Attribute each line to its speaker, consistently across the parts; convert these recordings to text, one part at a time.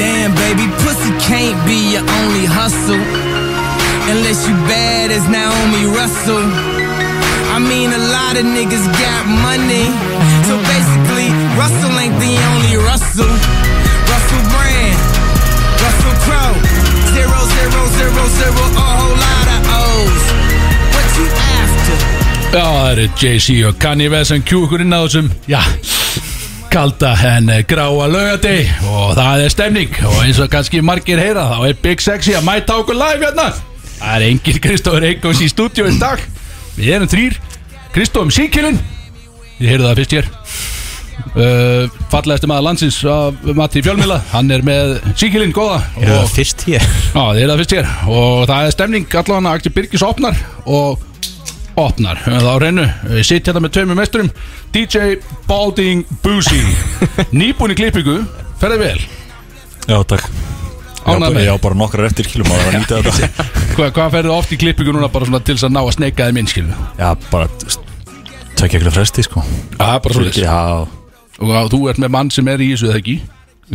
Speaker 1: Damn, baby, pussy can't be your only hustle. Unless you bad as Naomi Russell. I mean, a lot of niggas got money. So basically, Russell ain't the only Russell. Russell Brand, Russell Crowe. Zero, zero, zero, zero, a whole lot of O's. What you after?
Speaker 2: Já, það eru Jay-Z og Kanye West sem kjú ykkur inn á þessum, já, kalda en eh, gráa laugardeg og það er stemning og eins og kannski margir heyra þá er Big Sexy að mæta okkur live hérna. Það er engin Kristóður Eikons í stúdíu í dag, við erum þrýr, Kristóðum síkilinn, ég heyrði það fyrst hér. Uh, fallegasti maður landsins af Matti Fjölmila, hann er með síkilinn góða
Speaker 3: Já,
Speaker 2: og
Speaker 3: fyrst hér
Speaker 2: Já, þið er það fyrst hér og það er stemning allavega að Axel Birgis opnar og opnar, höfum það á reynu við sitt hérna með tveimur mesturum DJ Balding Boozy nýbúin í klippingu, ferði vel
Speaker 3: Já, takk
Speaker 2: Ánægð með.
Speaker 3: Ég á bara nokkrar eftir kilum að vera að nýta þetta
Speaker 2: Hva, hvað ferðu oft í klippingu núna bara svona til þess að ná að sneika þeim inn skilu
Speaker 3: Já, bara Tökja ykkur fresti, sko
Speaker 2: Já, bara svo þess
Speaker 3: Já,
Speaker 2: og þú ert með mann sem er í þessu eða ekki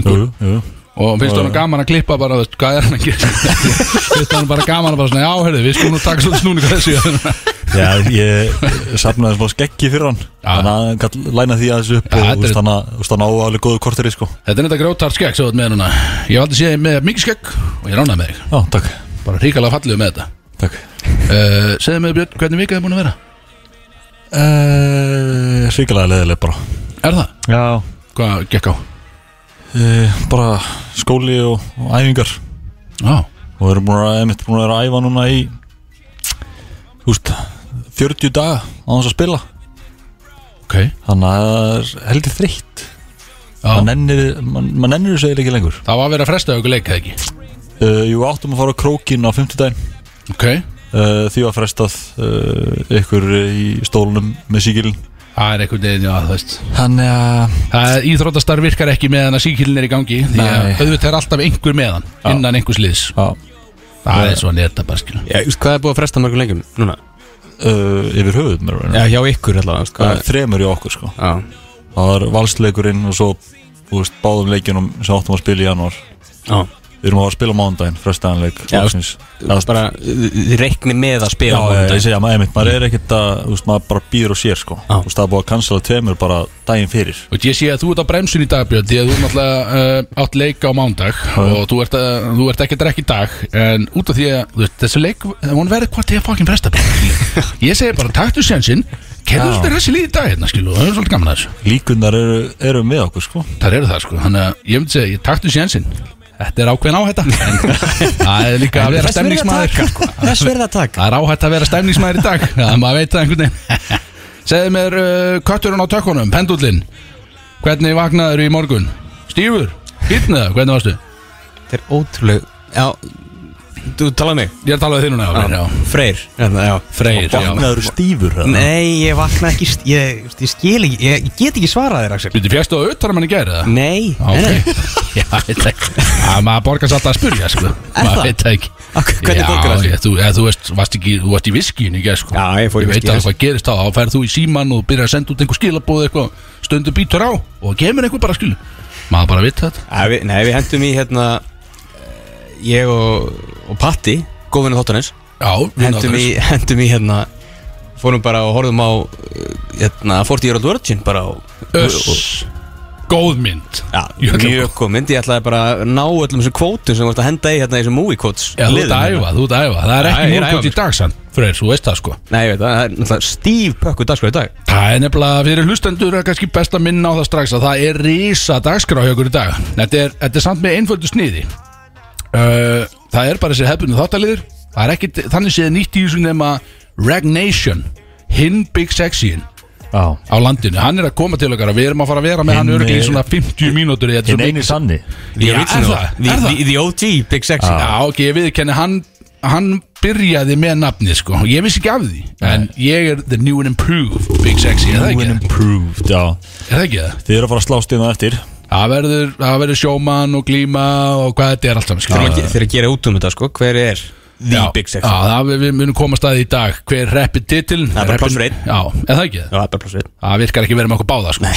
Speaker 3: jú, jú
Speaker 2: og finnst hann gaman að klippa bara, veist, hvað er hann að gera finnst hann bara gaman að bara svona, já, heyrðu, við skulum nú taka svolítið snúninga þessu
Speaker 3: Já, ég safnaði smá skeggi fyrir hann Þannig að hann gætt læna því aðeins upp
Speaker 2: Já,
Speaker 3: og
Speaker 2: þetta er-
Speaker 3: úst hann að úst hann á alveg góðu korteri, sko
Speaker 2: Þetta er þetta grótart skegg sem þú ert með núna Ég valdi séð þig með mikið skegg og ég ránaði með þig
Speaker 3: Já, takk
Speaker 2: Bara ríkalega fallið með þetta
Speaker 3: Takk
Speaker 2: uh, Segðu mig Björn, hvernig vika er búin að vera?
Speaker 3: uh, Ríkilega leðileg bara
Speaker 2: Er það?
Speaker 3: Já
Speaker 2: Hvað gekk á?
Speaker 3: uh, Bara skóli og, og æfingar
Speaker 2: Já,
Speaker 3: Og við erum búin að, einmitt búin að vera að æfa núna í Úst, 40 daga á þess að spila
Speaker 2: ok Já.
Speaker 3: Þannig að það er heldur þreytt Man nennir, man, man nennir þessu eiginlega ekki lengur
Speaker 2: Það var að vera að fresta ykkur leik, eða ekki?
Speaker 3: uh, Jú, áttum að fara á krókin á 50 daginn
Speaker 2: Ok
Speaker 3: uh, Því var frestað uh, ykkur í stólunum með síkilin
Speaker 2: Það er einhvern veginn, já, þú veist
Speaker 3: Þannig að
Speaker 2: Það er íþróttastar virkar ekki meðan að síkilin er í gangi Því að
Speaker 3: Nei.
Speaker 2: auðvitað er alltaf einhver meðan Innan einhvers liðs
Speaker 3: á,
Speaker 2: Það er svona þetta bara, skilu
Speaker 4: Já, veist, hvað er búið að fresta mörgum lengjum núna?
Speaker 3: uh, yfir höfuð mér
Speaker 4: Já, Eh, hjá ykkur allavega, veist,
Speaker 3: Það
Speaker 4: hvað
Speaker 3: er þremur í okkur sko
Speaker 4: Já,
Speaker 3: Það var valsleikurinn og svo þú veist, báðum leikunum sem áttum að spila í janúar
Speaker 4: já
Speaker 3: Við erum að fara að spila á mánudaginn, frestaðanleik
Speaker 4: Já,
Speaker 3: loksins.
Speaker 4: Það er bara, þið reikni með að
Speaker 3: Já,
Speaker 4: spila á
Speaker 3: já,
Speaker 4: mánudaginn.
Speaker 3: ég segja, maður, einmitt, maður er ekkert að, þú veist, maður bara býður og sér, sko
Speaker 4: Já.
Speaker 3: Þú veist, það er búið að cancela tveimur bara daginn fyrir
Speaker 2: Og ég sé að þú ert á bremsun í dag Björn Því að þú náttúrulega uh, átt leik á mándag Og þú ert, uh, þú ert ekki að drekka í dag En út af því að þú veist, þessi leik Hún verður hvort ég að fokkin fresta Björn. Ég segi bara taktu sjansinn Kefðu
Speaker 3: Já.
Speaker 2: alltaf þessi lið í dag hérna skilu og Það er svolítið gaman að þessu
Speaker 3: Líkundar eru, eru með okkur, sko
Speaker 2: Það eru það sko Þannig að ég myndi segja ég taktu sjansinn Þetta er ákveðin áhætta En Það er líka að vera
Speaker 4: Þess verið að
Speaker 2: stemningsmaður
Speaker 4: taka sko. Þess verið að taka
Speaker 2: Það er áhætt að vera stæmningsmæður í dag Það maður veit það einhvern veginn Segðu mér uh, kötturinn á tökkunum, pendullin Hvernig vaknaður í morgun? Stífur, hittnaða, hvernig varstu?
Speaker 4: Þetta er ótrúleg Já, þú talaði mig
Speaker 2: Ég er að tala við þig núna já, já.
Speaker 4: Freyr Hérna, já.
Speaker 2: Freyr, já
Speaker 3: Vaknaður stífur, eða?
Speaker 4: Nei, ég vakna ekki st- Ég, ég skil ekki, ég, ég get ekki svarað þér, Axel
Speaker 2: Býttu fjæstu á auðvitaðan manni gerði það?
Speaker 4: Nei,
Speaker 2: Já,
Speaker 4: nei,
Speaker 2: Ok, já, ég veit það ekki Það maður borgast alltaf að spurja, sko
Speaker 4: það?
Speaker 2: Maður veit það ekki
Speaker 4: Á, hvernig borgar það
Speaker 2: Já,
Speaker 4: sig?
Speaker 2: ég- þú, eða, þú veist, varst ekki, þú varst í viskínu, ekki, sko
Speaker 4: Já, ég fór í
Speaker 2: Ég veit
Speaker 4: viskíinu.
Speaker 2: alveg hvað gerist þá, þá ferð þú í síman og byrjar að senda út einhver skilabóð eitthvað Stundu býtur á og kemur einhver bara skilu Maður bara veit þetta
Speaker 4: Nei, við, nei, við hendum í hérna eh, Ég og, og Patti Góðvinni þáttanins
Speaker 2: Já,
Speaker 4: hendum í,
Speaker 2: vináttarins.
Speaker 4: hendum í hérna Fórum bara og horfðum á eh, hérna, 40 Year Old Virgin bara á
Speaker 2: Öss Góð mynd
Speaker 4: Já,
Speaker 2: Jökla-
Speaker 4: mjög góð mynd, ég ætlaði bara að ná öllum þessum kvótum sem þú ert að henda í hérna í þessum movie quotes
Speaker 2: Já, þú ert
Speaker 4: liðum
Speaker 2: að
Speaker 4: hérna.
Speaker 2: æfa, þú ert að æfa Það er
Speaker 4: Já,
Speaker 2: ekki
Speaker 4: ég er að æfa
Speaker 2: múlkvöld í
Speaker 4: mig.
Speaker 2: dag sann Freyr, þú veist það sko
Speaker 4: Nei, ég veit það, það er náttúrulega stíf pökku dagskrá í dag
Speaker 2: Það er nefnilega fyrir hlustendur er kannski best að minna á það strax að það er risa dagskrá hjá okkur í dag Þetta er, þetta er samt með einföldu sniði uh, Það er bara þessi hefbunni þáttaliður Það er ekki, þannig séð nýtt í þessu nema Ragnation Hinn Big Sexyin
Speaker 3: Já
Speaker 2: á landinu Hann er að koma til okkar og við erum að fara að vera með hann
Speaker 3: Hinn
Speaker 2: örgli í
Speaker 3: er-
Speaker 2: svona 50 mínútur í þetta
Speaker 3: Hinn
Speaker 2: svo
Speaker 3: eini
Speaker 2: mikið-
Speaker 3: sanni
Speaker 2: Já, er
Speaker 4: original.
Speaker 2: það?
Speaker 4: The,
Speaker 2: Er það?
Speaker 4: the, the OG, Big Sexy Ah.
Speaker 2: Já, ok, ég viðkenni hann, hann byrjaði með nafni sko og Ég vissi ekki af því En ég er the new and improved Big Sexy, er það
Speaker 3: New
Speaker 2: ekki?
Speaker 3: and improved, já
Speaker 2: Er það ekki það?
Speaker 3: Þið eru að fara að slást inn á eftir
Speaker 2: Það verður, það verður sjóman og glíma og hvað þetta er allt saman skilur
Speaker 4: Þeir eru að gera út um þetta sko, hver er The
Speaker 2: Já,
Speaker 4: Big Sexy
Speaker 2: já, það, við, við munum komast að því í dag Hver reppir titilin
Speaker 4: Það er bara pláss fyrir einn.
Speaker 2: Já, er það ekki?
Speaker 4: Já, það er bara plussið
Speaker 2: Það virkar ekki verið með okkur báða sko.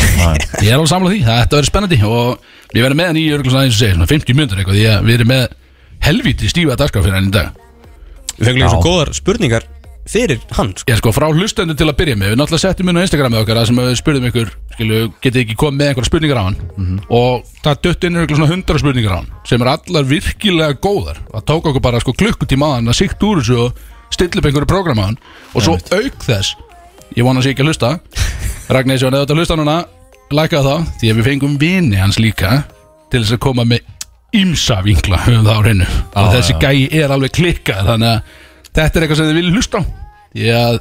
Speaker 2: Ég er alveg samlega því, það þetta verður spennandi Og við verðum með hann í örgulega eins og segir Svona 50 mjöndur eitthvað Því að við erum með helvíti stífa dagskraf fyrir hann í dag
Speaker 4: Við fengum
Speaker 3: Já.
Speaker 4: líka svo góðar spurningar fyrir hann sko.
Speaker 2: Já, sko, frá hlustendur til að byrja með Við náttúrulega settum inn á Instagramið okkar Það sem við spurðum ykkur, skilu, getið ekki komið með einhverja spurningar á hann Og það dött inn einhverjum svona hundra spurningar á hann Sem er allar virkilega góðar Það tók okkur bara, sko, klukkutíma á hann Að síkt úr þessu og stilla upp einhverju prógram á hann Og svo auk þess Ég vona að sé ekki að hlusta Ragnar Sjón, eða þetta hlusta núna Læka þá, því að við fengum vini hans líka Til þess að koma með ímsa vinkla um það á hreinu og þessi gæi er alveg klikkað þannig að þetta er eitthvað sem þið viljið hlusta á því að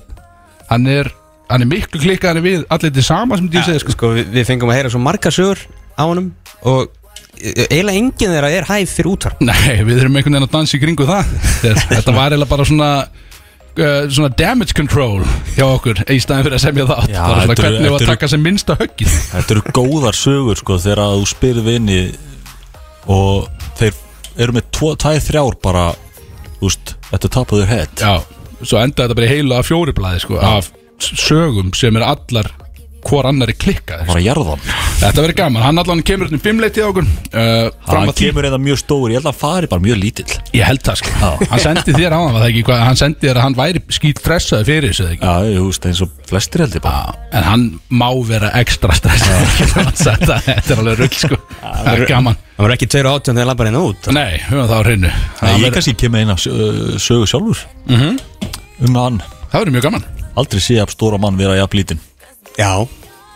Speaker 2: hann er hann er miklu klikkaðan en við allir til sama sem ég
Speaker 4: Ja,
Speaker 2: segja sko
Speaker 4: sko, við, við fengum að heyra svo marga sögur á honum Og e- eiginlega enginn þeirra er hæf fyrir útar
Speaker 2: Nei, við erum einhvern veginn að dansa í kringu það Þegar, Þetta var eiginlega bara svona uh, svona damage control hjá okkur í staðin fyrir að semja það
Speaker 3: Já,
Speaker 2: bara svona
Speaker 3: þetta eru-
Speaker 2: hvernig var að
Speaker 3: þetta eru-
Speaker 2: taka sem minnsta höggið
Speaker 3: Þetta eru góðar sögur sko þegar að þú spyrir vini og þeir eru með tvo, tæð þrjár bara þú veist, þetta tapaður hett
Speaker 2: Já, svo endaði þetta bara í heila af fjóriblaði sko, af sögum sem er allar hvor annari klikkað
Speaker 3: bara jarðan
Speaker 2: Þetta verður gaman, hann allan kemur hérna fimmleitið á okkur uh, fram
Speaker 3: hann
Speaker 2: að því
Speaker 3: kemur eða mjög stór, ég held að hann fari bara mjög lítill
Speaker 2: Ég held það sko Hann sendi þér á hann, var það ekki hvað Hann sendi þér að hann væri skýt stressaði fyrir þessu eða ekki
Speaker 3: Já, ég veist, eins og flestir heldur bara
Speaker 2: Já, En hann má vera ekstra stressaði Hann sagði það, Þetta er alveg rull sko Það er gaman
Speaker 4: Það var ekki 2 og 18 þegar lampar hérna út
Speaker 2: Nei, höfum það á hreinu
Speaker 3: Nei,
Speaker 2: Það
Speaker 3: ég
Speaker 2: verður-
Speaker 3: kannski kem með eina sö- sögu sjálfur um hann
Speaker 2: það verður mjög gaman
Speaker 3: aldrei sé að stóra mann vera jafn lítinn
Speaker 4: Já,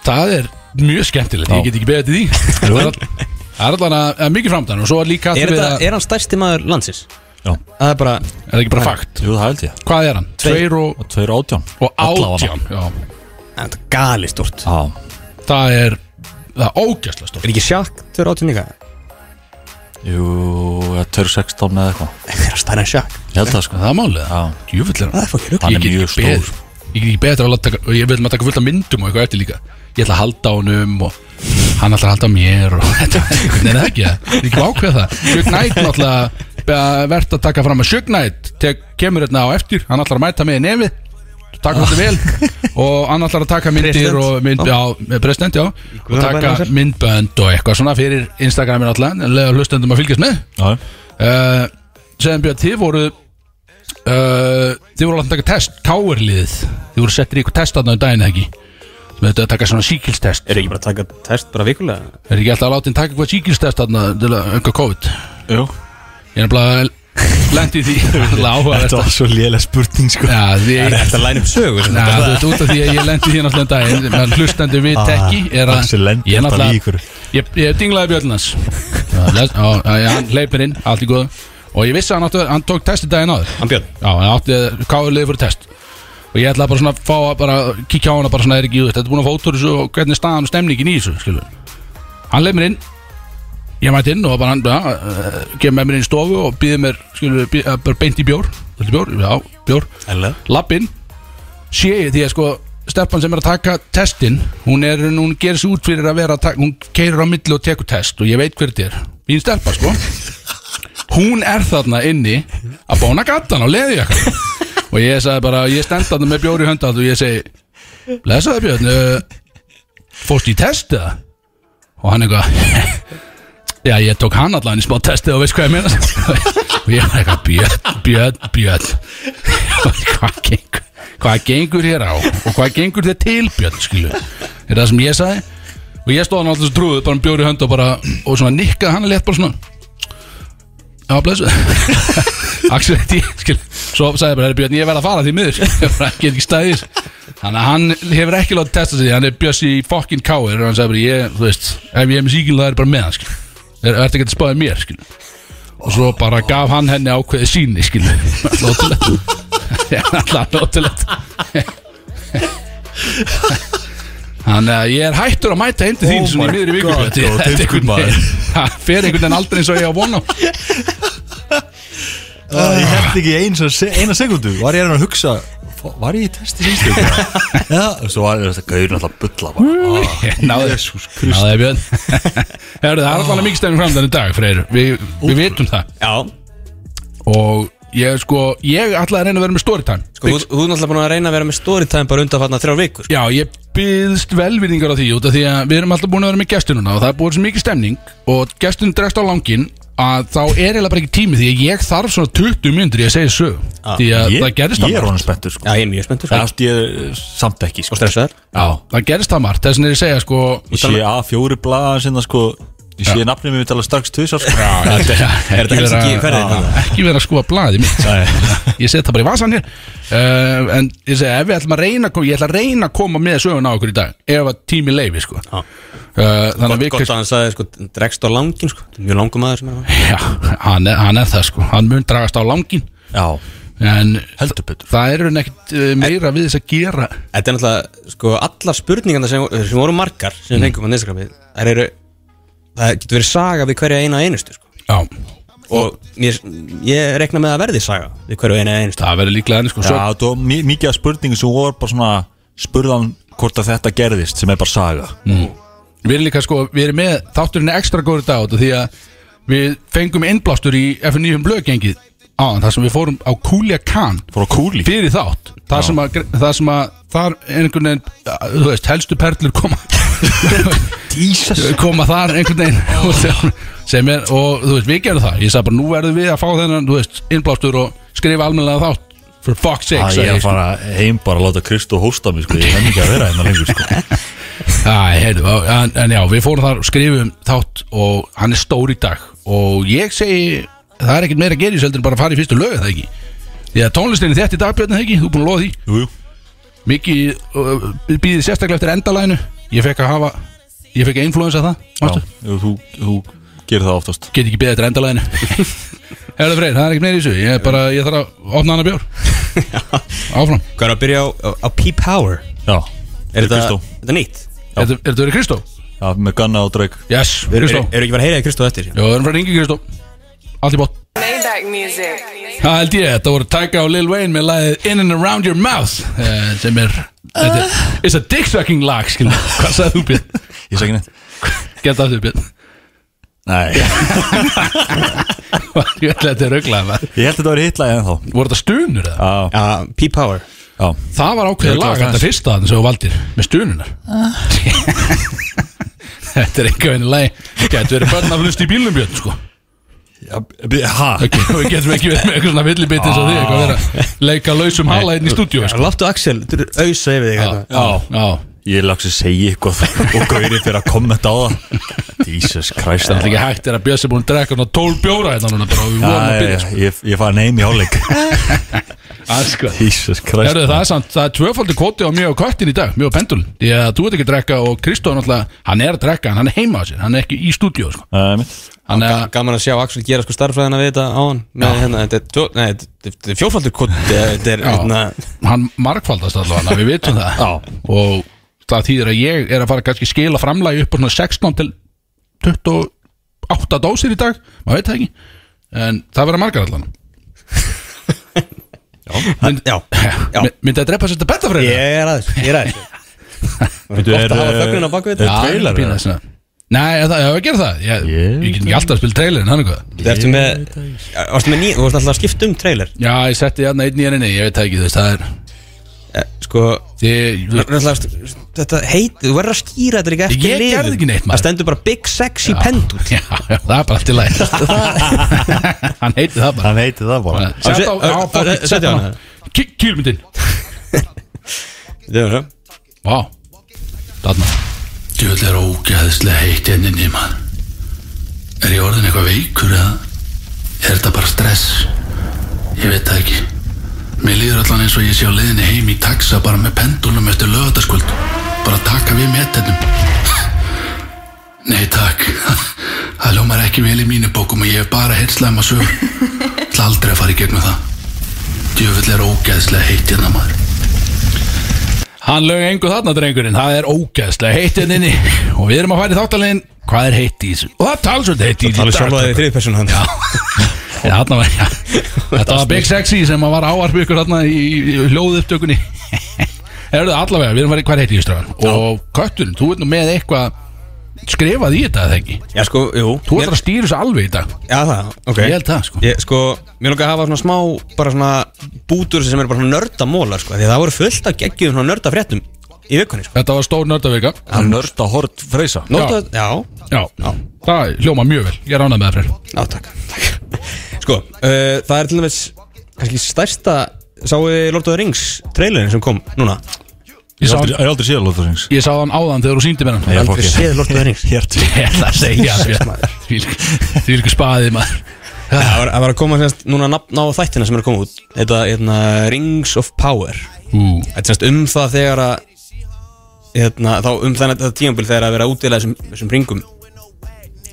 Speaker 2: Það er mjög skemmtilegt, ég
Speaker 3: Já.
Speaker 2: get ekki beðið til því Það er all- það er allan að að mikið framdann Og svo er líka
Speaker 4: er,
Speaker 2: allir við
Speaker 4: þetta,
Speaker 2: að
Speaker 4: er hann stærsti maður landsins?
Speaker 3: Já,
Speaker 4: Það er bara,
Speaker 2: Er það ekki bara fakt?
Speaker 3: jú, það held ég
Speaker 2: Hvað er hann? Tveir og,
Speaker 3: og tveir átján
Speaker 2: og
Speaker 3: Allavega.
Speaker 2: átján Já.
Speaker 4: þetta er gali stort
Speaker 3: Já,
Speaker 2: Það er, það er ógæsla stórt
Speaker 4: Er ekki sjakk 2 og 18 líka?
Speaker 3: jú, eða tveir og sextán eða eitthvað
Speaker 4: Er hann stærri en sjakk?
Speaker 3: Ég held það sko
Speaker 2: Það er málið
Speaker 3: Já.
Speaker 2: Djúvill er
Speaker 4: Það er fokkin rugl.
Speaker 2: Ég
Speaker 3: Hann er
Speaker 2: get ekki
Speaker 3: mjög stór.
Speaker 2: beðið. Ég get ekki betur að láta taka- og Ég vil maður taka fullt af myndum og eitthvað eftir líka Ég ætla að halda á honum og hann ætlar að halda á mér og þetta Nei, það er ekki það Ég er ekki ákveða það Shug Knight náttúrulega verðt að taka fram að Shug Knight tek, kemur hérna á eftir hann ætlar að mæta mig í nefið taka þetta vel og hann ætlar að taka myndir
Speaker 4: President.
Speaker 2: og mynd, já, eh, president, já og
Speaker 4: guðanna bænum
Speaker 2: taka
Speaker 4: sér.
Speaker 2: myndbönd og eitthvað svona fyrir Instagramin náttúrulega en lega hlustendum að fylgjast með
Speaker 3: Já,
Speaker 2: uh, segðum Björn, þið voru uh, þið voru alltaf að taka test káerliðið, þið voru settir í ykkur test þarna um daginn eða ekki sem þetta að taka svona síkilstest
Speaker 4: Er ekki bara að taka test bara vikulega?
Speaker 2: er ekki alltaf að láta hinn taka eitthvað síkilstest þarna til að önga COVID ég er
Speaker 3: jú
Speaker 2: nefnilega lendi því alveg áhugavert
Speaker 3: Þetta
Speaker 2: að-
Speaker 3: var svo lélega spurning sko
Speaker 2: Já, því
Speaker 4: Er þetta að læna upp sögur?
Speaker 2: Já, þú veist, út af því að ég lendi því náttúrulega um daginn menn hlustandi við
Speaker 4: Ah,
Speaker 2: tekki er að
Speaker 3: Axel lendi
Speaker 2: ég
Speaker 3: alltaf í
Speaker 2: náttúrulega
Speaker 3: ykkur.
Speaker 2: ég, ég dinglaði bjöllunans hann leipir inn, allt í góð og ég vissi að hann, átti- hann tók testi daginn áður
Speaker 4: Hann Björn
Speaker 2: Já, hann átti káður liðið fyrir test Og ég ætlaði bara svona að fá að bara kíkja á hana bara svona er ekki, þú veist, þetta er búin að fótur þessu og hvernig er staðan og stemningin í þessu, skilur Hann leið mér inn Ég mætti inn og bara hann, já, uh, gef með mér inn í stofu og býði mér, skilur, býð, uh, bara beint í bjór Þetta bjór, já, bjór
Speaker 4: Ærlega
Speaker 2: Lapp inn, sé ég því að sko Stefan sem er að taka testin hún er, hún gerir sér út fyrir að vera að taka, hún keirir á milli og tekur test og ég veit hver þetta er, mín Stefan sko hún er þarna inni að bóna gatan á leði og ég sagði bara, ég stend þarna með bjóri hönda og ég segi lesaði Björn uh, fórst í test eða? og hann eitthvað já ég tók hann allan í smá testi og veist hvað ég meina og ég var eitthvað Björn, Björn, Björn hvað gengur hvað gengur hér á og hvað gengur þér til Björn skilu er það sem ég sagði og ég stóð hann alltaf svo trúið bara um bjóri hönd og bara og svona nikkaði hann létt bara svona já blessu Axel veit ég skil svo sagði ég bara "Herra, Björn ég verð að fara því miður ég bara get ekki staðið í þessu." þannig að hann hefur ekki látið testa sig hann er Björns í fokkin káir og hann sagði bara ég þú veist ef ég er með síkil það er ég bara með hann skil er, er þetta ekki að spáði mér skil og svo bara gaf hann henni ákveði síni skil notilegt Já, alltaf notilegt Þannig að ég er hættur að mæta heim til þín
Speaker 3: Oh
Speaker 2: svona í
Speaker 3: my
Speaker 2: miðri viku
Speaker 3: God,
Speaker 2: Þetta er
Speaker 3: God,
Speaker 2: einhvern
Speaker 3: tilkun maður.
Speaker 2: veginn- það fer einhvern veginn aldrei eins og ég á vona
Speaker 3: Ég held ekki eins og se- eina sekundu Var ég að hugsa Var ég í testi sínslu? Já, og svo var ég að gauður alltaf bulla bara Ah,
Speaker 2: Náði
Speaker 3: Jesus Christ.
Speaker 2: Náði Björn Herðu, það er allan að mikið stefnum framdann í dag Freyr Við, við vitum það
Speaker 4: Já,
Speaker 2: Og Ég sko, ég ætlaði að reyna að vera með storytime
Speaker 4: Sko, þú, þú er náttúrulega búin að reyna að vera með storytime bara undan þarna þrjár vikur sko.
Speaker 2: Já, ég byðst velvinningar á því út af því að við erum alltaf búin að vera með gestununa og það er búin svo mikið stemning og gestunum dregst á langin að þá er eiginlega bara ekki tími því að ég þarf svona 20 myndir í að segja sög því að
Speaker 3: Ah, Ég,
Speaker 2: það gerist
Speaker 3: ég
Speaker 2: það
Speaker 3: er
Speaker 2: margt
Speaker 3: honum spenntur sko.
Speaker 4: Já, ég er mjög spenntur sko.
Speaker 3: Það átti ég samt ekki sko.
Speaker 4: Og stressaður
Speaker 2: Já, það gerist það margt, þess vegna er ég að segja sko
Speaker 3: Ég sé A4 blaða sinna sko Ég sé nafnið mér tala strax tvisar sko.
Speaker 2: þetta
Speaker 4: Er þetta Helsinki ferðin?
Speaker 2: Já, Ekki vera að skúa blaðið mitt Ég set það bara í vasan hér uh, En ég segi, ef við ætlum að reyna að koma- Ég ætla að reyna að koma með söguna á okkur í dag Ef að tími leifi, sko uh, Þannig að
Speaker 4: Gott,
Speaker 2: við
Speaker 4: gott að hann sagði, sko, dregst á langin, sko Þetta er Mjög langum aður sem er
Speaker 2: Já, hann er, hann er það, sko Hann mun dragast á langin
Speaker 3: Já,
Speaker 2: En
Speaker 3: heldur betur
Speaker 2: það er hann ekkert uh, meira við þess að gera
Speaker 4: Þetta er náttúrulega, sko, allar spurningarna sem, sem voru margar sem við fengum á Instagrami Það eru, það getur verið saga við hverja eina einustu, sko
Speaker 2: Já,
Speaker 4: Og ég, ég rekna með að verði saga við hverju eina einustu
Speaker 2: það verður líklega henni, sko
Speaker 3: Já,
Speaker 2: Svo,
Speaker 3: það var mi- mikið af spurningum sem voru bara svona spurðan hvort að þetta gerðist sem er bara saga
Speaker 2: Við erum líka, sko, við erum með Þátturinn er ekstra góður í dag út af Því að við fengum innblástur í F9 blöðgengið Á, þar sem við fórum á Kúlia Khan
Speaker 3: Fór á kúli
Speaker 2: fyrir þátt það sem, að, það sem að þar einhvern veginn, þú veist, helstu perlur koma
Speaker 3: Jesus
Speaker 2: koma þar einhvern veginn og sem- sem er, og þú veist, við gerum það ég sagði bara, nú verðum við að fá þennan, þú veist innblástur og skrifa almennilega þátt for fuck's sake,
Speaker 3: Það
Speaker 2: sagði
Speaker 3: Ah, ég er
Speaker 2: ég,
Speaker 3: að fara heim bara að láta Kristó hósta mig sko Ég kann ekki að vera hérna lengur sko
Speaker 2: Æ, heyrðu, á- en, en já, við fórum þar og skrifum þátt og hann er stór í dag og ég segi, það er ekkert meira að gera í þessu heldur en bara að fara í fyrstu lög, er það ekki því að tónlistin er þétt í dagbjörn, er það ekki, þú er búin að loða því
Speaker 3: Jú, jú
Speaker 2: mikið uh, býðið sérstaklega eftir endalæginu ég fekk að hafa ég fekk að influensa það
Speaker 3: Já,
Speaker 2: manstu?
Speaker 3: jú, þú, þú gerir það oftast
Speaker 2: get ekki beðið eftir endalæginu herðu freyr, það er ekki meira í þessu ég, er bara, ég þarf að opna hana bjór áfram
Speaker 4: Hvað er að byrja á, á, á P-Power?
Speaker 3: Já,
Speaker 4: Er þetta,
Speaker 3: Kristó.
Speaker 4: þetta nýtt?
Speaker 2: er þetta- er þetta verið Kristó?
Speaker 3: Já, með Ganna og Drake
Speaker 2: yes,
Speaker 4: Eru er,
Speaker 2: Kristó
Speaker 4: er ekki bara að heyra í Kristó eftir?
Speaker 2: já, við erum frá Ingi Kristó allt í bótt
Speaker 5: Maybach music.
Speaker 2: það held ég, þetta voru Tyga og Lil Wayne með lagið In and Around Your Mouth eh, sem er þetta er- It's a dick sucking lag, skilja Hvað sagði þú, Björn?
Speaker 3: Ég segi neitt
Speaker 2: Gæta aftur, Björn
Speaker 3: Nei
Speaker 2: Ég ætla að þetta er auglað
Speaker 3: Ég held að þetta var hitlaði ennþá
Speaker 2: Voru þetta stunur eða?
Speaker 3: Já,
Speaker 4: Já, P-Power
Speaker 3: já
Speaker 2: Það var ákveðið
Speaker 3: Ég
Speaker 2: lag Ah.
Speaker 3: klart
Speaker 2: Þetta
Speaker 3: aðeins.
Speaker 2: fyrsta þannig sem þú valdir Með stununar Þetta er einhver veginn lag Gætu verið börn að hlusta í bílnum björn sko
Speaker 3: Já, b- Ha?
Speaker 2: okay. Við getum ekki verið með eitthvað svona villibit eins og því Eitthvað vera að leika lausum hala inn í stúdíu sko.
Speaker 4: Láttu Axel, þú eru auðsa yfir þig hérna.
Speaker 2: Já, já
Speaker 3: Ég lagsi segja eitthvað og gaurið fyrir að kommenta á það Jesus Christ
Speaker 2: Það er ekki hægt er að bjösa búin að drekka svona 12 bjóra hérna núna bara og við vonum að byrja sko.
Speaker 3: Ég, ég, ég fara neym í hálfleik
Speaker 2: Að sko.
Speaker 3: Jesus Christ
Speaker 2: Herðu, það er samt, það er tvöfaldi kvoti á mjög köttin í dag, mjög pendul Því að þú ert ekki að drekka og Kristóð náttúrulega, hann er að drekka, en hann er heima á sér, hann er ekki í stúdíu sko.
Speaker 3: Nei, mitt.
Speaker 2: Hann er
Speaker 4: Ga- Gaman að sjá Axel gera sko starffræðina við þetta á hann Með hérna, þetta er tvö- nei, þetta- þetta er fjórfaldur kod Þetta er
Speaker 2: Já.
Speaker 4: hérna
Speaker 2: hann markfaldast allavega, við vitum það og það þýðir að ég er að fara kannski skila framlægi upp á svona 16 til 28 dósir í dag maður veit það ekki en það verða margar allan Mynd,
Speaker 4: Já, já.
Speaker 2: my- myndi að drepa sér þetta betta fyrir
Speaker 4: Ég er aðeins, ég er aðeins
Speaker 3: Veitu,
Speaker 4: Gott
Speaker 3: er,
Speaker 4: að hafa
Speaker 3: eh,
Speaker 4: þögnina á baku þetta
Speaker 3: er trailer,
Speaker 2: pína,
Speaker 3: eða?
Speaker 2: svona. Nei, það, ég hef að gera það Ég,
Speaker 3: Ég-
Speaker 2: ég get ekki alltaf að spila trailerin, hann eitthvað
Speaker 4: Þetta ertu með, varstu með ný, þú varst alltaf að skipta um trailer
Speaker 2: Já, ég setti hérna einn í henni, ég veit það ekki, þú veist, það er
Speaker 4: Eh, Sko,
Speaker 2: Þið,
Speaker 4: náttúrulega, st- þetta heit, þú verður að skýra þetta er ekki eftir
Speaker 2: Ég
Speaker 4: liðum.
Speaker 2: gerði ekki neitt, maður.
Speaker 4: Það stendur bara Big Sexy Pendul
Speaker 2: já, já, það er bara allt í læg Hann heiti það bara
Speaker 3: Hann heiti það bara
Speaker 2: Sett á, á,
Speaker 4: Ö- ö-
Speaker 2: fokkin,
Speaker 4: ö-
Speaker 2: sett
Speaker 4: settu
Speaker 2: á
Speaker 4: hana.
Speaker 2: Kýlmyndin
Speaker 4: Þetta er það
Speaker 2: Vá Þarna Djöld er ógæðislega heitt enninni mann Er ég orðin eitthvað veikur eða? Er þetta bara stress? Ég veit það ekki Mér líður allan eins og ég sé á leiðinni heim í taxa bara með pendulum eftir lögataskvöld bara taka við metennum Nei takk Það ljómar ekki vel í mínu bókum og ég hef bara heyrslaðum að sögur Það aldrei að fara í gegnum það Djöfull er ógæðslega heitt hérna maður Hann lög engu þarna drengurinn, það er ógæðslega heitt hérna inni og við erum að fara í þáttalegin hvað er heitt í þessu og það talsvöld heitt í þessu
Speaker 4: Talið sjálfaði í þriðpersonu hann
Speaker 2: Já, þarna var, já, þetta var Big Sexy sem að var áarp ykkur þarna í, í hljóðu upptökunni Erðu allavega, við erum farið hvað heiti í strafan Og kötturinn, þú ert nú með eitthvað skrifað í þetta eða ekki
Speaker 4: Já sko, jú
Speaker 2: Þú
Speaker 4: Mér-
Speaker 2: ætlar að stýra þessu alveg í dag
Speaker 4: Já það, ok
Speaker 2: Ég held það, sko.
Speaker 4: Ég, sko, mér langar að hafa svona smá Bara svona bútur sem eru bara svona nördamólar sko. Því að það voru fullt af geggjum svona nördafréttum Í vikunni sko.
Speaker 2: Þetta var stór nördavika
Speaker 3: Hann nörd að hort freysa
Speaker 4: Nóta, já.
Speaker 2: Já, það hljóma mjög vel Ég ránað með það fyrir
Speaker 4: já, takk, takk. Sko, uh, það er til dæmis Kannski stærsta Sáu þið Lord of the Rings trailerin sem kom núna
Speaker 2: Ég
Speaker 3: Ég
Speaker 2: sá
Speaker 3: hef aldrei-
Speaker 2: hann,
Speaker 3: ég hef aldrei séð Lóta Rings
Speaker 2: ég sá hann áðan þegar þú síndi mér hann
Speaker 3: Ég fór
Speaker 4: Aldrei
Speaker 3: ekki
Speaker 4: séð Lord of the Rings
Speaker 3: Hjert
Speaker 2: Ég ætla að segja Því líka spaðið maður
Speaker 4: Já, Það var, það var að koma semst núna nafn á þættina sem er að koma út Þetta hérna, Rings of Power
Speaker 2: Ú,
Speaker 4: Þetta er semst um það þegar að hérna, þá um þannig þetta tímabil þegar að vera útdeilað þessum, þessum ringum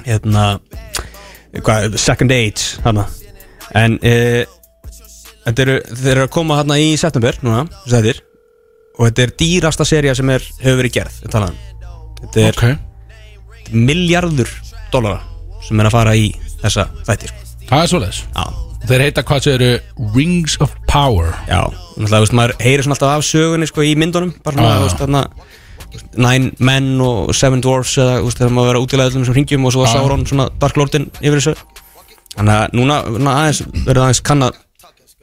Speaker 4: hérna hvað, second age hana. en e, þetta eru þeir eru að koma hérna í september núna, sæðir og þetta er dýrasta serja sem er, hefur verið gerð ég talaði um. þetta er
Speaker 2: ok
Speaker 4: miljardur dólara sem er að fara í þessa þætti sko.
Speaker 2: Það er svoleiðis
Speaker 4: Já.
Speaker 2: Þeir heita hvað sem eru Rings of Power
Speaker 4: Já, náttúrulega, þú veist, maður heyrir svona alltaf af sögunni sko, í myndunum, bara svona,
Speaker 2: Já.
Speaker 4: þú veist, þarna þú veist, Nine Men og Seven Dwarfs eða, þú veist, þegar maður verið að útilega öllum sem hringjum og svo var
Speaker 2: Já.
Speaker 4: Sauron svona Dark Lordin yfir þessu Þannig að núna, núna aðeins verður aðeins kanna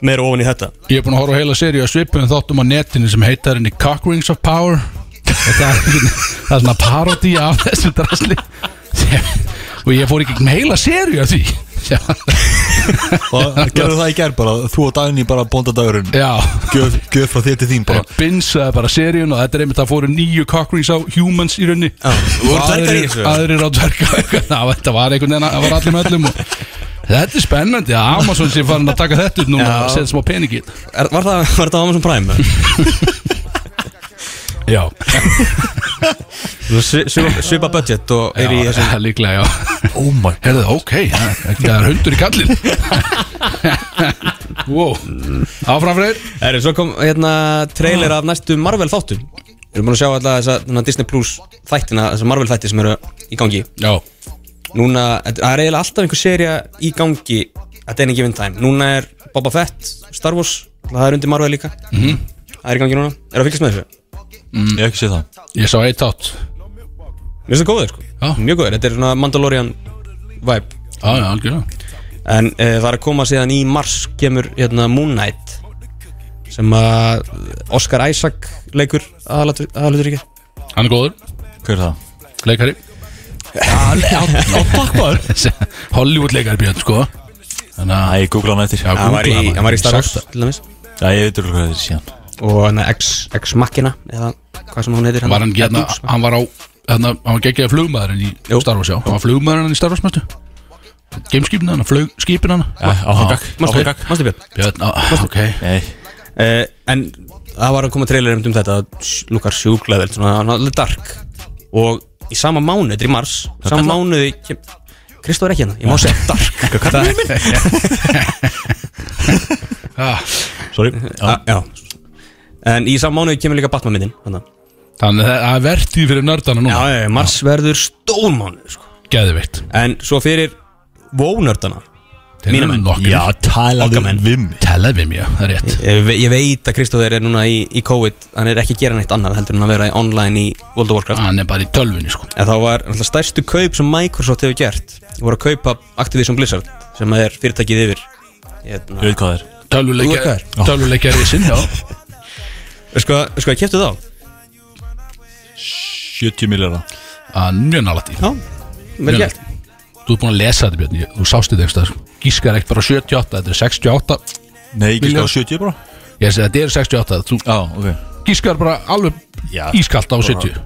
Speaker 4: meira ofan í þetta
Speaker 2: Ég er búin að horfa á heila seríu að svipum þáttum á netinu sem heitar henni Cock Rings of Power og það er, það er svona parodi af þessu drasli sem, og ég fór ekki með heila seríu af því sem,
Speaker 3: Og gerðu það í gerð bara Þú og Dagný bara bóndadagurinn
Speaker 2: Já
Speaker 3: Gjöf gjöf frá þér til þín bara
Speaker 2: Binsaði bara seríun og þetta er einmitt að fóru nýju Cock Rings á Humans í raunni
Speaker 4: voru dvergar í þessu?
Speaker 2: Aðrir á dverga Já, þetta var einhvern veginn að það var allir með öllum og, Þetta er spennandi að Amazon sé farin að taka þetta upp núna
Speaker 4: Já.
Speaker 2: og setja smá peningin
Speaker 4: er, Var það, var það Amazon Prime?
Speaker 2: Já,
Speaker 4: Þú svi- svipa- svipa budget og er í þessum
Speaker 2: já líklega já
Speaker 3: Oh my
Speaker 2: Herðu, ok, það það er hundur í kallin Wow Áfram fyrir
Speaker 4: Erið, svo kom hérna trailer af næstu Marvel þáttum Við erum búin að sjá alltaf þessa þennan Disney Plus þættina, þessa Marvel þætti sem eru í gangi
Speaker 2: Já,
Speaker 4: Núna, þetta- það er eiginlega alltaf einhver serja í gangi að denni given time Núna er Boba Fett, Star Wars, það er undir Marvel líka Það er í gangi núna, er það fylgjast með þessu?
Speaker 3: Ég hef ekki séð það
Speaker 2: ég sá eitt átt
Speaker 4: Mér finnst það góður sko,
Speaker 2: Já.
Speaker 4: mjög góður, þetta er svona Mandalorian vibe
Speaker 2: Já, já, algjörlega
Speaker 4: En uh, það er að koma síðan í mars kemur hérna Moon Knight Sem að Oscar Isaac leikur aðalutur ekki
Speaker 2: Hann er góður,
Speaker 3: Hver er það?
Speaker 2: leikari Hollywood leikari björn, sko Þannig
Speaker 3: Æ,
Speaker 2: að
Speaker 3: ég googla hann eftir
Speaker 2: ah. Já,
Speaker 4: Hann var í,
Speaker 2: Googlaði maður.
Speaker 4: hann var í Star Wars
Speaker 2: Sagt
Speaker 4: til dæmis
Speaker 3: Já, ég veitur hvað þetta er síðan
Speaker 4: Og hann er X-Makkina eða hvað sem hún heitir hérna.
Speaker 2: var hann gerna,
Speaker 4: Eddux,
Speaker 2: hann var á Þannig hann var geggjaði flugmaðurinn í Star Wars, já Hann var flugmaðurinn hann í Star Wars, mæstu Gameskipin hann, flugskipin hann
Speaker 3: Áfangak
Speaker 4: Manstu Björn? Manstu Björn?
Speaker 2: Björn, á, ok
Speaker 3: Nei
Speaker 4: Uh, en það var að koma trailer um þetta Lukar sjúklaðel, svona hann var alveg dark Og í sama mánuð, þetta er í mars Sama mánuði kem... Kristóð er ekki hérna, ég má segja dark Hvað er minn?
Speaker 2: Ah,
Speaker 3: Sorry
Speaker 4: Já En í sama mánuði kemur líka Batman myndin þannig að-
Speaker 2: Þannig að það er vertið fyrir nördana
Speaker 4: Já,
Speaker 2: núna
Speaker 4: já, já, mars verður stór mánuð sko.
Speaker 2: Geðveitt
Speaker 4: En svo fyrir Vónördana
Speaker 2: Þeir
Speaker 4: Mína
Speaker 2: eru
Speaker 4: menn.
Speaker 2: nokkrir.
Speaker 3: Já, talaðu
Speaker 4: Okkar menn.
Speaker 3: vim
Speaker 2: Televim, já, það er rétt
Speaker 4: Ég ve- ég veit að Kristóð er núna í, í COVID Hann er ekki að gera neitt annað heldur en að vera í online í World of Warcraft
Speaker 2: Hann er bara í tölvunni, sko
Speaker 4: En þá var alltaf stærstu kaup sem Microsoft hefur gert voru að kaupa Activision Blizzard sem er fyrirtækið yfir
Speaker 3: Ég
Speaker 4: hérna.
Speaker 3: veit hvað það er
Speaker 4: Þú ert
Speaker 2: Tölvuleikja- Tölvuleikja sinn, já
Speaker 4: Sko, sko, ég kefti þá
Speaker 3: 70 miljardar
Speaker 2: Það er Mjög nálætt í
Speaker 4: Já, vel
Speaker 2: Mjög
Speaker 4: gert
Speaker 2: nálægt. Þú ert búin að lesa þetta Björn ég- Þú sást þetta einhverstað Gískar ekkert bara 78 Þetta er 68
Speaker 3: Nei, ekki
Speaker 2: Milljarð.
Speaker 3: sko 70 bara
Speaker 2: Ég segi þetta er 68 Þú
Speaker 3: Já, ok
Speaker 2: gískar bara alveg
Speaker 3: Já.
Speaker 2: ískalt á 70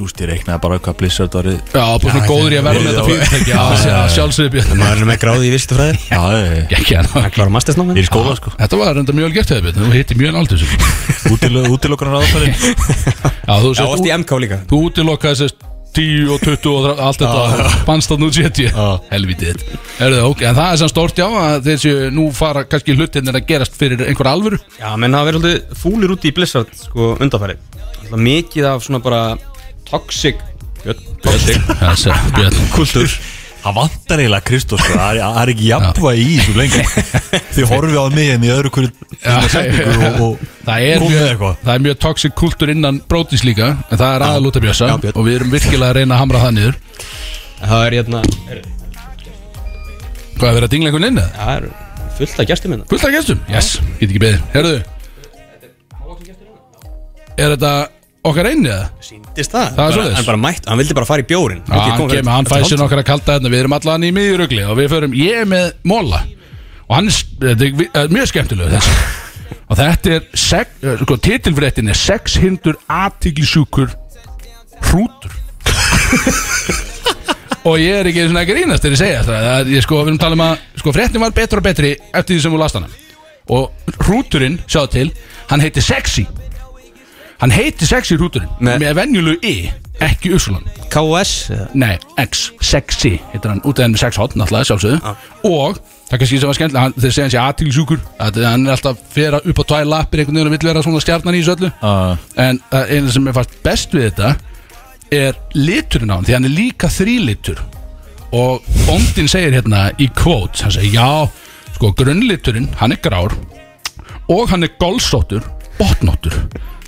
Speaker 3: Þú veist, ég reiknaði bara hvað Blizzard var Já,
Speaker 2: Já, bara svona góður ég að verða með þetta fyrirtæki Já, já, sjálfsögðu Björn
Speaker 4: Maður er með gráði í vistu fræði
Speaker 3: ég
Speaker 2: Ekki hann
Speaker 4: Klára mastersnámið
Speaker 3: er í skóla sko
Speaker 2: Þetta var reynda mjög vel gert hefði Björn Þú hitti mjög nálægt þessu sko.
Speaker 3: Útilokkurinn aðfæri
Speaker 2: Já, þú
Speaker 4: Já, varst í
Speaker 2: sést
Speaker 4: MK líka
Speaker 2: Þú útilokkaði sérst 10 og 20 og 30, allt þetta bannst að nú 70 helvitið er það ok, en það er sem stórt já að þessu nú fara kannski hlutinir að gerast fyrir einhver alvöru
Speaker 4: Já, menn það verður alltaf fúlir úti í Blizzard sko undanfærið Alltaf mikið af svona bara toxic Björn, toxic
Speaker 2: Þessi, Björn,
Speaker 4: kultur
Speaker 3: Það vantar eiginlega Kristóf sko. það, er- það er ekki jafnvægi í þessu lengi Þið horfið á mig en í öðru hverju setningu og- og
Speaker 2: það er,
Speaker 3: komið
Speaker 2: mjög,
Speaker 3: eitthvað.
Speaker 2: það er mjög toxic kultúr innan brótis líka en það er aðal út af bjösa
Speaker 4: Já, Björn.
Speaker 2: og við erum virkilega að reyna að hamra það niður
Speaker 4: Það er hérna er-
Speaker 2: hvað er verið að dingla einhvern inn eða?
Speaker 4: Það er fullt af gestum hérna
Speaker 2: fullt af gestum, yes, get ekki beðið herðu er þetta okkar einni eða?
Speaker 4: Sýndist það?
Speaker 2: Það er
Speaker 4: Bara-
Speaker 2: svoleiðis.
Speaker 4: Hann bara mætt, hann vildi bara fara í bjórin
Speaker 2: Já, hann kemur, hann fæsir nokkar að kalda þarna Við erum allan í miðjurugli og við förum Ég er með móla Og hann er, þetta er vi- eh, mjög skemmtilega þessi Og þetta er sek, eh, sko, Titilfréttin er Sex hindur aðtiglisjúkur Hrútur Og ég er ekki svona að grínast þegar ég segja þetta Það er- Ég sko, við erum að tala um að sko, Fréttin var betra og betri eftir því sem við last hana Og hrúturinn, sjáðu til Hann heitir Sexy Hann heitir Sexy hrúturinn
Speaker 4: Nei.
Speaker 2: Með venjulegu I, ekki Úsulan
Speaker 4: KS
Speaker 2: Nei, X, sexy heitir hann, út af henni með sex hotn alltaf sjálfsögðu og það er kannski sem var skemmtilega hann, þeir segja hans ég aðtilsjúkur að hann er alltaf fyrir að upp á tvær lappir einhvern veginn og vill vera svona stjarnan í þessu öllu
Speaker 3: Já.
Speaker 2: en uh, eina sem er fast best við þetta er liturinn á hann því hann er líka þrílitur og bóndin segir hérna í kvót hann segir já, sko grunnliturinn hann er grár og hann er golsóttur, botnóttur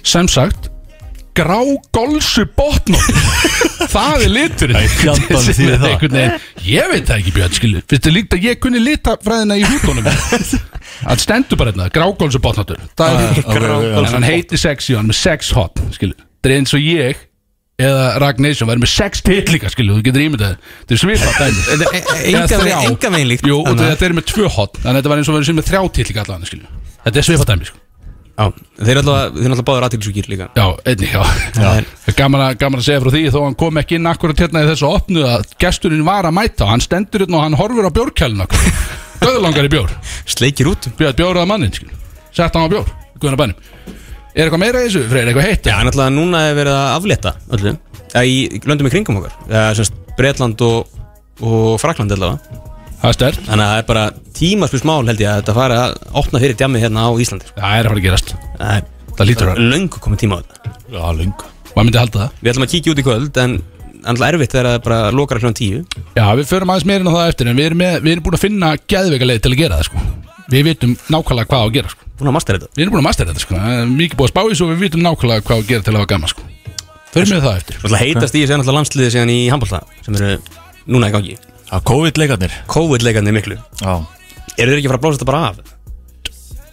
Speaker 2: sem sagt grá golsu botnóttur það er liturinn
Speaker 3: Æ, fjandann
Speaker 2: Sem
Speaker 3: þýðir
Speaker 2: er
Speaker 3: það.
Speaker 2: einhvern veginn- ég veit það ekki Björn skilu finnst þið líkt að ég kunni litafræðina í hútonum hann stendur bara hérna grágólsu botnóttur það er
Speaker 3: ok, ok,
Speaker 2: en hann heitir sexy og hann er með sex hot skilu það er eins og ég eða Ragnarsson væri með sex titlíka skilu þú getur ímyndað þér. þetta er svipað dæmi Eða þrjá.
Speaker 4: Enga veginn líkt
Speaker 2: Jú, og
Speaker 4: Þannig að-
Speaker 2: þetta er með tvö hot Þannig að þetta var eins og verið sem með þrjá titlíka allan skilju. Þetta er svipað dæmi sko.
Speaker 4: Já, Þeir eru alltaf þeir eru alltaf báður aðtilsugir líka
Speaker 2: Já, einnig, já, já. Gaman, að, gaman að segja frá því Þó hann kom ekki inn akkurat hérna í þessu opnu að gesturinn var að mæta og hann stendur hérna og hann horfur á bjórkælun Döðlangar í bjór
Speaker 4: Sleikir út
Speaker 2: Bjóð bjóraða mannin skilju. Sett hann á bjór Guðan að bænum Er eitthvað meira í þessu, Freyr, eitthvað heitt?
Speaker 4: Já, en alltaf núna er verið að aflétta öllu Eða í löndum í kringum okkar Eða semst Bretland og, og Frakland allavega
Speaker 2: Það er stærn,
Speaker 4: Þannig að það er bara tímaspils mál held ég að þetta fari að opna fyrir djamið hérna á Íslandi sko.
Speaker 2: það er að fara að gerast
Speaker 4: Það er
Speaker 2: Það lítur að vera.
Speaker 4: löngu komið tíma á þetta
Speaker 3: Já, lengur
Speaker 2: Maður myndi halda það
Speaker 4: Við ætlum að kíkja út í kvöld en alltaf erfitt þegar það er bara lokar hljóðan tíu
Speaker 2: Já, við förum aðeins meira inn á það eftir En við erum, með, við erum búin að finna geðveika leið til að gera það sko. Við vitum nákvæmlega hvað á að gera sko.
Speaker 4: Búin að mastera þetta
Speaker 2: Við erum búin að mastera þetta sko. Það er Mikið búið að spá í þessu og við vitum nákvæmlega hvað á að gera til að hafa gaman sko. Förum við það eftir
Speaker 4: Alltaf heitast í þessu er alltaf landsliði síðan í handbólta sem eru núna í gangi
Speaker 3: Það er COVID-leikarnir
Speaker 4: COVID-leikarnir miklu
Speaker 3: Já
Speaker 4: Eru þeir ekki að fara að blása þetta bara af?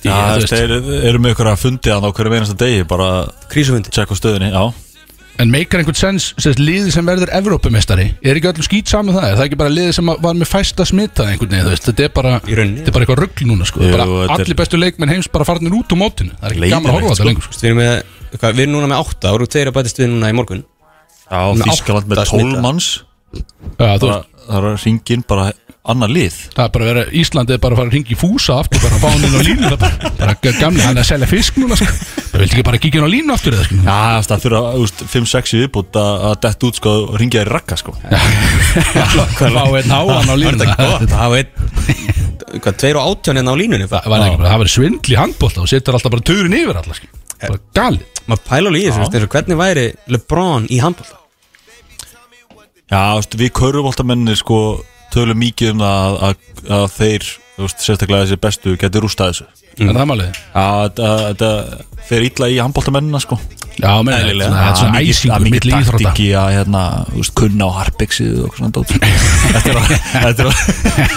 Speaker 2: Já,
Speaker 3: Já,
Speaker 2: þú
Speaker 3: þú veist,
Speaker 2: veist.
Speaker 3: þeir eru með ykkur að fundi hann á hverju einasta degi bara
Speaker 4: Krísufundi
Speaker 3: tjekka á stöðunni, já
Speaker 2: En meikar einhvern sens sérst, liði sem verður Evrópumestari Er ekki öllum skýt saman það? Er það ekki bara liði sem var með fæsta smita einhvern veginn? þú veist? Þetta er bara,
Speaker 4: Í rauninni.
Speaker 2: þetta er bara eitthvað rugl núna sko.
Speaker 3: Jú,
Speaker 2: bara,
Speaker 3: þetta er-
Speaker 2: Allir bestu leikmenn heims bara farnir út úr mótinu Það er ekki gaman að horfa á
Speaker 3: Leiðinlegt,
Speaker 2: þetta lengur sko.
Speaker 4: Við erum, með, hvað, við erum núna með 8 og tveir að bætist við núna í morgun
Speaker 3: Já,
Speaker 4: Með
Speaker 3: Þískaland með
Speaker 4: átta
Speaker 3: 12
Speaker 4: smitaða.
Speaker 3: manns
Speaker 2: Já, þú veist,
Speaker 3: bara- Það er að ringin bara annar lið
Speaker 2: Það er bara að vera, Íslandi er bara að fara að ringa í fúsa aftur, bara að fá hann inn á línu það er bara, bara gamli, hann er að selja fisk núna sko. það vildi ekki bara kíkja hann á línu aftur eða sko.
Speaker 3: Já, þú veist, það þurfa, þú veist, 5-6 í viðbútt að að detta út, sko, og ringja þér í rakka, sko
Speaker 2: fá einn á hann á línu
Speaker 4: Var
Speaker 2: það
Speaker 4: Þetta hafa einn Hvað, tveir og átján hérna á línunni
Speaker 2: það var ekki bara, það verið svindl í handbólta og setur alltaf bara törin yfir alla sko. bara gali,
Speaker 4: Maður pæla alveg í þessu, veistu, eins og hvernig væri LeBron í handbólta
Speaker 3: Já, þú veist, við körfuboltamennir, sko, tölum mikið um það að, að, að þeir, þú veist, sérstaklega þessi bestu getur rústað þessu Já,
Speaker 2: er það málið
Speaker 3: þetta þetta fer illa í handboltamennina, sko
Speaker 2: já, meina, þetta er svona- þetta er svona æsingur milli íþrótta
Speaker 3: taktíki að, hérna, þú veist, kunna á harpixið og svona dót sko. Þetta er að, þetta er að,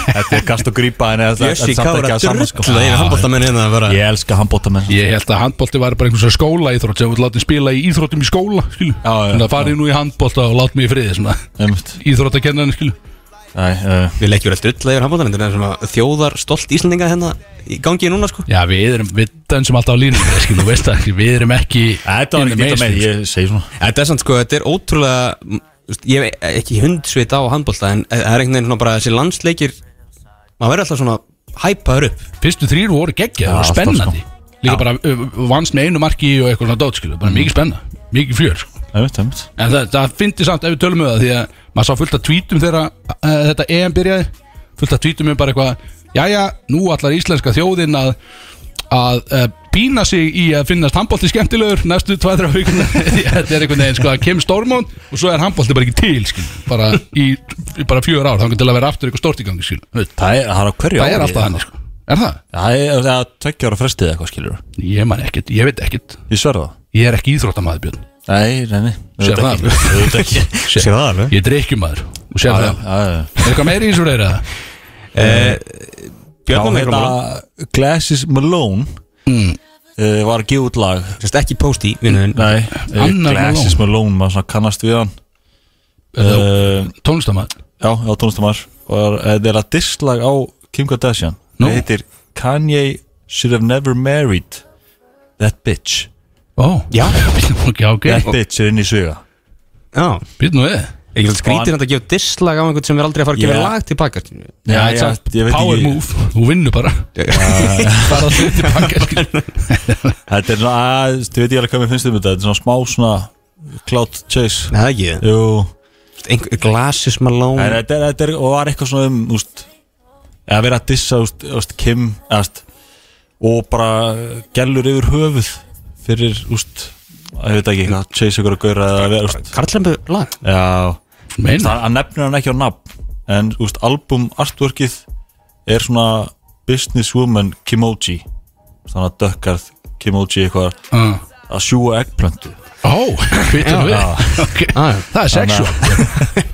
Speaker 3: þetta er kast og grípa en þetta þetta
Speaker 4: Jössi
Speaker 3: er samt
Speaker 4: Kára
Speaker 3: ekki að saman, sko
Speaker 4: drulla yfir handbóltamenn hérna bara
Speaker 3: Ég elska handboltamenn
Speaker 2: ég held að handbólti var bara einhvers skóla íþrótt sem við látið spila í íþróttum í skóla skilu,
Speaker 3: Já, já,
Speaker 2: þannig að farið nú í handbólta og lát mig í friði svona,
Speaker 3: Einmitt.
Speaker 2: íþróttakennarinn skilu
Speaker 3: Nei, eh,
Speaker 4: Við leggjum alltaf drulla yfir handbóltamenn Þetta er svona þjóðar stolt Íslandinga hérna í gangi núna sko
Speaker 2: Já, við erum, við dansum alltaf á línum skil, þú veist það, við erum ekki
Speaker 3: Þetta var
Speaker 2: in the
Speaker 3: ekki þetta
Speaker 2: mainstream,
Speaker 3: með,
Speaker 2: sko.
Speaker 3: ég segi svona
Speaker 4: Þetta er sann sko, þetta er ótrúlega m, þú veist, Ég hef ekki hundsvita á handbólta En eh, það er einhvern veginn svona bara þessi landsleikir Maður verður alltaf svona hæpaður upp
Speaker 2: Fyrstu þrýr voru geggja, það
Speaker 3: Já,
Speaker 2: voru
Speaker 3: alltaf,
Speaker 2: spennandi Líka bara ö, ö, vannst með einu marki og eitthvað svona dót skilu, bara mikið spenna, mikið fjör sko.
Speaker 3: Einmitt, einmitt
Speaker 2: En það, það fyndi samt ef við tölum um það því að maður sá fullt af tvítum þegar uh, þetta EM byrjaði fullt af tvítum um bara eitthvað Jæja, nú allar íslenska þjóðin að, að uh, pína sig í að finnast handbólti skemmtilegur næstu 2-3 vikuna þetta er einhvern veginn sko að kem stormón og svo er handbólti bara ekki til skil bara í í bara fjör ár þannig til að vera aftur eitthvað stórt í gangi skil það
Speaker 3: Það er, það er á
Speaker 2: er
Speaker 3: hverju ári,
Speaker 2: alltaf hann sko er það?
Speaker 3: Það er, það er tveggja ára frestið eða eitthvað skilur
Speaker 2: Ég man ekkert, ég veit ekkert
Speaker 3: Ég sverða það
Speaker 2: Ég er ekki íþróttamæður Björn
Speaker 3: Nei, nei, nei
Speaker 2: Sér það alveg.
Speaker 3: Þetta ekki
Speaker 2: Sér-
Speaker 4: Sér það alveg.
Speaker 2: Ég er drikkjumæður og sér
Speaker 3: Já,
Speaker 2: það
Speaker 3: já, já, já.
Speaker 2: Er eitthvað meiri í þessu reyra?
Speaker 3: Já,
Speaker 4: Björn og
Speaker 3: hérna
Speaker 4: Mikrofón
Speaker 3: Glasses Malone
Speaker 2: Mm.
Speaker 3: uh, Var að gefa út lag
Speaker 4: Sérst ekki post í vinnuðin
Speaker 3: Nei,
Speaker 2: Annar
Speaker 3: Glasses Malone Maður svona kannast við hann
Speaker 2: Uh,
Speaker 3: uh,
Speaker 2: Tónlistamæður
Speaker 3: Já, já, tónlistamar Og eh, þetta er að disslag á Kim Kardashian
Speaker 2: Nú.
Speaker 3: Það heitir Kanye should have never married That bitch
Speaker 2: Ó
Speaker 4: Já.
Speaker 2: Ok, ok
Speaker 3: That bitch er inn í söga
Speaker 4: Já
Speaker 2: Býtt nú við
Speaker 4: Ekki svolítið skrítið að gefa disslag á einhvern sem er aldrei að fara að gefa
Speaker 3: Já.
Speaker 4: lag tilbaka skilur við.
Speaker 3: Já,
Speaker 2: it's
Speaker 3: já,
Speaker 2: a
Speaker 3: ég veit
Speaker 2: Power
Speaker 3: ekki.
Speaker 2: move Þú vinnur bara Bara að hluti pakka skil.
Speaker 3: Þetta er svona, að, þú veit ég alveg hvað mér finnst um þetta Þetta er svona smá svona Cloud Chase
Speaker 4: Nei, það ekki
Speaker 3: Jú
Speaker 4: Einhver- Glasses
Speaker 3: Það
Speaker 4: Malone
Speaker 3: er, þetta er, þetta er, og var eitthvað svona um, úst, að vera að dissa, úst, úst, Kim, úst, og bara gælur yfir höfuð fyrir, úst, að ég veit ekki, chase ykkur að gauðra eða að vera, úst,
Speaker 4: Karlslembu lag
Speaker 3: já,
Speaker 2: Meina
Speaker 3: það hann nefnir hann ekki á nafn, en, úst, album artworkið er svona businesswoman Kimoji, þannig að dökkarð Kimoji eitthvað
Speaker 2: Ah.
Speaker 3: að sjúa eggplöntu.
Speaker 2: Ó, býtt nú við Ok.
Speaker 3: Ah.
Speaker 4: Ah, Já, já.
Speaker 2: Það er sexual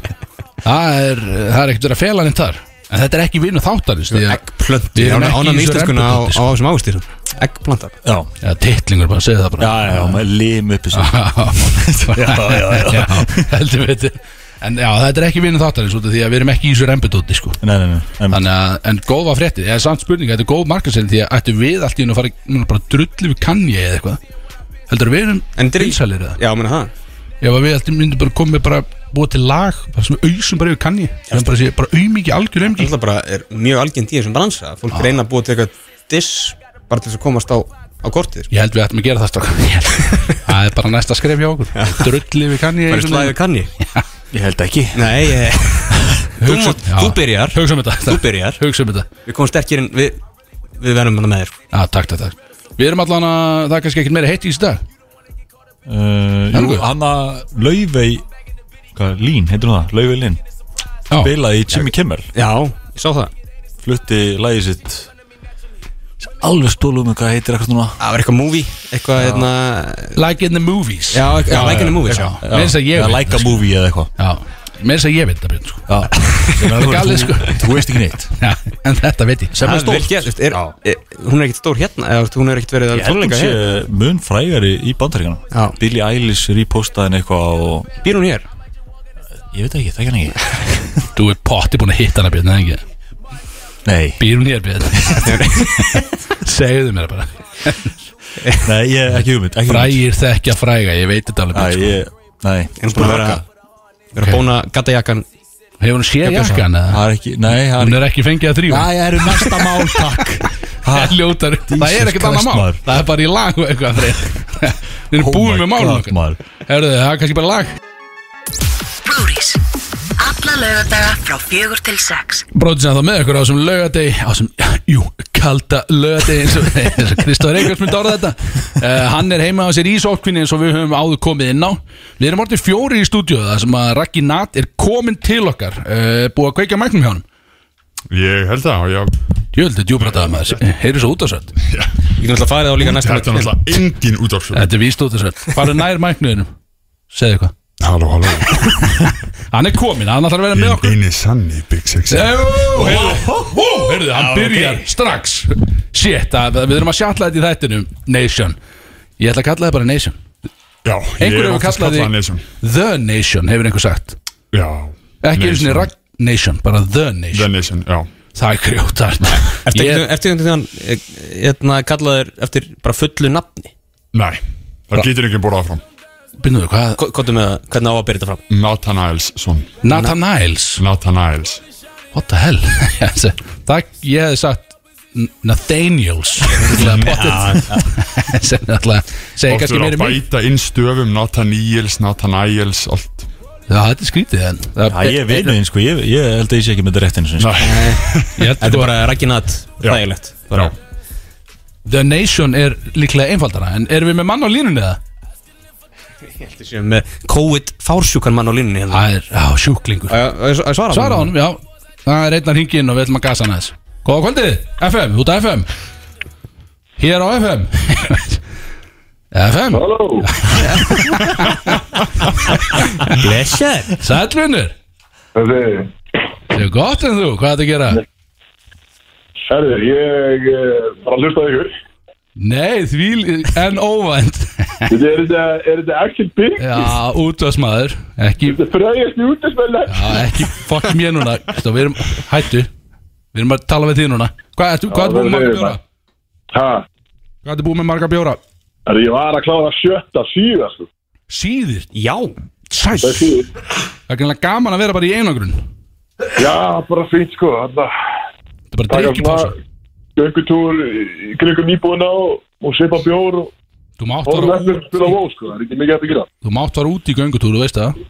Speaker 2: Það er Það er ekkert verið að fela hann þar En þetta er ekki vinnu þáttarins því að-
Speaker 4: Eggplöntu
Speaker 2: Við
Speaker 4: Ég
Speaker 2: erum ekki
Speaker 4: er
Speaker 2: í
Speaker 4: ánað með
Speaker 2: þessu
Speaker 4: íslenskuna á
Speaker 2: rembudóti,
Speaker 4: á þessum ástýrum Eggplanta
Speaker 3: Já,
Speaker 2: Já, titlingur bara, segðu það bara
Speaker 3: já, já, með lim uppi sér.
Speaker 2: já, já, já, heldur við þetta En já, þetta er ekki vinnu þáttarins út af því að við erum ekki í þessu rembudóti sko.
Speaker 3: Nei, nei, nei, nei.
Speaker 2: Þannig að, en góða frétti, eða samt spurning Þetta er góð markaselin því að ættu við allt í hennu að fara núna bara drullu við kanji eða eitthvað Heldur við erum
Speaker 4: En þetta er-
Speaker 2: vinsælir eða
Speaker 4: Já, menna það
Speaker 2: Ef að við allt í myndum bara komið bara búið til lag bara sem við ausum bara yfir kanji sem bara sé bara aumingi, algjör
Speaker 4: Það
Speaker 2: aumingi
Speaker 4: náttúrulega bara er mjög algjönd í þessum bransa Fólk reyna að búa til eitthvað diss Bara til þess að komast á, á kortið
Speaker 2: Ég held við ættum að gera það strákar. Ég held- Það er bara næsta skref hjá okkur Drullu við kanji
Speaker 4: Bara slagið kanni
Speaker 3: Ég held ekki.
Speaker 4: Nei, ég, þú,
Speaker 2: Hugsa-
Speaker 4: mátt-
Speaker 2: Já.
Speaker 4: þú byrjar
Speaker 2: Hugsa um þetta
Speaker 4: Þú byrjar
Speaker 2: Hugsa um þetta
Speaker 4: Við komum sterkir en við, við verðum hana með þér
Speaker 2: Já, takk, takk, takk Við erum allan að, það er kannski ekkert meira heitt í þessu dag
Speaker 3: Uh,
Speaker 2: Helgu?
Speaker 3: jú, hanna Laufey hvað, Lín, heitir hún það? Laufey Lín
Speaker 2: Já,
Speaker 3: Bilaði í Jimmy Kimmel
Speaker 4: Já, ég sá það
Speaker 3: Flutti lagið sitt Alveg stólum um hvað heitir eitthvað svona
Speaker 4: Það var eitthvað movie Eitthvað, hérna
Speaker 2: like in the movies
Speaker 4: Já, já, já like in a movie
Speaker 2: já.
Speaker 4: já.
Speaker 2: Mér finnst að ég
Speaker 3: Eða
Speaker 2: veit sko.
Speaker 3: like a movie eða eitthvað
Speaker 2: Já, mér finnst að ég veit það Björn, sko.
Speaker 3: Það
Speaker 2: er galið, sko.
Speaker 3: Þú veist ekki neitt
Speaker 2: Já, En þetta veit ég
Speaker 3: Sem er
Speaker 4: Það er
Speaker 3: stórt
Speaker 4: vel gert, er, er, Hún er ekkert stór hérna eða, þú veist, Hún er ekkert verið að
Speaker 3: Ég held hún
Speaker 4: tónleika
Speaker 3: sé
Speaker 4: hér
Speaker 3: mun frægari í
Speaker 4: Já.
Speaker 3: bandaríkjana Billie Eilish repostaði henni eitthvað og
Speaker 4: Býr hún hér?
Speaker 3: Ég veit ekki, það ekki hann ekki
Speaker 2: Þú er potti búin að hitta hana Björn, eða ekki
Speaker 3: Nei,
Speaker 2: Býr hún hér Björn Segðu mér það bara
Speaker 3: nei, ég ekki hugmynd ekki hugmynd.
Speaker 2: Frægir þekkja fræga, ég veit þetta alveg
Speaker 3: Æ,
Speaker 2: Björn,
Speaker 3: ég, nei
Speaker 4: Er hún búin að vera Vera að bóna gata jakkan
Speaker 2: sko. Hefur hún séð jakkan eða?
Speaker 3: Það er ekki, nei, það er
Speaker 2: Hún er ekki fengið að þrýfa
Speaker 3: ég er um næsta mál, takk Ha,
Speaker 2: Það er ljótar, það er ekkert
Speaker 3: Christ,
Speaker 2: annað mál
Speaker 3: maður.
Speaker 2: Það er bara í lag og eitthvað Freyr. Við erum
Speaker 3: Oh
Speaker 2: búin
Speaker 3: my
Speaker 2: með málun
Speaker 3: God, maður.
Speaker 2: Herðu, það er kannski bara lag
Speaker 5: Brúris. Alla lögadaga frá fjögur til sex.
Speaker 2: Bróðið sem það með ykkur á þessum lögadegi á þessum, jú, kalda lögadegi eins og, eins og Kristóður Eikars myndi orða þetta uh, Hann er heima á sér í sókvinni eins og við höfum áður komið inn á Við erum orðið fjóri í stúdíu það sem að Raggi Nat er komin til okkar uh, búið að kveikja mæknum hjá hann
Speaker 6: Ég held það, já
Speaker 2: Jöldi djúbrataði maður, heyrðu svo út af svett
Speaker 4: Við getum alltaf farið á líka næsta
Speaker 6: Þetta er náttúrulega engin útvarpsum
Speaker 2: Þetta er víst út af svett, farið nær mæknuðinum Segðu eitthvað,
Speaker 6: Halló, halló
Speaker 2: hann er komin, hann ætlar að vera með okkur
Speaker 6: Einu sanni Big Six
Speaker 2: Jú, heyrðu, ú, heyrðu, hann byrjar strax Shit, að, við erum að sjalla þetta í þættinum Nation Ég ætla að kalla það bara Nation
Speaker 6: Já, ég
Speaker 2: Einhver
Speaker 6: er
Speaker 2: hefur
Speaker 6: oftast
Speaker 2: kallað
Speaker 6: kallað
Speaker 2: því
Speaker 6: Nation
Speaker 2: The Nation, hefur einhver sagt
Speaker 6: Já
Speaker 2: Ekki einu sinni
Speaker 6: Nation.
Speaker 2: Rag Nation, bara The Nation
Speaker 6: The Nation, já
Speaker 2: Það er grjótart
Speaker 4: Ertu
Speaker 2: Ég-
Speaker 4: einhvern eftir einhvern veginn hérna, kallaður eftir bara fullu nafni
Speaker 6: Nei, það getur ekki borðað fram
Speaker 2: Býndu, hvað?
Speaker 4: Kottu með það, hvernig á að byrja þetta fram
Speaker 6: Nathanielsson
Speaker 2: Nathan Niles
Speaker 6: Nathaniels
Speaker 2: What the hell Það, ég hefði sagt N- Nathaniels Sem alltaf Segir
Speaker 6: Oft
Speaker 2: kannski
Speaker 6: verður
Speaker 2: meira
Speaker 6: að
Speaker 2: um mig
Speaker 6: bæta inn stöfum Nathaniels, Nathaniels, allt
Speaker 2: Já, þetta er skrítið en
Speaker 3: Já, ég veit neðin, sko, ég, ég held að ég sé ekki með þetta rétt einu sinni, sko.
Speaker 6: Nei,
Speaker 2: Ég held
Speaker 4: Þetta er
Speaker 2: sko-
Speaker 4: bara rækinat,
Speaker 6: Já.
Speaker 4: þægilegt
Speaker 6: já
Speaker 2: The Nation er líklega einfaldara En erum við með mann á línunni eða?
Speaker 4: Þetta séum með COVID-fársjúkan mann á línunni hérna.
Speaker 2: Það er á sjúklingur
Speaker 4: Að að- að svara
Speaker 2: Svara honum, já Það er einnar hingin og við ætlum að gasa hann aðeins Góða kvöldið, FM, út af FM Hér á FM FM
Speaker 7: Halló,
Speaker 4: Blessed
Speaker 2: Sælvinur
Speaker 7: herðu,
Speaker 2: Þetta er gott en þú, hvað er þetta að gera?
Speaker 7: herðu, ég eh, bara að hlusta á ykkur.
Speaker 2: Nei, því en óvænt
Speaker 7: Þetta Er þetta, er þetta action big?
Speaker 2: Já, útvarsmaður Ekki,
Speaker 7: Þetta er fræðist í útismenni.
Speaker 2: já, ekki fokk mér núna Stó, Við erum, hættu Við erum að tala við því núna Hvað ertu, hvað ertu búið með marga bjóra?
Speaker 7: Ha,
Speaker 2: Hvað ertu búið með marga bjóra?
Speaker 7: herðu, ég var að klára sjötta síða, sko.
Speaker 2: Síðir,
Speaker 4: Já
Speaker 2: sæs
Speaker 7: Það er
Speaker 2: Það
Speaker 7: síður.
Speaker 2: er greinlega gaman að vera bara í einagrun
Speaker 7: Já, bara fínt, sko. Þarna,
Speaker 2: Þetta er bara
Speaker 7: taka
Speaker 2: drikkipása
Speaker 7: svona göngutúr í kringum íbúðina og, og seipa bjór og
Speaker 2: Þú mátt
Speaker 7: horfum
Speaker 2: fara,
Speaker 7: eftir að spila vó, sko. Það er ekki mikið hægt að gera.
Speaker 2: þú mátt fara út í göngutúru, þú veist það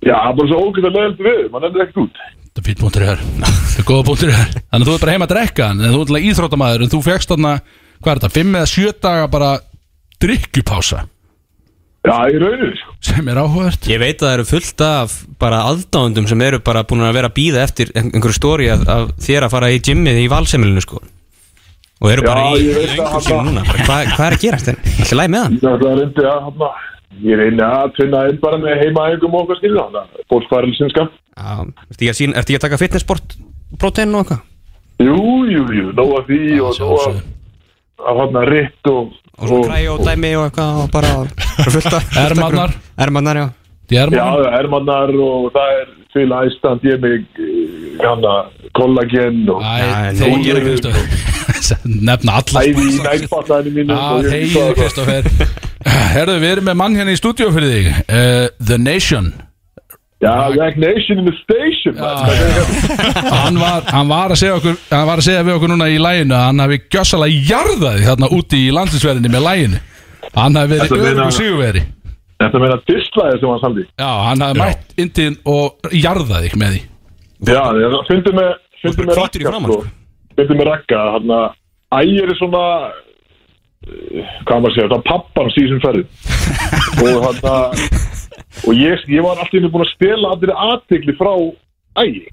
Speaker 7: Já, það er bara svo ógætt að leiðildi við, mann endur ekkert út.
Speaker 2: Þetta er fýtt búntur í þær Þetta er góða búntur í þær Þannig að þú er bara heima að drekka En þú er alltaf íþróttamaður En þú fegst þarna, hvað er þetta, fimm eða sjö daga bara drikkjupása
Speaker 7: Já, í rauninu, sko.
Speaker 2: Sem er áhugavert
Speaker 4: Ég veit að það eru fullt af bara aðdáðundum sem eru bara búin að vera að býða eftir ein- einhverju stóri af, af þér að fara í gymmið í valsemilinu sko og eru bara
Speaker 7: Já,
Speaker 4: í
Speaker 7: ég veit að
Speaker 4: löngu
Speaker 7: hann-
Speaker 4: sín núna bara, hvað, hvað er að hérna? gera þetta? Alltaf læg með hann
Speaker 7: Það er reyndi að, hana, ég reyndi að tvinna inn bara með heimaægum og okkar skilja, þannig að fólk færið sinnskap.
Speaker 4: Já, ertu ekki að, sín, ertu ekki að taka fitnessport protein og eitthvað?
Speaker 7: Jú, jú, jú, nóg að því og
Speaker 2: sjá,
Speaker 7: nóg að,
Speaker 2: sjá.
Speaker 7: að hana ritt og,
Speaker 4: og svo græði og dæmi og eitthvað og bara bara fullt af
Speaker 2: Ermarnar.
Speaker 4: Ermannar, já
Speaker 2: Því er
Speaker 7: já,
Speaker 2: maður
Speaker 7: hermannar og það er til æstand, ég mig hana, kollagen og
Speaker 2: Æ,
Speaker 4: Nei,
Speaker 2: þeir
Speaker 7: nú-
Speaker 2: gera Kristof Nefna alla
Speaker 7: æði í
Speaker 2: spurningar.
Speaker 7: nægfallaðinu mínu
Speaker 2: Já, þeir Kristofer Herðu, við erum með mann hérna í stúdíu fyrir þig uh, The Nation
Speaker 7: Já, Ragnation in the Station,
Speaker 2: Ah, Já,
Speaker 7: man.
Speaker 2: hann, var, hann var að segja okkur Hann var að segja við okkur núna í læginu að Hann hafi gjössalega jarðaði þarna úti í landsinsverðinni með læginu Hann hafi
Speaker 7: Þetta
Speaker 2: verið
Speaker 7: meina-
Speaker 2: öðrum sigurveri
Speaker 7: Þetta meina dislæðið sem hann samdi.
Speaker 2: Já, hann hafi mætt indin og jarðaði þig með því
Speaker 7: Já, það finnstu með, finnstu með
Speaker 4: hvítur í
Speaker 7: rakka,
Speaker 4: framan,
Speaker 7: sko. Finnstu með rakka, hann að ægir er svona, eh, hvað maður að segja, það er pappans í þessum ferðum. og hann að, og ég, ég var alltaf búin að stela allir aðtegli frá ægi,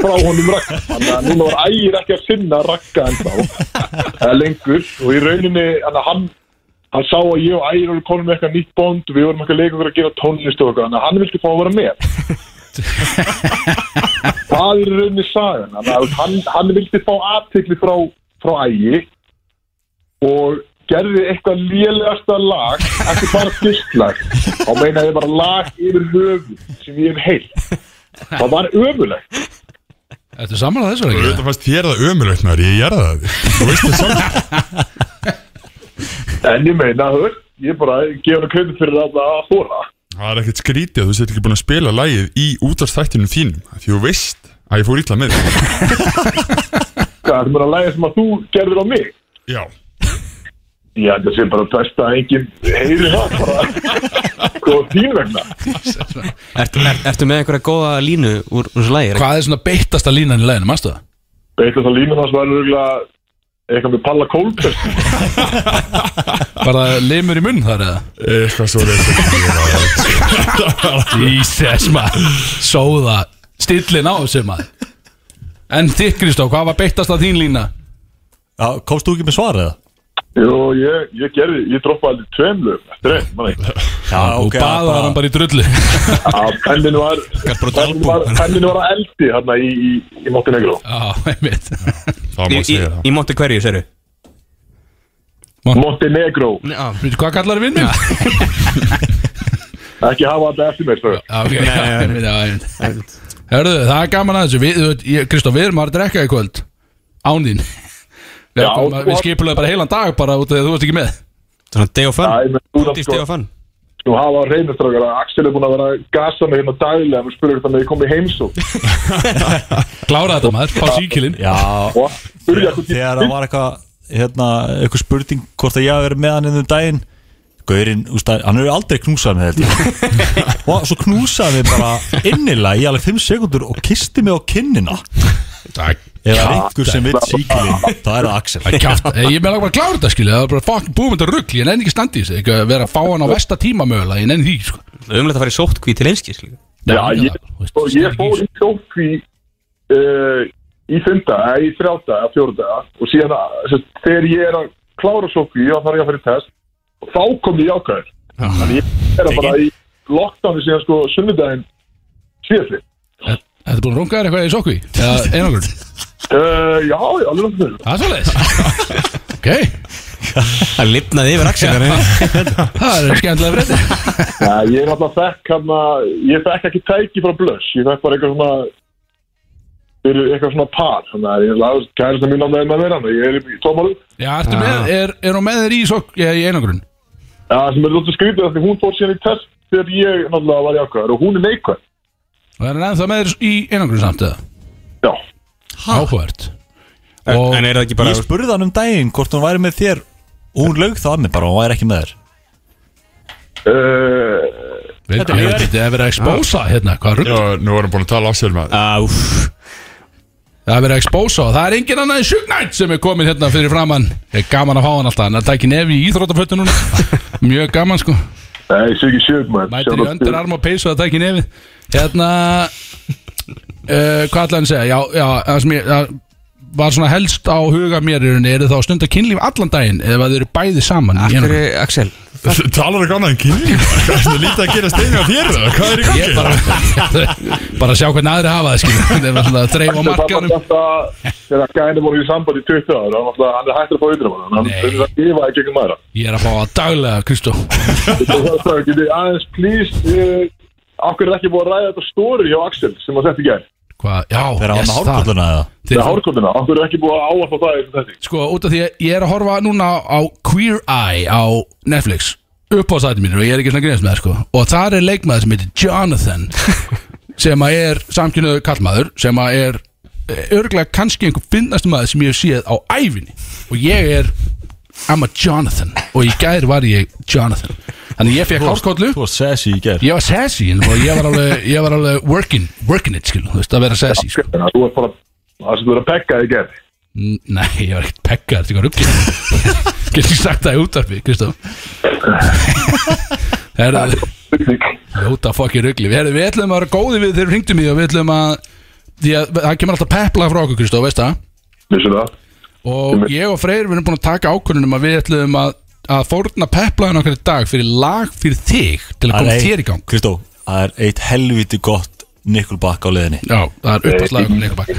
Speaker 7: frá honum rakka. Þannig að núna var ægir ekki að sinna rakka en þá, eða lengur, og í rauninni, hann að hann, hann sá að ég og ægir voru konum með eitthvað nýtt bond, við vorum eitthvað leikur að gera tónlist og eitthvað, þannig að hann vildi fá að vera með. það er í rauninni sagan Þannig að hann, hann vildi fá aðtekli frá, frá ægi og gerði eitthvað lélegasta lag ekki bara disklag þá meina ég bara lag yfir höfu sem ég hef heilt það var ömulegt
Speaker 2: Þetta er samanlega þessu
Speaker 6: Þú
Speaker 2: ekki
Speaker 6: veit að fannst þér það ömulegt maður, ég gerði það Þú veist það samt
Speaker 7: en ég meina, hör, ég bara gefa hann kredit fyrir það að þóra
Speaker 6: Það er ekkert skrítið að þú sétt ekki búin að spila lægið í útvarstættinum þínum Því þú veist að ég fór ítla með þig
Speaker 7: það er mér að læga sem að þú gerðir á mig
Speaker 6: Já
Speaker 7: Já, þetta sé bara best að enginn heyri það bara og þín vegna
Speaker 4: Ertu, er, ertu með einhverja góða línu úr úr þessu lægi?
Speaker 2: Hvað er svona beittasta línan í læginu, manstu það?
Speaker 7: eitthvað það línum hans var örugglega eitthvað með Palla Kólbjörn
Speaker 2: Bara limur í munn þar eða?
Speaker 6: Eitthvað svo reynd
Speaker 2: Jesus maður Sóða stillin á þessu maður En þitt Kristó, hvað var beittast að þín lína?
Speaker 3: Já, komst þú ekki með svar eða?
Speaker 7: Jú, ég, ég gerði, ég droppaði allir tveim lögum eftir einn, manni.
Speaker 3: Já,
Speaker 2: og baðar hann bara í drullu Já,
Speaker 7: Að pennin var,
Speaker 4: Gat bara
Speaker 7: pennin var,
Speaker 4: dalbú.
Speaker 7: pennin var að eldi hérna í, í, í Montenegro.
Speaker 2: einmitt
Speaker 6: Það má
Speaker 4: Í, í,
Speaker 6: segja það
Speaker 4: í Monte Hverju, seru?
Speaker 7: Montenegro,
Speaker 4: Já,
Speaker 2: Veitu hvað kallar við minn?
Speaker 7: ekki hafa þetta eftir mér, stöðu.
Speaker 2: Já, ok, já, einmitt, já, einmitt Hörðu, það er gaman að þessu Við- þú veit, ég- Kristó, við erum að drekka í kvöld Án þín Við,
Speaker 7: Já,
Speaker 2: komum,
Speaker 7: og-
Speaker 2: við skipulaði bara heilan dag bara út af því að þú varst ekki með
Speaker 4: svona day of fun
Speaker 7: Það er með
Speaker 4: Út
Speaker 7: búin
Speaker 4: í
Speaker 7: að
Speaker 4: day
Speaker 7: sko,
Speaker 4: of fun
Speaker 7: nú hafa reynastrákar að Axel er búin að vera að gasa mig hérna daglega og spurði hvernig ég kom í heimsó.
Speaker 2: Klára þetta maður, pá síkilinn
Speaker 3: Já,
Speaker 7: Og að spurði hvernig ég
Speaker 3: þegar það var eitthvað hérna, eitthvað spurning hvort að ég hafi verið með hann um daginn Gaurinn, úst, hann hefur aldrei knúsað mig þetta og svo knúsaði mig bara innilega í alveg 5 sekundur og kisti mig á kinnina
Speaker 2: Það
Speaker 3: Eða einhver sem vill síkilinn Það er það Axel
Speaker 2: Það er kjátt, ég meðlega bara að klára þetta skilja Það er bara fokkin búið með þetta rugl, ég nenni ekki standi þessu Ekki að vera að fá hann á versta tíma mögulega, ég nenni því sko.
Speaker 4: Umlega að fara í sóttkví til einskis líka.
Speaker 7: Já, ég,
Speaker 2: þú veist,
Speaker 7: og ég
Speaker 2: það er
Speaker 7: fór
Speaker 2: ekki-
Speaker 7: í sjókví uh, í fymta, eða í þrjáta eða fjórta og síðan að, sem, sagt, þegar ég er að klára sjókví og þarf ég að fara í test og þá kom ég ákvæður þannig ég er að bara í lockdowni síðan sko sunnudaginn síðastli
Speaker 2: Þetta er búin að runga þér eitthvað í sokku Eða einangur,
Speaker 7: uh, Já, já, alveg langt fyrir
Speaker 2: það er svolítið Ok,
Speaker 4: Það lifnaði yfir Axel
Speaker 2: það er skemmtilega fyrir
Speaker 7: Nei, Ég er alltaf þekk hann að ég þekk ekki tæki frá blöss ég þekk bara eitthvað svona fyrir eitthvað svona par þannig að ég er kærasta mín að með mér hann ég er í tómalu
Speaker 2: Já, ertu með, er, er hún með þér í sokku Eða í einangrun?
Speaker 7: Já, það sem er lóttu skrítið af því hún fór síðan í test þegar ég náttúrulega var í ákvæður og hún er neikvæð.
Speaker 2: Og er hann ennþá með þér í einangrun samt eða?
Speaker 7: Já,
Speaker 2: Áhvert
Speaker 4: En en er það ekki bara
Speaker 3: Ég spurði hann um daginn hvort hún væri með þér og hún laug það að mig bara, hún væri ekki með þér
Speaker 7: uh,
Speaker 2: Þetta er verið að expósa hérna Hvað rugl?
Speaker 6: Já, nú erum búin að tala af sér maður
Speaker 4: Áf
Speaker 2: Það er verið að expósa og það er engin annað en Sjugnætt sem er komin hérna fyrir framann Ég er gaman að fá hann alltaf, hann er að tækja nefi í íþrótafötu núna Mjög gaman sko
Speaker 7: nei, sé ekki sjög maður.
Speaker 2: Mætir í öndararm og peysu að tækja nefi Hérna uh, Hvað ætlaði hann að segja? Já, já, það sem ég það var svona helst á huga mér er, er þá að stunda kynlíf allan daginn ef að þau eru bæði saman í einum.
Speaker 4: Axel
Speaker 6: Talar ekki annað en kynlíf Hvað er þetta lítið að gera steinu á þér eða? Hvað er í
Speaker 2: Ég
Speaker 6: gangi?
Speaker 2: bara, bara að sjá hvernig aðri hafa það skilur Það er bara svona að dreifa markanum
Speaker 7: Þegar gæðinni voru í samband í 20 ára, hann, alltaf, hann er hægt að fá yfir hann, hann
Speaker 2: Nei.
Speaker 7: er að yfa ekki ekki maður.
Speaker 2: Ég er að fá að daglega, Kristó
Speaker 7: Getið aðeins, please, uh, okkur er ekki búið að ræða þetta stóri hjá Axel sem var sett í gær.
Speaker 2: Hvað, já,
Speaker 3: Þegar hann
Speaker 2: yes,
Speaker 3: á
Speaker 2: það
Speaker 3: hárkolluna eða
Speaker 7: Það er hárkondina, okkur er ekki búið að áalfa það eftir þetta.
Speaker 2: Sko, út af því að ég er að horfa núna á Queer Eye á Netflix upp á sæti mínu og ég er ekki svona greiðast með það sko og þar er leikmaður sem heitir Jonathan sem að er samkynnaður kallmaður sem að er örglega kannski einhver finnastu maður sem ég hef séð á ævinni og ég er I'm a Jonathan og í gær var ég Jonathan þannig ég fekk hálfkóllu
Speaker 3: Þú var sessi í ger
Speaker 2: ég var sassy en og ég var alveg, ég var alveg working, working it skil, þú veist að vera sassy sko.
Speaker 7: Þannig að Þú ert bara, það sem þú er að pekka í gær.
Speaker 2: N- nei, ég var ekkert pekka þetta er eitthvað ruggið getur ekki sagt það í útarpi, Kristof herra, ljóta fokki ruggli við, við ætlum að vera góði við þegar við hringdum í því og við ætlum að því að það kemur alltaf pepla frá okkur, Kristof, veist það
Speaker 7: Vissu það?
Speaker 2: og ég og Freyr við erum búin að taka ákvörðunum að við ætlum að að fórna peplaðin okkar í dag fyrir lag fyrir þig til að koma þér í gang
Speaker 3: Kristó, það er eitt helviti gott Nikkulbakk á leiðinni
Speaker 2: já, það er uppáðslag um leikabak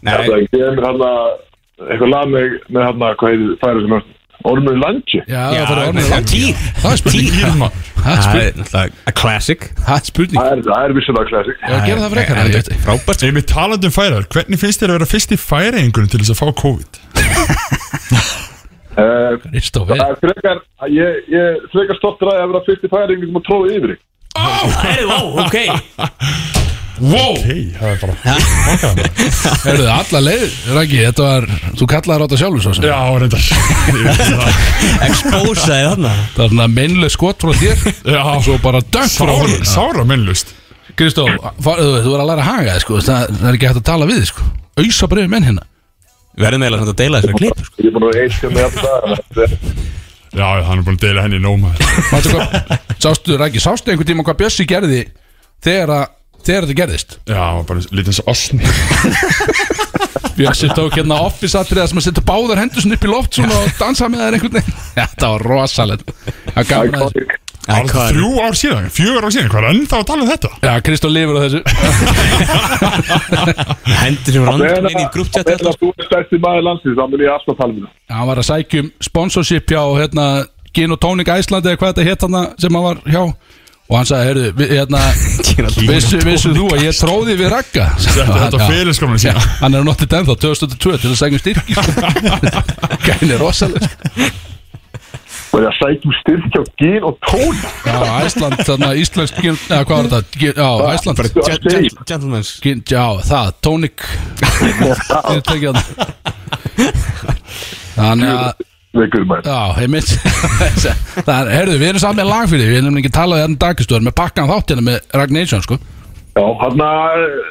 Speaker 7: Það er ekki, Hérna, ég er hann að eitthvað lag með, með hann að hvað heitir færa sem er Ormur Langi
Speaker 2: já, það fyrir orðin
Speaker 4: Týr
Speaker 2: það er spurning
Speaker 6: Kynlíf, maður.
Speaker 2: það er
Speaker 4: Það
Speaker 2: spurning
Speaker 4: er náttúrulega a classic
Speaker 2: Það er spurning
Speaker 7: Það er, það er vissulega klassik
Speaker 2: Ég var að gera það frekar
Speaker 4: Það
Speaker 2: ég
Speaker 4: er
Speaker 2: veit.
Speaker 4: frábært
Speaker 6: Ef við talandum færar, hvernig finnst þér að vera fyrst í færaengunum til þess að fá COVID?
Speaker 7: uh,
Speaker 2: Kristó
Speaker 7: Það er frekar, ég, ég er frekar stoltur að ég að vera fyrst í færing sem að tróða yfir þig
Speaker 4: Ok
Speaker 6: Wow! Hey, það er bara Mokkaði maður.
Speaker 2: Herðu alla leið Raggi, þetta var Þú kallaði ráta sjálfur svo sem
Speaker 6: Já, reyndar Ég veit það.
Speaker 4: Expósaði þarna
Speaker 2: Það var svona meinlega skot frá þér
Speaker 6: Já.
Speaker 2: Svo bara dökk frá
Speaker 6: Sára,
Speaker 2: honum
Speaker 6: sára mennlust
Speaker 2: Kristó, far- þú þú er að læra að haga þig, sko. það, það er ekki hægt að tala við þig, sko. Ausa breyfi menn hérna
Speaker 4: Verðum eiginlega samt að deila þessu klip sko.
Speaker 7: Ég er búin að eitt hérna sem ég að það
Speaker 6: Já, hann er búin að deila henni í nóma
Speaker 2: Mástu hvað Sástu Raggi, sástu einhvern tíma hvað Bjössi gerði Þegar, að, þegar þetta gerðist
Speaker 6: Já, hann var bara lítið eins og osni
Speaker 2: Bjössi tók hérna office atriða sem að setja báðar hendur svona upp í loft svona og dansa með þær einhvern veginn Þetta var rosalegt Það gaf hann að þessu
Speaker 7: Iconic
Speaker 6: Það var það þrjú ár síðan, fjögur ár síðan Hvað er ennþá að tala um þetta?
Speaker 2: Já, Kristó lifur á þessu
Speaker 4: Hendur sem randum inn í hérna, grúptjat
Speaker 7: Þegar
Speaker 2: hérna.
Speaker 7: að þú er stærsti maður landsins þá mun ég alltaf tala um það
Speaker 2: hann var að sækja um sponsorship hjá hérna, Gin og Tónik Æslandi eða hvað þetta hétt hann sem hann var hjá og hann sagði, heyrðu, vi- hérna
Speaker 4: sko.
Speaker 2: vissu, vissu þú að ég tróði við ragga
Speaker 6: Þetta er
Speaker 2: Já.
Speaker 6: þetta fyrirskramna sína
Speaker 2: hann er nottið ennþá 2002 til að sækja um styrki gæni rosaleg
Speaker 7: Og ég sækjum styrkja á gín og tón
Speaker 2: já, Æsland, þarna Íslands gin- eða hvað var þetta, Gin- já, Æsland
Speaker 4: Gentlemans
Speaker 2: Gin- já, það, Tónik fyrirtækja þannig að
Speaker 7: Veikur maður
Speaker 2: Já, einmitt Það er, heyrðu, við erum saman með lag fyrir því Við erum nefnilega ekki talað hérna dagist Við erum með pakkan þátt hérna með Ragnar Einsson, sko
Speaker 7: Já, hann að,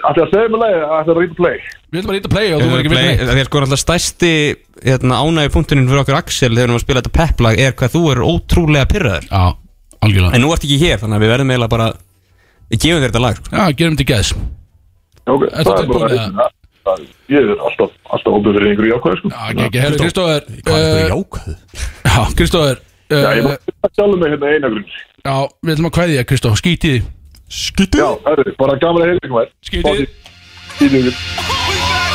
Speaker 7: ætlaði að segja mig leið, ætlaði að reyta play.
Speaker 2: Við ætlum bara að íta play og þú verður ekki
Speaker 4: Play-
Speaker 2: vilja neitt
Speaker 4: Það er sko alltaf stærsti hérna, ánægi punktuninn fyrir okkur Axel þegar við erum að spila þetta pepplag er hvað þú er ótrúlega pyrraður
Speaker 2: Já, algjörlega
Speaker 4: En nú ert ekki hér þannig að við verðum eiginlega bara Við gefum þér þetta lag sko.
Speaker 2: Já, gerum þetta í gæðs
Speaker 7: Já, ok,
Speaker 2: Ertu
Speaker 7: það er
Speaker 2: tilbúin,
Speaker 7: bara
Speaker 2: eða?
Speaker 7: að það. Ég er alltaf, alltaf opið fyrir einhverju jákvæði, sko.
Speaker 2: Já, ekki, herru, Kristóður
Speaker 3: Hvað er
Speaker 2: eh,
Speaker 3: þetta jákvæð?
Speaker 2: Já, Kristóður eh,
Speaker 7: Já, ég bara að sjálfum mig hérna einagrun.
Speaker 2: Já, við ætlum að kveðja, Kristó, skítið
Speaker 7: Já, herri, bara gaman að heyra ykkur mér.
Speaker 2: Skítið
Speaker 7: Skítið.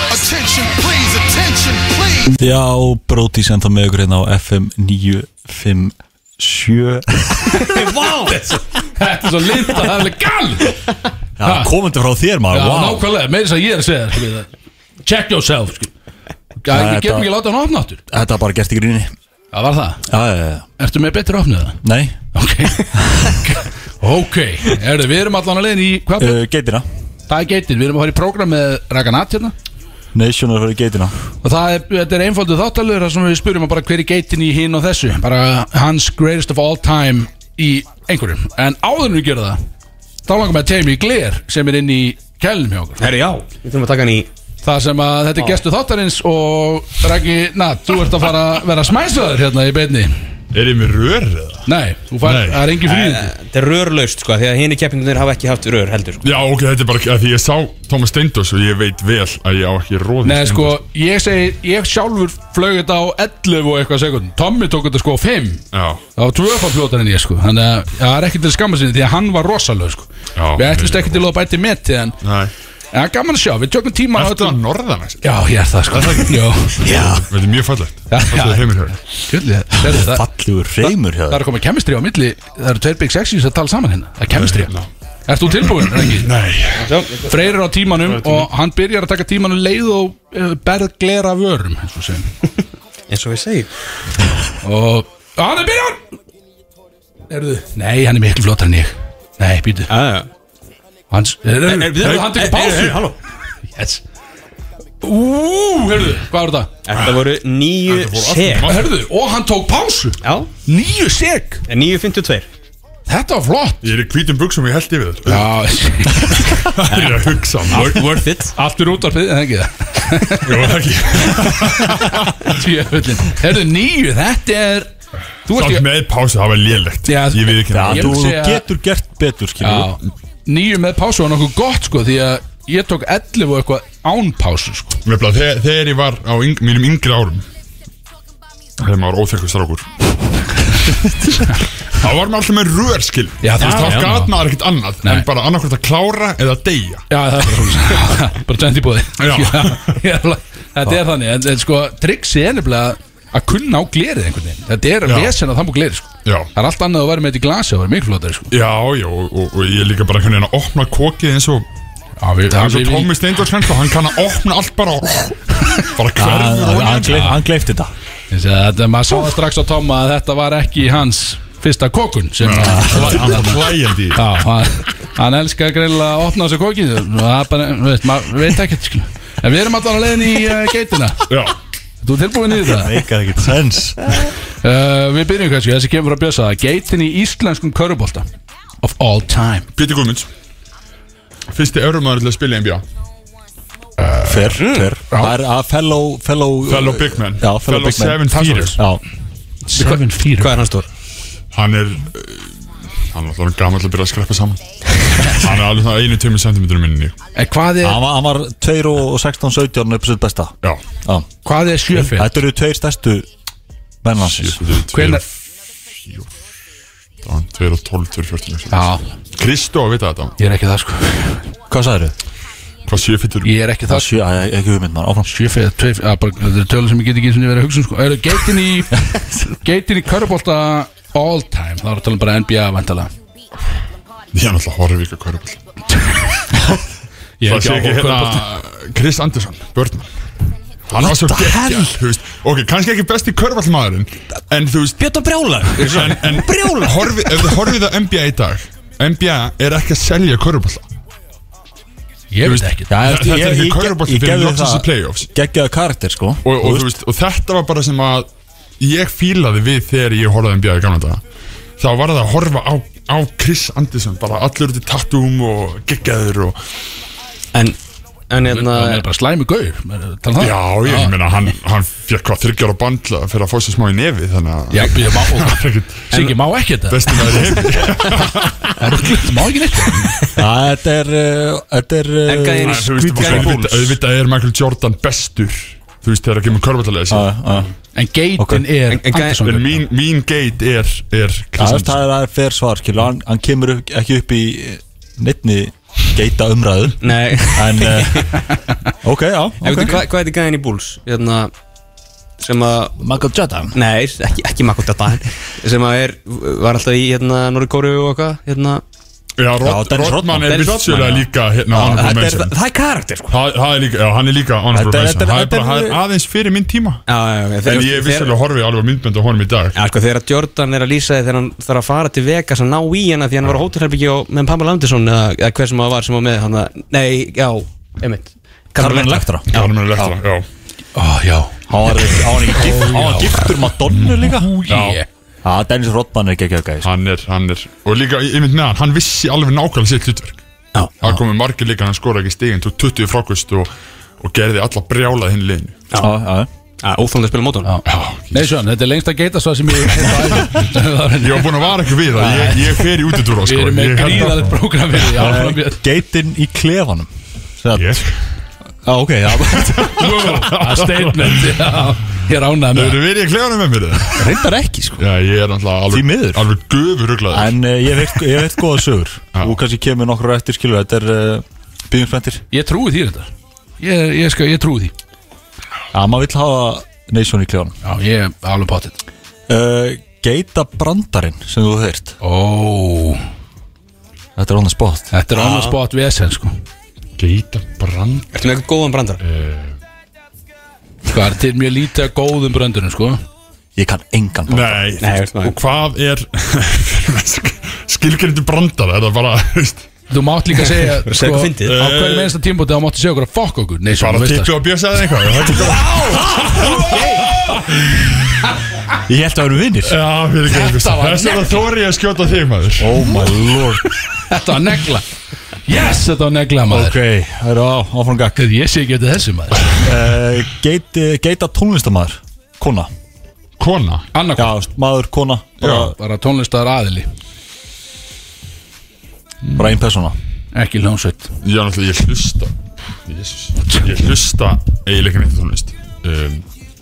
Speaker 8: Attention, please, attention, please.
Speaker 3: Já, Bróti senda með ykkur hérna á FM 957
Speaker 2: Þetta er svo linda, það er alveg gal
Speaker 3: Já, komandi frá þér maður,
Speaker 2: Já,
Speaker 3: wow
Speaker 2: nákvæmlega, meira þess að ég er að segja þér, skilur það Check yourself skilur. Já,
Speaker 3: Já,
Speaker 2: ég getum
Speaker 3: þetta-
Speaker 2: ekki að láta hann opna áttur
Speaker 3: Þetta er bara gert í gríni
Speaker 2: Það var það,
Speaker 3: Já, já, já,
Speaker 2: ertu með betri opnið það?
Speaker 3: nei
Speaker 2: Ok Ok, Heyrðu, við erum allan að leiðin í hvað?
Speaker 6: Eh.
Speaker 3: uh, Geitina
Speaker 2: Það er geitin, við erum að fara í prógram með Raganat hérna
Speaker 3: National fyrir geitina
Speaker 2: Og það er, þetta er einfaldu þáttalur þar sem við spurjum að bara hver er geitin í hinn og þessu Bara hans greatest of all time í einhverjum En áður en við gera það Þá langar með að tegja mig í gler sem er inn í kælnum hjá okkur
Speaker 4: Herri já, við þurfum að taka hann í
Speaker 2: Það sem að þetta er gestu þáttarins og Raggi, na, þú ert að fara að vera smæsaður hérna í beinni
Speaker 6: Er ég með rör eða?
Speaker 2: Nei, þú fær,
Speaker 6: Nei.
Speaker 2: það er engin fríðindi
Speaker 4: Eh, Þetta er rörlaust sko, því að hini keppindunir hafa ekki haft rör heldur sko.
Speaker 6: Já, ok, þetta er bara að því ég sá Thomas Steindors og ég veit vel að ég á ekki róðið
Speaker 2: Nei, sko, ég segi, ég sjálfur flög þetta á 11 og eitthvað sekund Tommy tók þetta sko á 5
Speaker 6: Já,
Speaker 2: Það var tvöfafljótar en ég sko Þannig að það er ekki til skamma sinni því að hann var rosalög sko
Speaker 6: Já,
Speaker 2: Við ætlumst ekki
Speaker 6: mjög
Speaker 2: til að bæti meti en,
Speaker 6: nei
Speaker 2: en það er gaman að sjá, við tökum tíma á
Speaker 6: Þetta
Speaker 2: öllum
Speaker 6: er norðan, ekki?
Speaker 2: Já, ég er það sko Jó,
Speaker 6: Þetta er mjög fallegt
Speaker 2: Já,
Speaker 6: Þetta
Speaker 2: já.
Speaker 6: er heimil hér
Speaker 2: kjöldið, það er það
Speaker 3: Fallegur reymur hjá
Speaker 2: Það
Speaker 3: þér
Speaker 2: er komið kemistri á milli, það eru tveir Big Sexies að tala saman hérna Það er kemistri Ert þú tilbúin, Rengi?
Speaker 6: Nei
Speaker 2: Freyr er á tímanum og hann byrjar að taka tímanum leið og uh, berð glera vörum eins og segjum
Speaker 4: Eins og við segjum
Speaker 2: og hann er byrjar Erðu? Nei, hann er miklu flottar en ég Nei, býtu
Speaker 4: Við
Speaker 2: Hans, er, er, er,
Speaker 4: þurfum
Speaker 2: hann tekur pásu
Speaker 4: halló
Speaker 2: yes. Ú, herðu, hvað var þetta?
Speaker 4: Þetta voru nýju seg
Speaker 2: Herðu, og hann tók pásu
Speaker 4: Já,
Speaker 2: Nýju seg,
Speaker 4: 9.52
Speaker 2: þetta var flott
Speaker 6: Ég er í hvítum buksum og ég held yfir þetta
Speaker 2: Já,
Speaker 6: Það er að hugsa
Speaker 4: Worth it
Speaker 2: allt er út af fyrir, ekki það
Speaker 6: Mörg
Speaker 2: Tjöfullin. Herðu, nýju, þetta er Þú ert
Speaker 6: Sátt
Speaker 2: ekki
Speaker 6: með pásu, það var lélegt
Speaker 2: Já,
Speaker 6: Ég við ekki
Speaker 2: Ég
Speaker 3: Já,
Speaker 6: það
Speaker 3: þú
Speaker 2: myndi
Speaker 3: þú
Speaker 2: segja-
Speaker 3: getur gert betur, skilur
Speaker 2: Já, nýju með pásu var nokkuð gott sko Því að ég tók 11 og eitthvað án pásu sko
Speaker 6: Nefnilega, þegar, þegar ég var á yng, mínum yngri árum Þegar maður óþekkur strákur Þá var maður alltaf með rör skil
Speaker 2: Já, þú veist,
Speaker 6: Þá
Speaker 2: já,
Speaker 6: gat
Speaker 2: já.
Speaker 6: maður ekkert annað En bara annarkvært að klára eða deyja
Speaker 2: Já, það er bara svona Bara tvennt í búði
Speaker 6: Já.
Speaker 2: Þetta er þannig, en, en sko Triksi er nefnilega að kunna á glerið einhvern veginn Þetta er
Speaker 6: Já.
Speaker 2: að vesen að það múið glerið sko
Speaker 6: Já,
Speaker 2: Það er allt annað að vera með þetta í glasi Það var miklu flotari sko
Speaker 6: já, já og, og, og ég er líka bara hvernig að opna kokið eins og
Speaker 2: Já, við,
Speaker 6: eins og Tommy Steindors og hann kann að opna allt bara og, bara
Speaker 3: Hann-
Speaker 6: hverfur
Speaker 3: hann-
Speaker 6: og
Speaker 3: Hann gleif- hann gleifti þetta
Speaker 2: Þessi að þetta- maður sá það strax á Tomma að þetta var ekki hans fyrsta kokun sem að,
Speaker 6: hann var hlægjandi í.
Speaker 2: Já, hann, hann elskar greinilega að opna þessu kokið og það er bara, þú veist, maður veit ekkert sko. En við erum alltaf á leiðin í uh, geitina
Speaker 6: Já,
Speaker 2: Þú ert tilbúin í þetta?
Speaker 3: Meikað ekkert sens
Speaker 2: Uh, við byrjum kannski, þessi kemur frá Bjösa Geitin í íslenskum körubólta Of all time
Speaker 6: Pétur Guðmunds Fyrsti örumæður til að spila í NBA
Speaker 3: Fer, fer Það er að fellow Fellow,
Speaker 6: Mm. Fellow big man.
Speaker 3: Já, fellow,
Speaker 6: Fellow
Speaker 3: big man
Speaker 6: seven
Speaker 3: Það er
Speaker 6: feeters.
Speaker 3: svoleiðis. Já,
Speaker 2: Seven feet
Speaker 4: Hvað er hann stór?
Speaker 6: hann er uh, hann er alltaf gammal að byrja að skreppa saman hann er alveg það einu tveimur sentimentur minni já,
Speaker 2: En eh, hvað er,
Speaker 3: Hann var- hann var 2 og 16, 17 upp sitt besta Já
Speaker 2: hvað er sjö feet?
Speaker 3: Þetta eru tveir stærstu Mennlansins
Speaker 2: Hvenær-
Speaker 6: tveir tveir og tólf, tveir fjórtinn
Speaker 2: Já,
Speaker 6: Kristó að vita þetta,
Speaker 2: ég er ekki það sko
Speaker 3: Hvað sagðir
Speaker 6: hvað séu fyrir
Speaker 2: Ég er ekki
Speaker 3: Það
Speaker 2: það sko
Speaker 3: sjö, æ, ekki hugmynd maður, áfram
Speaker 2: Sjö feet, tvei feet, að bara- þetta er tölur sem ég get ekki eins og verið að hugsa um sko Eru geitin í, geitin í körubólta all time Það var að tala um bara NBA vantala
Speaker 6: ég er náttúrulega horfið ykkur hverjaball það sé ekki hérna Krist Andersson, börnmann hann var svo geggja þú veist, ok, kannski ekki besti körvallmaðurinn en þú veist
Speaker 4: Björn Brjála
Speaker 6: en, en horfi, ef þið horfið að NBA í dag NBA er ekki að selja körvall
Speaker 2: Ég veit ekki
Speaker 3: Já, ég-
Speaker 6: þetta
Speaker 3: ég-
Speaker 6: er ekki
Speaker 3: ég-
Speaker 6: körfubolti
Speaker 3: ég
Speaker 6: fyrir
Speaker 3: gerði
Speaker 6: loksins í
Speaker 3: það
Speaker 6: playoffs.
Speaker 3: Geggjaður karakter sko
Speaker 6: og, og, þú veist, og þetta var bara sem að ég fílaði við þegar ég horfði á NBA í gamla daga þá var það að horfa á á Chris Anderson bara allur út í tattúum og geggjaður og
Speaker 4: En, en hérna
Speaker 2: Það er bara slæmi gaur maður er að tala um það.
Speaker 6: já, ég
Speaker 2: Já.
Speaker 6: meina hann, hann fekk hvað þryggjar á bandla fyrir að fá sér smá í nefi þannig að
Speaker 2: Já, ég má,
Speaker 6: Það er ekkert
Speaker 2: Siggi má ekki þetta
Speaker 6: besti maður í heimi
Speaker 2: Það er ruglið, Má ekki neitt
Speaker 3: Þetta er uh, Þetta er uh,
Speaker 4: En gæðin í
Speaker 6: Nei, þú veist,
Speaker 4: Squid Game
Speaker 6: auðvitað- auðvitað er Michael Jordan bestur þú veist, þegar að kemur körfallega
Speaker 3: Já,
Speaker 6: sér
Speaker 3: já.
Speaker 2: En geitin er
Speaker 4: En- en gæ-
Speaker 2: Andersson
Speaker 6: En mín, mín geit er, er
Speaker 3: Já,
Speaker 6: Chris
Speaker 3: þú veist,
Speaker 6: Anderson
Speaker 3: Það er það er fer svar skilur. hann, hann kemur upp- ekki upp í neittni geita umræðu
Speaker 4: Nei
Speaker 3: En uh, Ok, já
Speaker 4: En veitu,
Speaker 3: okay.
Speaker 4: hvað hvað heitir gæðin í Bulls? Hérna sem að,
Speaker 2: Michael Jordan
Speaker 4: nei, ekki, ekki Mako Data sem að er, var alltaf í hérna Norri Kóru og eitthvað, hérna
Speaker 6: Já,
Speaker 3: Já,
Speaker 6: Rod,
Speaker 3: Dennis
Speaker 6: Rodman
Speaker 3: Rodman.
Speaker 6: er
Speaker 4: Dennis
Speaker 6: vitsjölega
Speaker 4: Rodman, já.
Speaker 6: líka hérna honorable
Speaker 3: Þetta er,
Speaker 6: mention
Speaker 4: Það er karakter, sko
Speaker 6: Það það er líka, já, hann er líka honorable
Speaker 3: Þetta er-
Speaker 6: mention
Speaker 3: þetta er-
Speaker 6: Það er bara,
Speaker 3: þetta er-
Speaker 6: það er aðeins fyrir minn tíma
Speaker 4: Já, já, já
Speaker 6: En ég er vissulega horfið alveg á myndbönd á honum í dag
Speaker 4: Já, sko, þegar að Jordan er að lýsa því þegar hann þarf að fara til Vegas að ná í hana því hann var á hótelherbyggi og með Pamela Anderson eða, eða hver sem það var sem var með hann Nei, já, einmitt
Speaker 3: Carmen Electra
Speaker 6: Já, hann er lektra, já
Speaker 2: Ó, já
Speaker 3: Hann var hann var í gift- hann var giftur Madonna líka
Speaker 2: Já
Speaker 3: Já, Dennis Rodman er geggjað gæði
Speaker 6: Hann er, hann er Og líka, ég mynd með hann, hann vissi alveg nákvæmlega sitt hlutverk
Speaker 4: Já.
Speaker 6: Það komið margir líka, hann skora ekki stigin Tók 20 frákust og, og gerði alla brjálað hinn liðinu
Speaker 3: Já, já
Speaker 4: Óþálega Ah, spila mótun
Speaker 2: Já. Nei, Sjón, þetta er lengst að geita svo sem ég hef á ævi.
Speaker 6: Ég var búin að vara ekki við það, ég, ég fer í útidúra
Speaker 2: Við
Speaker 6: sko.
Speaker 2: erum með
Speaker 6: Ég held að-
Speaker 2: gríðalegt prógram fyrir því Áfram Björn.
Speaker 3: Geitin í klefanum Sæt.
Speaker 6: Ég-
Speaker 3: Já, ok, já
Speaker 2: Það er statement já. Ég er ánægð með
Speaker 6: Hefur verið í klefanum með mér það?
Speaker 3: Reyndar ekki, sko
Speaker 6: Já, ég er náttúrulega
Speaker 3: Því miður.
Speaker 6: alveg, alveg gufuruglaður
Speaker 3: En uh, ég veit, ég veit góða sögur Þú kannski kemur nokkur eftir skilur Þetta er uh, byggingsfæntir
Speaker 2: Ég trúi því þetta Ég, ég, sko, ég trúi því
Speaker 3: Já, maður vill hafa neysjón í klefanum
Speaker 2: Já, ég er alveg potið
Speaker 3: uh, Geita brandarinn sem þú þeirt
Speaker 2: Ó,
Speaker 3: Þetta er on the spot
Speaker 2: þetta er annars spot vesen sko
Speaker 6: Geita brand
Speaker 4: Ertu með eitthvað góðan brandar?
Speaker 2: Hvað er til mjög lítið að góðum bröndunum sko
Speaker 3: Ég kann engan brandara.
Speaker 6: Nei,
Speaker 4: Nei,
Speaker 6: þú veist,
Speaker 4: veist maður.
Speaker 6: og hvað er skilgrindu brandara þetta er bara, þú veist,
Speaker 2: Þú mátt líka segja sko,
Speaker 4: eitthvað fyndið.
Speaker 2: Á hverju mennsta tímbúti þá máttu segja okkur að fokk okkur Nei, svo,
Speaker 6: bara
Speaker 2: þú veist
Speaker 6: tippu
Speaker 2: það
Speaker 6: og bjösa eða eitthvað það er ekki góð.
Speaker 3: Ég held að vera vinnir
Speaker 6: Já, fyrir ekki einhvers
Speaker 2: var
Speaker 6: Þess að þóri ég að skjóta þig maður
Speaker 3: Oh my lord
Speaker 2: Þetta var negla Yes, þetta var negla maður
Speaker 3: Ok, það eru á, áfram gakk
Speaker 2: Hvað ég sé ekki eftir þessu maður
Speaker 3: uh, geit, Geita tónlistamæður Kona
Speaker 6: Kona
Speaker 2: Annarkvæm
Speaker 3: Já, veist, maður, kona Bara,
Speaker 2: bara tónlistar aðili
Speaker 3: bara ein persóna
Speaker 2: ekki hljómsveit
Speaker 6: Já, náttúrulega, ég hlusta Jesus. Ég hlusta eiginlega neitt á tónlist um,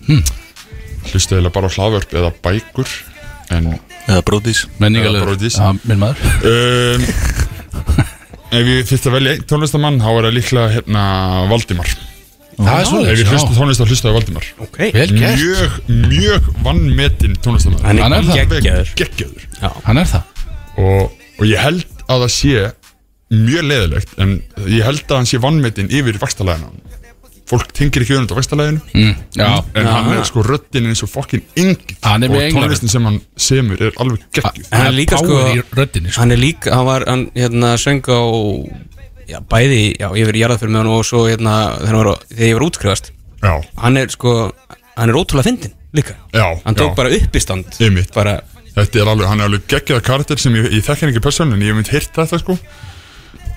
Speaker 4: Hm.
Speaker 6: Hlusta eiginlega bara á hlaðvörp eða bækur En
Speaker 3: Eða bróðís
Speaker 2: menningarlegur
Speaker 6: Já, Brodís.
Speaker 2: Já, minn maður
Speaker 6: um, Ef ég þyrfti að velja einn tónlistamann þá er það líklega hérna Valdimar
Speaker 2: það er
Speaker 6: Ef ég hlusta
Speaker 2: svolítið
Speaker 6: tónlist þá hlusta ég á Valdimar
Speaker 4: Ok
Speaker 2: Eh, vel gert
Speaker 6: Mjög, mjög vannmetinn tónlistamæður
Speaker 4: Hann
Speaker 2: Hann er
Speaker 4: er
Speaker 2: það.
Speaker 4: geggjaður
Speaker 6: geggjöður
Speaker 2: hann er það
Speaker 6: og, og ég held að það sé mjög leðilegt en ég held að hann sé vannmetinn yfir vakstarlæðina fólk tengir ekki auðvitað á vakstarlæðinu
Speaker 2: mm, já
Speaker 6: en hann er sko röddinn eins og fokkin engin
Speaker 2: Hann er
Speaker 6: og
Speaker 2: með englar.
Speaker 6: tónlistin sem hann semur er alveg geggjöð
Speaker 4: Hann er líka sko
Speaker 2: power í röddinni sko
Speaker 4: Hann er líka, hann var, hann hérna söng á Já, bæði, já, ég verið jarðað fyrir með hann og svo hérna þegar, hann var, á- þegar ég var útskrifast
Speaker 6: Já,
Speaker 4: Hann er sko, hann er ótrúlega fyndin líka
Speaker 6: já,
Speaker 4: Hann tók
Speaker 6: já.
Speaker 4: bara uppistand
Speaker 6: Einmitt.
Speaker 4: Bara,
Speaker 6: Þetta er alveg, hann er alveg geggjaða karakter sem ég, ég þekk hann ekki persónu en ég hef mynd heyrt þetta sko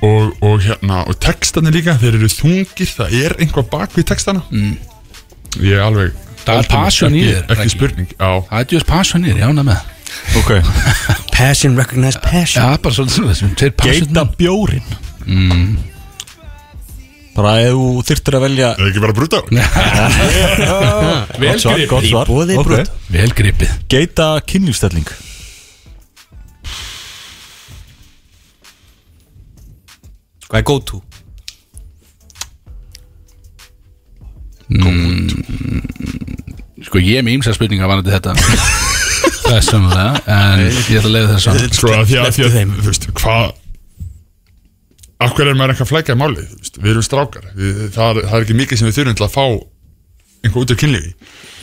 Speaker 6: og, og hérna, og textarnir líka þeir eru þungir, það er einhvað bak við textana mm. ég er alveg
Speaker 2: Það er passion í
Speaker 6: ekki,
Speaker 2: þér,
Speaker 6: ekki
Speaker 2: Raggi.
Speaker 6: spurning, já
Speaker 2: það er just passionir já, hann með það.
Speaker 3: Ok
Speaker 4: passion, recognize
Speaker 2: já,
Speaker 4: passion
Speaker 2: bara svolítið svona þessum þeir passion
Speaker 3: Geita bjórin Mm. Bara ef þú þyrftir að velja
Speaker 6: er ekki bara brúta
Speaker 2: vel
Speaker 3: Svar,
Speaker 2: gripið.
Speaker 3: gott svar
Speaker 4: boði
Speaker 3: Ok.
Speaker 4: brot.
Speaker 2: vel gripið
Speaker 3: Geita kynlífstelling
Speaker 4: Hvað er go to?
Speaker 2: sko ég er með ímsa spurningar varandi þetta það er samanlega en ég ætla að leiða þess að
Speaker 6: sko að því að, því að þú veist, hvað akkur er maður eitthvað flækjað málið þú veist, við erum strákar, við, það, er, það er ekki mikið sem við þurfum til að fá einhver út af kynlífi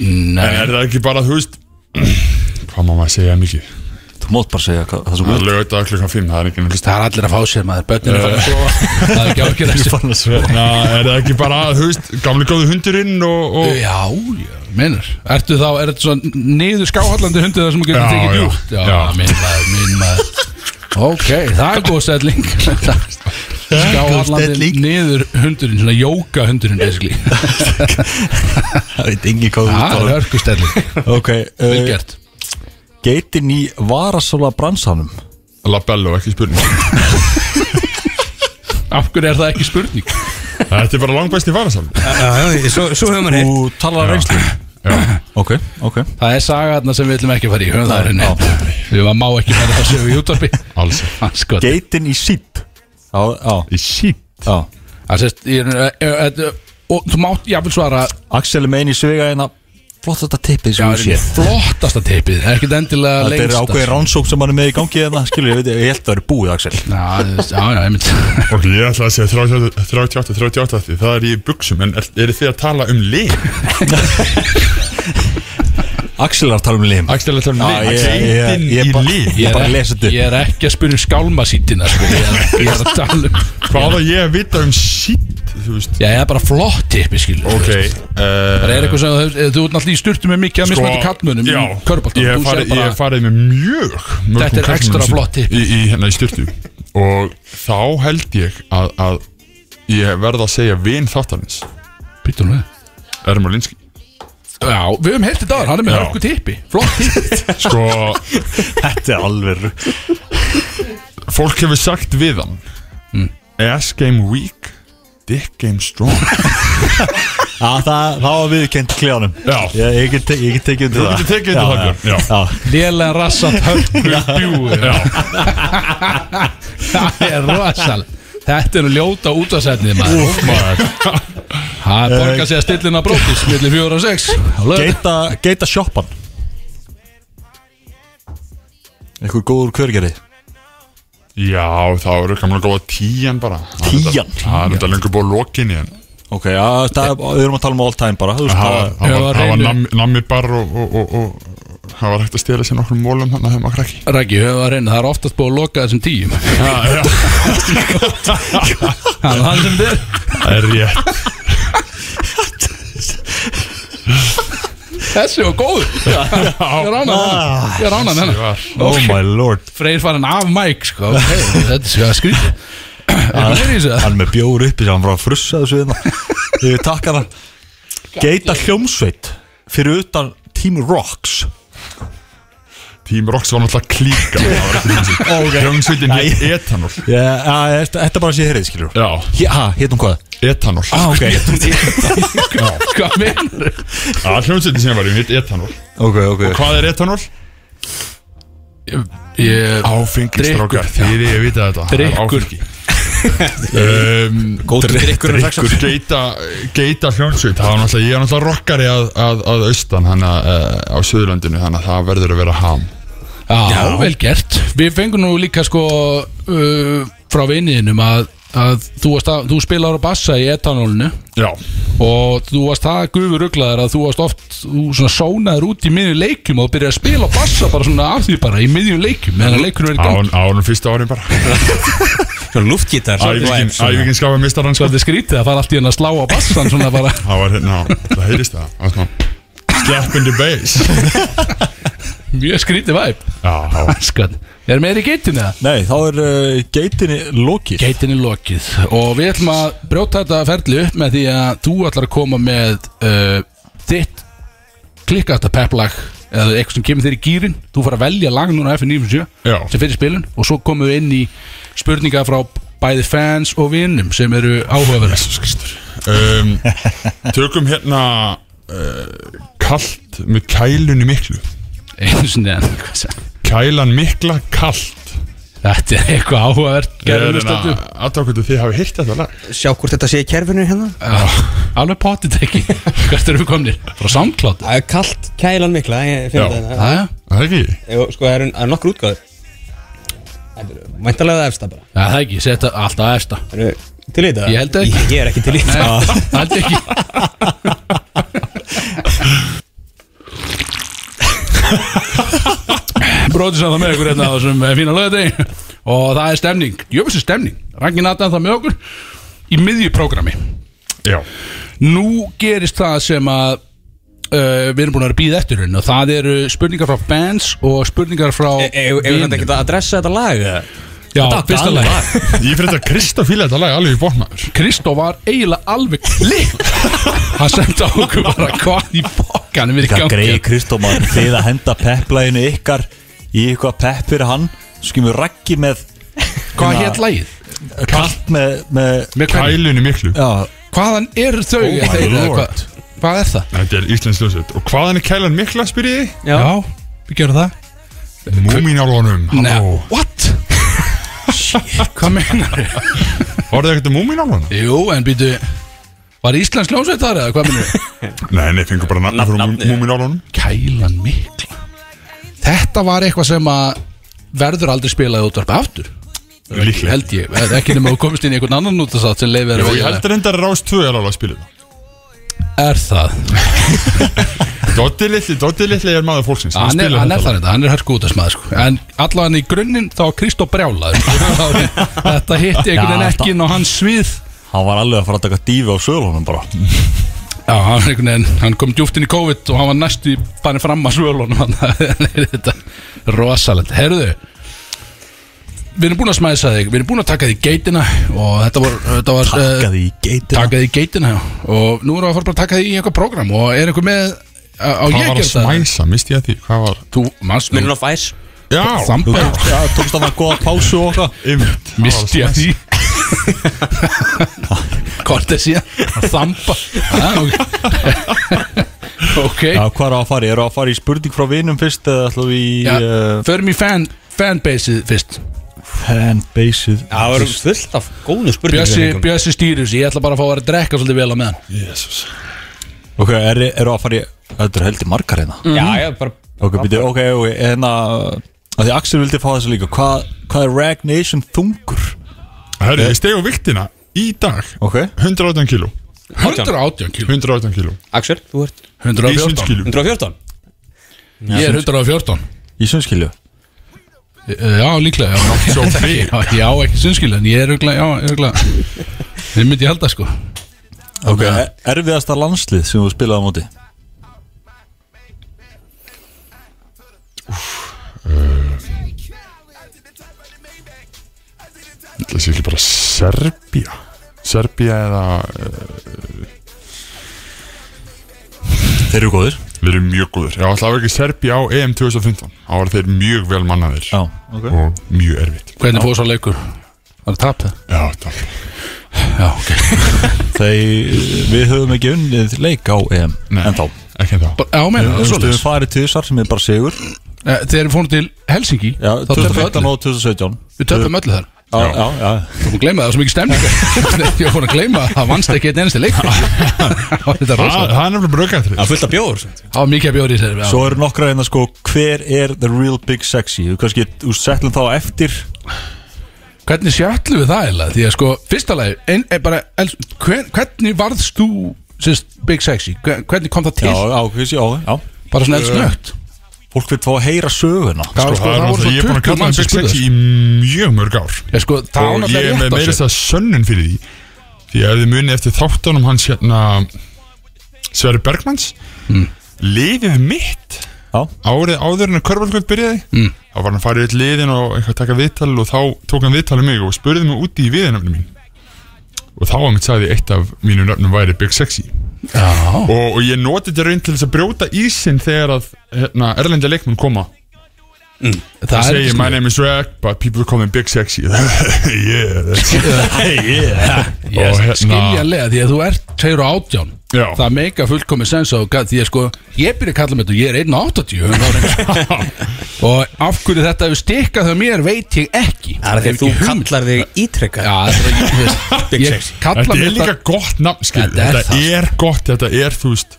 Speaker 6: en
Speaker 2: nei
Speaker 6: er það ekki bara, þú veist hvað má maður segja mikið
Speaker 3: Þú mátt bara segja hvað, það sem
Speaker 6: það
Speaker 3: þú
Speaker 6: er lögðað klukkan 5, það er ekki
Speaker 2: það er allir að fá sér maður börnir er farin að sofa það er ekki ákjör þessu
Speaker 3: fann að svega
Speaker 6: Na, er það ekki bara, þú veist, gamli góðu hundurinn og, og
Speaker 2: Já, já, minnur Ertu þá, er þetta svona niður skáhallandi hundið það sem þú getur
Speaker 6: Já,
Speaker 2: tekið
Speaker 6: já.
Speaker 2: djúpt? Já,
Speaker 6: Já.
Speaker 2: minn maður, minn maður Ok, það er góð stelling Ská
Speaker 9: góð
Speaker 2: allan
Speaker 9: stelling.
Speaker 2: niður hundurinn, svona jóka hundurinn basically
Speaker 3: Það veit engin hvað
Speaker 2: Það
Speaker 3: þú
Speaker 2: er
Speaker 3: ert
Speaker 2: hörku stelling,
Speaker 3: að Ok,
Speaker 2: Ah, vel
Speaker 3: uh,
Speaker 2: gert
Speaker 3: geitin í varasóla bransanum
Speaker 6: Labello, ekki spurning
Speaker 2: Af hverju er það ekki spurning?
Speaker 6: Þetta er bara langbæst í varasal
Speaker 4: Svo, svo hefur maður heilt
Speaker 3: Þú talar reynslu Ok, ok
Speaker 2: Það er sagaðna sem við ætlum ekki að fara í höfum það á hreinu. Við varum má ekki fara það sögu í útvarpi
Speaker 6: Alls ekki.
Speaker 2: Hans gott
Speaker 3: Geitin í síp Já, já,
Speaker 6: Í síp
Speaker 3: já
Speaker 2: Það sést, ég er eh, eh, eh, Og þú mátt, ég vil svara
Speaker 3: Axel er með einn í svega en að Flott þetta tippið
Speaker 2: Já,
Speaker 3: sem
Speaker 2: það
Speaker 3: þú
Speaker 2: er
Speaker 3: séð
Speaker 2: flottasta teipið Það er ekkert endilega
Speaker 3: Þetta er
Speaker 2: lengsta
Speaker 3: ákveðið rannsók sem hann er með í gangi en skilur, ég veit, ég held að það eru búið, Axel
Speaker 2: Já, já, já, einmitt
Speaker 6: Ok, ég ætla að segja 38, 38, 38 því Það er í buksum, en er, eru þið að tala um lið?
Speaker 3: Axel er að tala um lim
Speaker 6: Axel er að tala um
Speaker 3: Já,
Speaker 6: lið
Speaker 3: ég- ég-
Speaker 6: Geitin
Speaker 3: ég
Speaker 6: í
Speaker 3: bara-
Speaker 6: lið
Speaker 3: Ég
Speaker 2: Ég
Speaker 3: bara
Speaker 2: er,
Speaker 3: lesa
Speaker 2: ekki,
Speaker 3: þetta upp.
Speaker 2: ég er ekki að spyrja um skálmasítina sko. ég, er- ég er að tala um
Speaker 6: Hvað á ég að vita um síp? Þú veist
Speaker 2: Já, ég er bara flott tippi, skilur
Speaker 6: Ok
Speaker 2: Það er
Speaker 6: Það
Speaker 2: eitthvað sem, þú- þú ert náttúrulega í styrtu með mikið að mismætti kallmönum
Speaker 6: Sko, Já,
Speaker 2: í körbólta
Speaker 6: ég hef farið, ég hef farið með mjög mörgum
Speaker 2: Þetta er
Speaker 6: karlmönnum
Speaker 2: extra
Speaker 6: sem-
Speaker 2: flott tipp.
Speaker 6: í, í, hérna, í styrtu Og þá held ég að, að Ég verð að segja vin þáttarins
Speaker 2: Býttu nú við.
Speaker 6: Ermur Linski
Speaker 2: Já, við höfum heyrt þetta áður, hann er með
Speaker 6: Já.
Speaker 2: hörku tippi Flott tippi
Speaker 6: Sko,
Speaker 3: Þetta er alveg
Speaker 6: fólk hefur sagt við hann Ass game weak Dick game strong
Speaker 3: Já, það, það var viðkend kljónum
Speaker 6: Já.
Speaker 3: Ég, ég get, te- ég get tekið undir
Speaker 6: Þú
Speaker 3: það
Speaker 6: getur tekið undir það, Björn. Já.
Speaker 3: Já,
Speaker 2: Lélega rassat hörku bjúi
Speaker 6: Já.
Speaker 2: Það er rasal Þetta er nú ljóta útasætnið maður
Speaker 6: Úf maður Eh.
Speaker 2: Það er borga sig að stillina brótis Millir fjóra og sex á laug-
Speaker 3: Geita, geita sjoppan Einhver góður kvörgeri
Speaker 6: Já, það eru gamla góða tíjan bara
Speaker 3: Tían?
Speaker 6: Það er þetta lengur búið lokinni en
Speaker 3: Ok, já, það, við erum að tala um all time bara Þú veist,
Speaker 6: Það
Speaker 3: það
Speaker 6: var- það
Speaker 2: Já,
Speaker 6: var- það var
Speaker 2: reynu.
Speaker 6: nammi- nammi bar og, og, og, og það var hægt að stela sér nokkrum mólum þannig að þeim að krakki
Speaker 2: Raggi, höfum að reyna, það er oftast búið að loka þessum tíum
Speaker 6: Já, já,
Speaker 2: Hann er hann sem þér
Speaker 6: það er rétt
Speaker 2: Þessi var góð Ég er ánað Ég er ánað með
Speaker 6: Þessi
Speaker 2: hennar
Speaker 6: var-
Speaker 3: Oh my lord
Speaker 2: Freyr farin af mæk sko okay, Þetta er að skrýta Er það í þessu?
Speaker 3: Hann með bjór uppi sem hann var að frussa þessu hérna Ég takk hana Geita hljómsveit Fyrir utan Team Rocks
Speaker 6: Team Rocks var náttúrulega klíka Það var ekki hljómsveit Hljómsveitin hér etanól
Speaker 3: Já, já, Þetta þetta er bara sé hérrið, skilur
Speaker 6: Já,
Speaker 3: Hæ, hétum hvað?
Speaker 6: etanól
Speaker 3: Ah, ok
Speaker 2: Hvað meinar
Speaker 6: Það er hljómsveitin sem var í hér etanól
Speaker 3: Ok, ok
Speaker 6: Hvað er etanól?
Speaker 2: Ég
Speaker 6: Áfengi,
Speaker 2: Drykkur.
Speaker 6: strákar Þið er vitað þetta Það er
Speaker 2: Drykkur.
Speaker 6: áfengi. um,
Speaker 3: Góður drikkur er
Speaker 6: Drykkur Geita, geita hljónsveit Það var náttúrulega, ég er náttúrulega rockari að, að, að austan hana, uh, á Suðurlandinu Þannig að það verður að vera ham
Speaker 2: Já, vel gert Við fengum nú líka sko uh, frá viniðinum að, að, þú, varst að þú spilar á bassa í etanólinu
Speaker 6: Já,
Speaker 2: og þú varst það gufur uglaðar að þú varst oft þú svona sónaður út í miðjum leikjum og byrjaði að spila á bassa bara svona af því bara í miðjum leikjum meðan að leikunum verið gang
Speaker 6: án, ánum fyrsta árin bara
Speaker 4: luftgítar
Speaker 6: Ævíkinn ævíkin skafa mistar hans
Speaker 2: Þetta er skrítið að fara allt í henn að slá á bassan svona bara
Speaker 6: sko. Það var hérna, það heyrist það Það var svona Slap in the bass
Speaker 2: mjög skrítið væp
Speaker 6: Já, já
Speaker 2: Skat. Er meiri í geitinni það?
Speaker 3: Nei, þá er uh, geitinni lokið
Speaker 2: Geitinni lokið og við ætlum að brjóta þetta ferli upp með því að þú ætlar að koma með uh, þitt klikkasta pepplag eða eitthvað sem kemur þér í gýrin þú fara að velja lag núna á FN97
Speaker 6: Já.
Speaker 2: sem fyrir spilun og svo komum við inn í spurninga frá bæði fans og vinnum sem eru áhugaverðar
Speaker 6: um, Tökum hérna uh, Kalt með kælunni miklu
Speaker 2: einu sinni en hvað sem-
Speaker 6: Kælan mikla kalt
Speaker 2: þetta er eitthvað áhugavert
Speaker 6: Ég er
Speaker 2: gerður
Speaker 6: hérna
Speaker 2: hlustandu
Speaker 6: aðdákvæmdu þið hafi heyrt þetta lag
Speaker 4: Sjá hvort þetta sé í kerfinu hérna
Speaker 2: alveg potið ekki hvert eru við komnir frá SoundCloud
Speaker 4: Það er kallt kælan mikla Ég finn
Speaker 6: Já.
Speaker 4: þetta hérna.
Speaker 2: Jæja.
Speaker 6: Er Það ekki?
Speaker 4: Jú, Sko, það eru það eru nokkur útgáður Mæntalega það efsta bara
Speaker 2: Já, það er ekki, setja alltaf að efsta
Speaker 4: Það eru til í þetta
Speaker 2: Ég held ekki.
Speaker 4: Ég- Ég er ekki til í þetta
Speaker 2: Nei, held ekki Bróðis að það með ykkur hérna á þessum eh, fína lögði og það er stemning, jöfnstu stemning Rangin Adam það með okkur í miðju prógrami
Speaker 6: Já
Speaker 2: Nú gerist það sem að uh, við erum búin að vera býð eftir henni og það eru spurningar frá fans og spurningar frá
Speaker 4: Ef við e, þetta
Speaker 2: vinum.
Speaker 4: ekki að adressa þetta lag eða?
Speaker 2: Já, fyrsta lag
Speaker 6: Ég fyrir þetta að Krista fíla þetta lag alveg í botnaður
Speaker 2: Kristó var eiginlega alveg lit Hann sendi á okkur bara hvað í bókanum við
Speaker 3: Hvað
Speaker 2: gangi
Speaker 3: greiði Kristómar Þið að henda pepplæginu ykkar Í eitthvað pepp fyrir hann Skimur raggi með
Speaker 2: Hvað hétt lagið?
Speaker 3: Kallt með, með
Speaker 2: Með hvern-
Speaker 6: Kælunni miklu
Speaker 3: Já,
Speaker 2: Hvaðan eru þau?
Speaker 6: Oh my
Speaker 2: þeir, eða
Speaker 6: lord.
Speaker 2: hvað, hvað er það?
Speaker 6: Þetta er Íslands ljósveit Og hvaðan er kælan mikla, spyr ég
Speaker 2: Já, við gerum það
Speaker 6: Múminálunum Halló
Speaker 2: What? Shit, hvað menar þau?
Speaker 6: Orðið ekkert um múminálunum?
Speaker 2: Jú, en býtu Var Íslands ljónsveit þar eða hvað minnur?
Speaker 6: Nei, nei, fengur bara nafn fyrir múminálunum
Speaker 2: Kælan mikla Þetta var eitthvað sem að verður aldrei spilaði útvarp aftur
Speaker 6: Líklega
Speaker 2: held ég, eða ekki nema þú komist inn í einhvern annan útasátt sem leifir
Speaker 6: Jó, ég heldur enda að Rás 2 er alveg að spila þetta
Speaker 2: Er það?
Speaker 6: Doddi litli, Doddi litli er maður fólksins
Speaker 2: Hann er,
Speaker 6: spilar
Speaker 2: hann er
Speaker 6: þetta
Speaker 2: það þetta, hann er hörku út af smaður sko. En allan í grunninn þá var Kristó brjálaður Þetta hitti einhvern veginn
Speaker 3: Já,
Speaker 2: ekki inn á hans svið
Speaker 3: hann var alveg að fara að taka dífi á sölunum bara
Speaker 2: Já, hann, einhvern veginn, hann kom djúpt inn í COVID og hann var næstu farin fram að svölunum hann- Þetta er rosalegt Herðu Við erum búin að smæðsa þig, við erum búin að taka þig í geitina og þetta var, þetta var eh,
Speaker 3: Takkaði í geitina
Speaker 2: taka þig í geitina já. og nú erum við að fara bara að taka þig í eitthvað program og er einhver með á á ég að
Speaker 6: Hvað var að
Speaker 2: gera það?
Speaker 6: smæsa, misti ég að því? Hvað var?
Speaker 2: Þú manst
Speaker 4: Minnum of Ice
Speaker 6: Já,
Speaker 2: Þamba
Speaker 3: Já, tókst hann að goða pásu og okkar
Speaker 6: ymmit
Speaker 2: Misti ég því Kort er síðan að Þamba ah, Ok, okay.
Speaker 3: Já, hvað er að fara? í? Eru að fara í spurning frá vinum fyrst eða ætlum við í
Speaker 2: Já,
Speaker 3: uh,
Speaker 2: Förum í eh, fan, fanbaseið fyrst
Speaker 3: fanbaseið
Speaker 4: Það var fullt af góðu
Speaker 2: Bjössi,
Speaker 4: spurningum
Speaker 2: Bjössi stýrir sér, ég ætla bara að fá að vera að drekka svolítið vel á meðan
Speaker 6: Jesus
Speaker 3: Ok, eru eru að fara í Þetta eru heldur margar hérna
Speaker 4: Já, já, bara
Speaker 3: Ok, býti, ok, ok, en að að Því Axel vildi fá þessu líka Hvað hvað er Rag Nation þungur?
Speaker 6: Herri, ég steg á viktina í dag
Speaker 3: Ok
Speaker 6: 118 kíló
Speaker 2: 118 kíló
Speaker 6: 118 kíló
Speaker 4: Axel, þú ert
Speaker 6: Í
Speaker 2: 114
Speaker 6: sundskílum
Speaker 4: 114
Speaker 2: Ég er 114
Speaker 3: Í sunnskilju
Speaker 2: Eh, Já, líklega, já
Speaker 6: So big
Speaker 2: Já, ég á ekki sunnskil En ég er auðvitað, já, auðvitað Þið myndi ég halda sko
Speaker 3: Ok, er- erfiðasta landslið sem þú spilaði á móti
Speaker 6: Það sé ekki bara Serbía Serbía eða eh,
Speaker 3: Þeir eru góðir
Speaker 6: Við erum mjög góður Já, það var ekki Serbía á EM 2015 Þá var þeir mjög vel mannaðir
Speaker 3: Já, ok
Speaker 6: Og mjög erfitt
Speaker 2: Hvernig fóð svo leikur? Var það tapið?
Speaker 6: Já, það
Speaker 2: Já, ok
Speaker 3: Þeir, við höfum ekki unnið leik á EM
Speaker 6: Nei.
Speaker 3: En þá
Speaker 6: Ekki en þá
Speaker 2: Bara- Já, meina, það er
Speaker 3: Þú veist, við
Speaker 2: svolítið
Speaker 3: höfum farið tvisar sem er bara sigur
Speaker 2: Eh, Þegar við fórum til Helsingi
Speaker 3: Já,
Speaker 2: Þá töpum við
Speaker 3: 2015
Speaker 2: öllu
Speaker 3: og 2017
Speaker 2: Við töpum öllu þar
Speaker 3: Já, já, já
Speaker 2: Þú fórum að gleyma það var svo mikið stemning Ég fórum að gleyma að það vannst ekki einn einasti leik Það var Þetta er
Speaker 6: Það
Speaker 2: rosa
Speaker 6: það er nefnilega brökaðri
Speaker 4: Það er fullt af bjóður
Speaker 2: Það var mikið að bjóri í þessari já.
Speaker 3: Svo eru nokkra hérna sko Hver er the real big sexy? Þú kannski, þú settlum þá eftir
Speaker 2: Hvernig sjallu við það eða? Því að sko, fyrsta lagi ein, ein, bara, el, hver, Hvernig varðst þú sérst, Big Sexy? Hver- Hvernig kom það
Speaker 3: Já,
Speaker 2: til?
Speaker 3: já, hversi, já, já
Speaker 2: Bara svona eldsnögt
Speaker 3: Fólk vil fá að heyra söguna
Speaker 6: Sko, það er náttúrulega, ég er búin að kalla það Big Sexy í mjög mörg ár
Speaker 2: Já, sko, það var
Speaker 6: Og ég er
Speaker 2: náttúrulega rétt
Speaker 6: með
Speaker 2: á
Speaker 6: meira
Speaker 2: sér
Speaker 6: þess að sönnun fyrir því Því að ef þið muni eftir þáttunum hans hérna Sverri Bergmans Hmm. Liðið mitt
Speaker 3: Já.
Speaker 6: Árið áður en að Körvalkvöld byrjaði
Speaker 2: Mm.
Speaker 6: Þá var hann að fara í eitt liðin og eitthvað að taka viðtal Og þá tók hann viðtal um mig og spurði mig úti í viðinöfnum mín Og þá hann sagði eitt af mínum nöfnum væri Big Sexy
Speaker 2: Já,
Speaker 6: og, og ég noti þetta raun til þess að brjóta ísinn Þegar að hérna, erlendja leikmenn koma
Speaker 2: það
Speaker 6: Það
Speaker 2: er ekki
Speaker 6: segir my
Speaker 2: snögt
Speaker 6: name is Rack But people call me Big Sexy Yeah, that's og hérna-
Speaker 2: Skiljanlega, því að þú ert 2 og 18
Speaker 6: Já.
Speaker 2: Það meika fullkomi sens og gæt Því að sko, ég byrja að kalla mér þetta og Ég er 1 og 80 um árið. Og af hverju þetta hefur stikkað hjá mér Veit ég ekki
Speaker 4: Það er
Speaker 2: Hef
Speaker 4: því að þú
Speaker 2: ekki hugmynd.
Speaker 4: kallar þig ítrekka
Speaker 2: Já, þetta er ekki, þú veist,
Speaker 4: Big
Speaker 2: ég
Speaker 4: sexy.
Speaker 2: kalla
Speaker 6: Þetta
Speaker 2: mér
Speaker 6: er líka gott nafn, skil
Speaker 2: Þetta er
Speaker 6: Þetta
Speaker 2: það, sko.
Speaker 6: er gott, þetta er, þú veist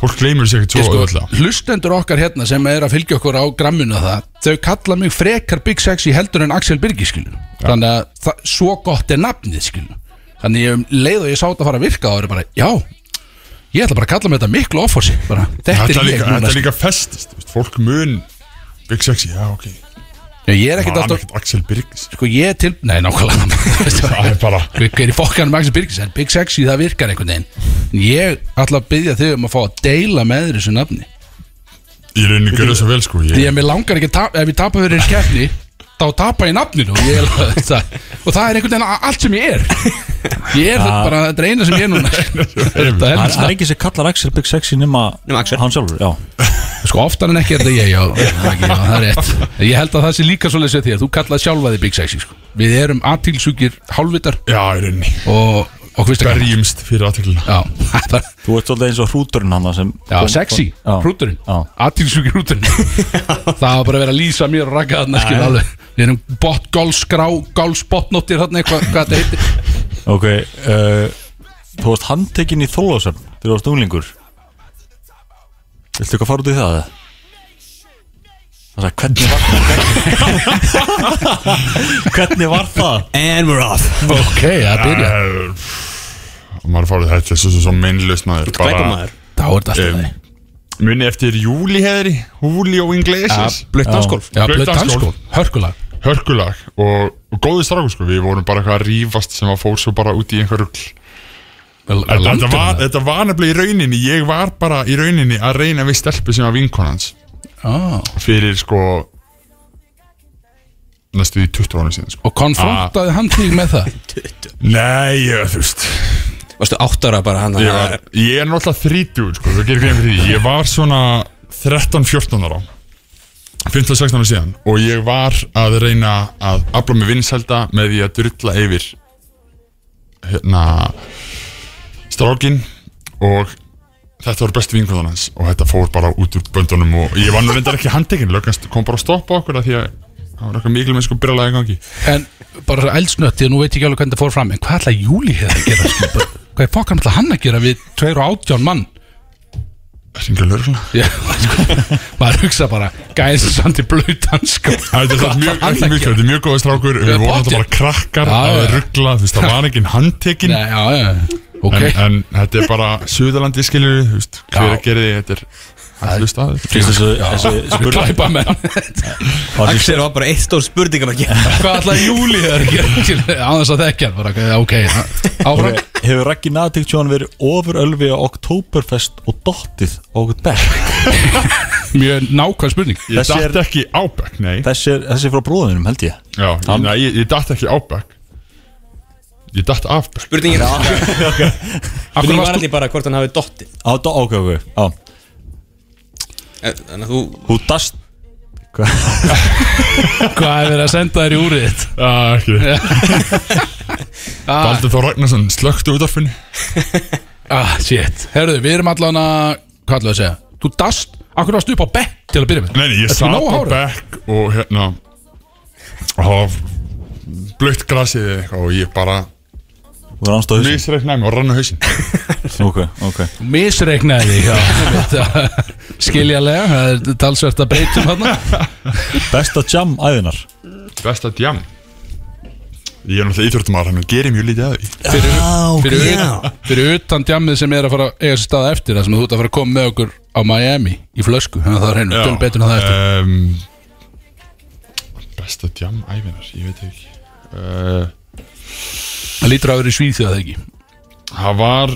Speaker 6: Fólk gleymur sér ekkert
Speaker 2: Ég sko,
Speaker 6: svo öll
Speaker 2: hlustendur okkar hérna sem er að fylgja okkur á gramminu og það, þau kalla mig frekar Big Sexy heldur en Axel Birgis skilur þannig að það, svo gott er nafnið skilur þannig ég um leið og ég sá þetta fara að virka þá er ég bara, já ég ætla bara að kalla mig þetta miklu offorsi bara, þetta er
Speaker 6: Þetta er
Speaker 2: ég
Speaker 6: líka, þetta
Speaker 2: núna sko.
Speaker 6: er
Speaker 2: líka,
Speaker 6: líka festist, þú veist Fólk mun Big Sexy, já, ok
Speaker 2: ég er ekkert
Speaker 6: Man
Speaker 2: alltaf,
Speaker 6: ekkert Axel Birgis
Speaker 2: sko ég er til nei, nákvæmlega
Speaker 6: Það er bara
Speaker 2: Hver er í fokkanum Axel Birgis en Big Sexy það virkar einhvern veginn En ég ætla að byggja þau um að fá að deila með þér þessu nafni
Speaker 6: Ég rauninni að gera svo vel, sko
Speaker 2: Því
Speaker 6: ég,
Speaker 2: að mér langar ekki að tapa, ef ég tapa fyrir þér keppni alltaf að tapa í nafninu og, ég, það, og það er einhvern veginn a- allt sem ég er ég er þetta bara, þetta er eina sem ég er núna um þetta hérna. er
Speaker 3: Það er- það
Speaker 2: helst
Speaker 3: er ekki sem kallar Axel Big Sexy nema
Speaker 4: Nema Axel.
Speaker 3: hann sjálfur já.
Speaker 2: sko oftar en ekki er þetta ég já, það er ekki, já, það er rétt ég held að það sé líka svolítið sér þér, þú kallaði sjálfa þig Big Sexy sko. við erum aðtilsugir hálfvitar
Speaker 6: Já, í rauninni
Speaker 2: og okkur finnst ekki
Speaker 6: Berjumst fyrir aðteklina
Speaker 2: já, það er-
Speaker 3: Þú ert svolítið eins og hrúturinn hann sem
Speaker 2: Já, sexy,
Speaker 3: Já.
Speaker 2: hrúturinn
Speaker 3: Já.
Speaker 2: Atilsjúki hrúturinn Það var bara að vera að lýsa mér og ragga þarna skil alveg Við erum bot, golfskrá, golfsbotnóttir þarna eitthvað, hvað þetta heitir
Speaker 3: Ok, uh, þú varst handtekinn í Þólásöfn þegar þú varst unglingur Viltu eitthvað fara út í það? eða? Það sagði, hvernig var það? hvernig var það?
Speaker 4: And we're off
Speaker 2: Ok, það byrja
Speaker 6: Og Eh, maður fórið þetta Svo svo, svo meinlaust maður
Speaker 4: Glæpamaður
Speaker 2: Þá er þetta alltaf
Speaker 6: um,
Speaker 2: það
Speaker 6: Muni eftir júli heðri Júli og Inglesis
Speaker 4: Blöitt danskólf
Speaker 2: Já, blöð
Speaker 6: Blautt
Speaker 2: danskól, hörkulag
Speaker 6: Hörkulag og, og góði strákur sko Við vorum bara eitthvað að rífast sem að fór svo bara út í einhver rugl Þetta, þetta, var,
Speaker 2: Landurinn
Speaker 6: þetta var nefnilega í rauninni Ég var bara í rauninni að reyna við stelpu sem var vinkonans
Speaker 2: ah,
Speaker 6: Fyrir sko Næstu í 20 ára síðan sko
Speaker 2: Og konfrontaði hann þig með það
Speaker 6: Nei, ég, þú veist
Speaker 4: Varstu áttara bara hann
Speaker 6: Ég, var, Eh, ég er náttúrulega þrítugur sko, þú gerir grein fyrir því Ég var svona 13-14 ára 15-16 ára síðan Og ég var að reyna að afla mig vinsælda með því að drulla yfir Hérna Strákin Og þetta voru bestu vinkunum hans Og þetta fór bara út úr böndunum Og ég var nú reyndar ekki handtekinn Löggast kom bara að stoppa okkur af Því að það var eitthvað mikil með sko byrjalega í gangi
Speaker 2: En bara svo eldsnött, ég nú veit ekki alveg hvernig það fór fram En hvað ætla Júli hefði að gera skil bara, Hvað er fokkan ætla hann að gera við 2 og 18 mann
Speaker 6: Hringja í lögregluna.
Speaker 2: Já, sko, maður hugsa bara Gæðis samt í blöð danskól
Speaker 6: Þetta er samt mjög,
Speaker 2: Hvað
Speaker 6: mjög,
Speaker 2: ætlar
Speaker 6: mjög,
Speaker 2: að gera?
Speaker 6: þetta er mjög góða strákur Við
Speaker 2: Já,
Speaker 6: vorum
Speaker 2: pottir.
Speaker 6: þetta bara krakkar
Speaker 2: Já,
Speaker 6: að
Speaker 2: já.
Speaker 6: ruggla Þú veist, það var ekki handtekinn
Speaker 2: Nei, já, já, ok
Speaker 6: en, en þetta er bara Suðalandi skilur Þú veist, hver
Speaker 2: Já.
Speaker 6: að gera því Þetta er allu staður
Speaker 3: Finnst þessu- þessi spurning
Speaker 2: Glæpa menn
Speaker 3: var þessi-
Speaker 4: Axel var bara eitt stór spurningamarki
Speaker 2: Hvað ætlaði Júli að gera Aðeins að þekkja hann bara, Ok, áfram
Speaker 3: Ok, Hefur Raggi Natiktjón verið ofurölvi á Oktoberfest og dottið á okkur bekk?
Speaker 2: Mjög nákvæm spurning
Speaker 6: Ég
Speaker 3: Þessi er-
Speaker 6: datt ekki ábæk, nei
Speaker 3: Þessi er, þessi er frá bróðinum held ég
Speaker 6: Já,
Speaker 3: Hann-
Speaker 6: nei, ég, ég datt ekki ábæk Ég datt afbæk
Speaker 4: Spurningin
Speaker 2: Akkur
Speaker 4: Spurningin var
Speaker 2: varstu
Speaker 4: allir bara hvort hann hafi dottið
Speaker 3: Á, do, ok, ok, á
Speaker 4: Þannig að þú
Speaker 3: Hú dast
Speaker 2: Hvað er verið að senda þér í úrið þitt
Speaker 6: Já, ekki
Speaker 2: ah,
Speaker 6: Baldur Þór Ragnarsson slökktu útvarfinu
Speaker 2: ah, shit Herðu, við erum allan að Hvað ætlaði að segja Þú dast Akkur varstu upp á bekk til að byrja með
Speaker 6: Nei, nei, ég
Speaker 2: Ertu
Speaker 6: satt
Speaker 2: nóg
Speaker 6: á
Speaker 2: hárið?
Speaker 6: bekk og hérna og það var blöitt grasið eða eitthvað og ég bara
Speaker 3: Þú er ánst á hausinn
Speaker 6: misreiknaði mig og rann á hausinn
Speaker 3: Ok, ok
Speaker 2: Misreiknaði þig, já. Skiljalega Það er talsvert að breytum hann
Speaker 3: Besta jam æðinar
Speaker 6: Besta djam Ég er náttúrulega íþjóttumar hann og gerir mjög lítið að því
Speaker 2: Fyrir,
Speaker 3: ok.
Speaker 2: fyrir, utan, fyrir utan djammið sem er að fara að eiga sér stað eftir Það sem þú ert að fara að koma með okkur á Miami Í flösku, þannig að það er hennu Tölum betur
Speaker 6: Eh.
Speaker 2: en það eftir
Speaker 6: um, Besta djam ævinar, ég veit ekki uh,
Speaker 2: Það lítur að vera í Svíþjóð eða ekki
Speaker 6: Það var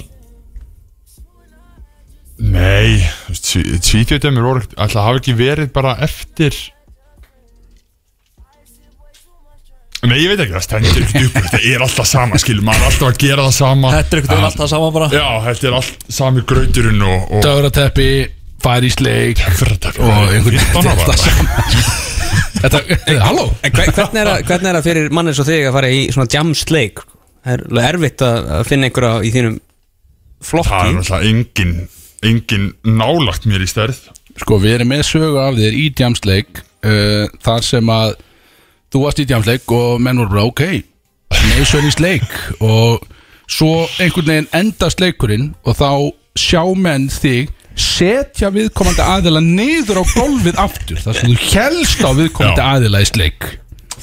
Speaker 6: Nei Tvítjóðdæmur voru ekkert- Ætli Það hafi ekki verið bara eftir Nei, ég veit ekki, það stendur ekki upp Þetta er alltaf sama, skil, maður er alltaf að gera það sama
Speaker 3: Þetta er einhvern veginn alltaf sama bara
Speaker 6: Já, þetta er allt sami grauturinn og, og
Speaker 2: Döðrateppi, færisleik
Speaker 6: Fyrir að taka
Speaker 2: Og einhvern
Speaker 6: Fimmtán ára bara.
Speaker 2: Þetta, eh, halló
Speaker 4: En hver- hvernig er, að, hvernig er að fyrir manni svo þig að fara í svona jamsleik? Það er alveg erfitt að að finna einhverja í þínum
Speaker 6: Það er
Speaker 4: flokki
Speaker 6: náttúrulega engin engin nálagt mér í stærð
Speaker 2: Sko, við erum með sögu af þér í djamsleik uh, Þar sem að Þú varst í djamsleik og menn voru bara ok Nation is leik Og svo einhvern veginn endast leikurinn Og þá sjá menn þig Setja viðkomandi aðila niður á gólfið aftur Þar sem þú helst á viðkomandi
Speaker 6: Já.
Speaker 2: aðila í sleik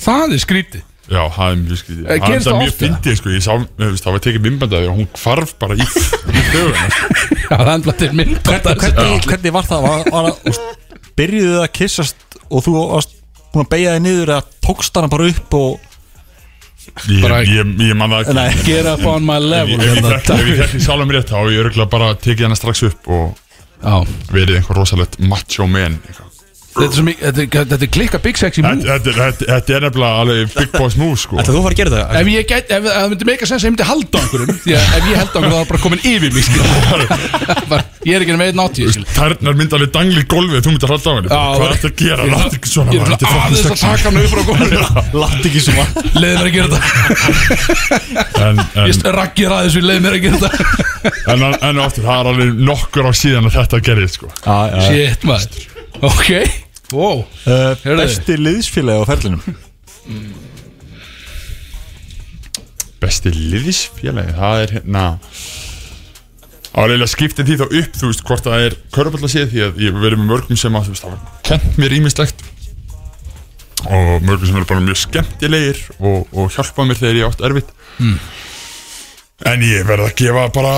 Speaker 2: Það er skrítið
Speaker 6: Já, það er mjög skrítið
Speaker 2: Eh, gerist
Speaker 6: það
Speaker 2: það
Speaker 6: mjög
Speaker 2: oft,
Speaker 6: fyndið, sko Ég sá, þú veist, það var tekið minnbandaði og hún hvarf bara í, í sko. döguna
Speaker 2: Já, það er blættir mynd
Speaker 3: hvernig, hvernig var það? Var, var, úst, byrjuðu þið að kyssast og þú varst búin að beigja þið niður eða tókst hana bara upp og
Speaker 6: Ég,
Speaker 2: Bara-
Speaker 6: ég, ég man það ekki
Speaker 3: Nei,
Speaker 2: Get up on my
Speaker 6: Ef
Speaker 2: level
Speaker 6: ég- ef ég þekki- ef ég þekki sjálfum rétt þá hef ég örgulega bara tekið hana strax upp og
Speaker 2: Já,
Speaker 6: verið einhver rosalegt macho man eitthvað.
Speaker 2: Þetta er, svo mikið, þetta, er- þetta er klikka Big Sexy
Speaker 6: Þetta-
Speaker 2: move
Speaker 6: Þetta þetta- þetta er nefnilega alveg big boss move sko
Speaker 4: Ætlar þú að fara að gera það?
Speaker 2: Ef ég gæti, ef ef það myndi meika sens að ég myndi halda á einhverjum Því að ef ég held á einhverjum þá er bara komin yfir mig skil. sko. Bara, Ég er ekki með einn átíu skil.
Speaker 6: Tærnar mynda alveg dangli í gólfið Þú myndir halda á henni
Speaker 2: Já,
Speaker 6: Hvað
Speaker 2: bara-
Speaker 6: ertu að
Speaker 2: Ég
Speaker 6: gera?
Speaker 2: er
Speaker 6: Láttu ekki svona
Speaker 2: Ég er
Speaker 6: maður, þetta
Speaker 2: bara
Speaker 6: fucking
Speaker 2: aðeins að
Speaker 6: sexy.
Speaker 2: taka hann upp frá góðinu
Speaker 3: Látt ekki sem að
Speaker 2: Leðið mér að gera þetta
Speaker 6: En, en,
Speaker 2: Ég rakkir aðeins við leðið mér að gera þetta
Speaker 6: en, en, en aftur, það er alveg nokkur á síðan að þetta gerðist sko
Speaker 2: Shit maður Ok Wow
Speaker 3: Uh,
Speaker 2: Heyrðu.
Speaker 3: Besti liðsfélagi á ferlinum
Speaker 6: Besti liðisfélagi, það er hérna Það er eiginlega skiptið því þá upp, þú veist, hvort það er Körballa séð því að ég hef verið með mörgum sem að, þú veist, það var kent mér ímislegt Og mörgum sem eru bara mjög skemmtilegir Og, og hjálpað mér þegar ég átt erfitt En ég verð að gefa bara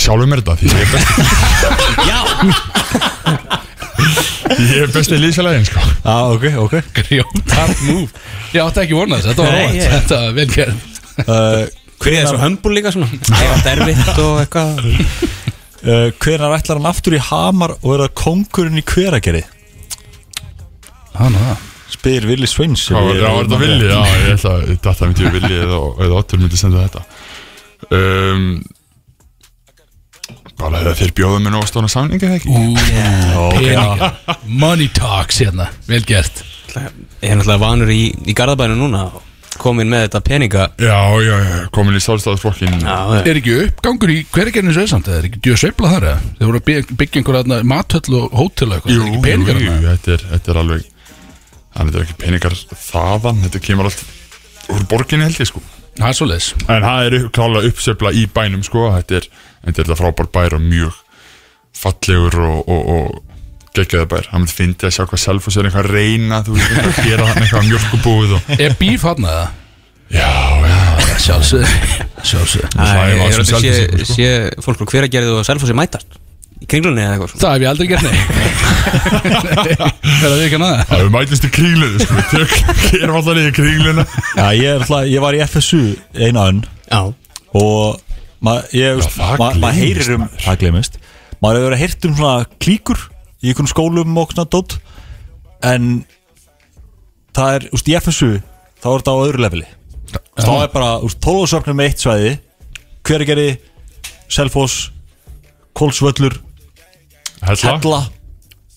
Speaker 6: Sjálfum mér þetta, því ég er besti Já Ég er besti liðsfélagin, sko
Speaker 3: ah, ok, ok
Speaker 2: Grjótar move Ég átti ekki vonað þess Þetta var
Speaker 4: Nei,
Speaker 2: óvænt
Speaker 4: ég-
Speaker 2: Þetta var vel gerð
Speaker 3: uh,
Speaker 4: Hver er svo hömbul líka svona? Það er alltaf erfitt og eitthvað
Speaker 3: uh, Hvenar ætlar hann aftur í Hamar og verða kongurinn í hveragerði?
Speaker 2: Hann og það
Speaker 3: Spyr Willi Sveins
Speaker 6: Já, já, var þetta villi, já, ég ætla að þetta myndi ég villi eða, eða Otur myndi senda þetta um, Bara þegar þeir bjóðu mér nóg stóna samninga eða ekki
Speaker 2: Ú, peninga. Money talks hérna Vel gert
Speaker 4: Ég er náttúrulega vanur í, í Garðabænu núna og Komin með þetta peninga
Speaker 6: Já, já, já, komin í sálstæðarflokkin Já,
Speaker 4: Já,
Speaker 2: Er ekki uppgangur í hverjargerðinu sveðsamt Það er ekki djöð sveifla þar eða? Þeir voru að byggja- byggja einhverja hótel og hótel og eitthvað
Speaker 6: jú,
Speaker 2: Það er
Speaker 6: jú,
Speaker 2: ekki peningar
Speaker 6: jú,
Speaker 2: þarna.
Speaker 6: þetta er, þetta er alveg Þannig þetta er ekki peningar þaðan, þetta kemur allt úr borginni held ég sko
Speaker 2: Það er svoleiðis
Speaker 6: En það er upp- klálega uppsefla í bænum sko Þetta er þetta, er þetta frábær bær og mjög fallegur og, og, og geggjaði bær Það myndi fyndi að sjá hvað Selfoss er eitthvað að reyna Þú veist eitthvað að gera hann eitthvað mjölkubúið og...
Speaker 2: Er bíf hann eða?
Speaker 6: Já, já,
Speaker 2: Sjálfsög Sjálfsög
Speaker 6: það
Speaker 4: Æ,
Speaker 6: er
Speaker 4: Ég
Speaker 6: maður
Speaker 4: er
Speaker 6: sem
Speaker 4: alltaf sé,
Speaker 6: Selfossingur, sko.
Speaker 4: sé fólk úr hver að gera þú og Selfossi mætast Í kringlunni eða eitthvað svona
Speaker 2: Það hef ég aldrei gert nei Verða því ekki hana
Speaker 6: það er mætlist í kringlunni sko Við tök- Gerum alltaf niður kringluna
Speaker 3: Já, ég, er, alltaf- ég var í FSU eina önn
Speaker 4: Já
Speaker 3: og ma- ég, veist,
Speaker 6: það
Speaker 3: ma- maður
Speaker 6: gleymist,
Speaker 3: heyrir um það glemist maður hefur verið að heyrt um svona klíkur í einhvern skólum og svona dót en það er, úst, í FSU þá er þetta á öðru leveli Þú veist, þá er bara, úst, tólfasöfnum með eitt svæði hveragerði, selfoss kólsvöllur,
Speaker 6: Hella,
Speaker 3: hella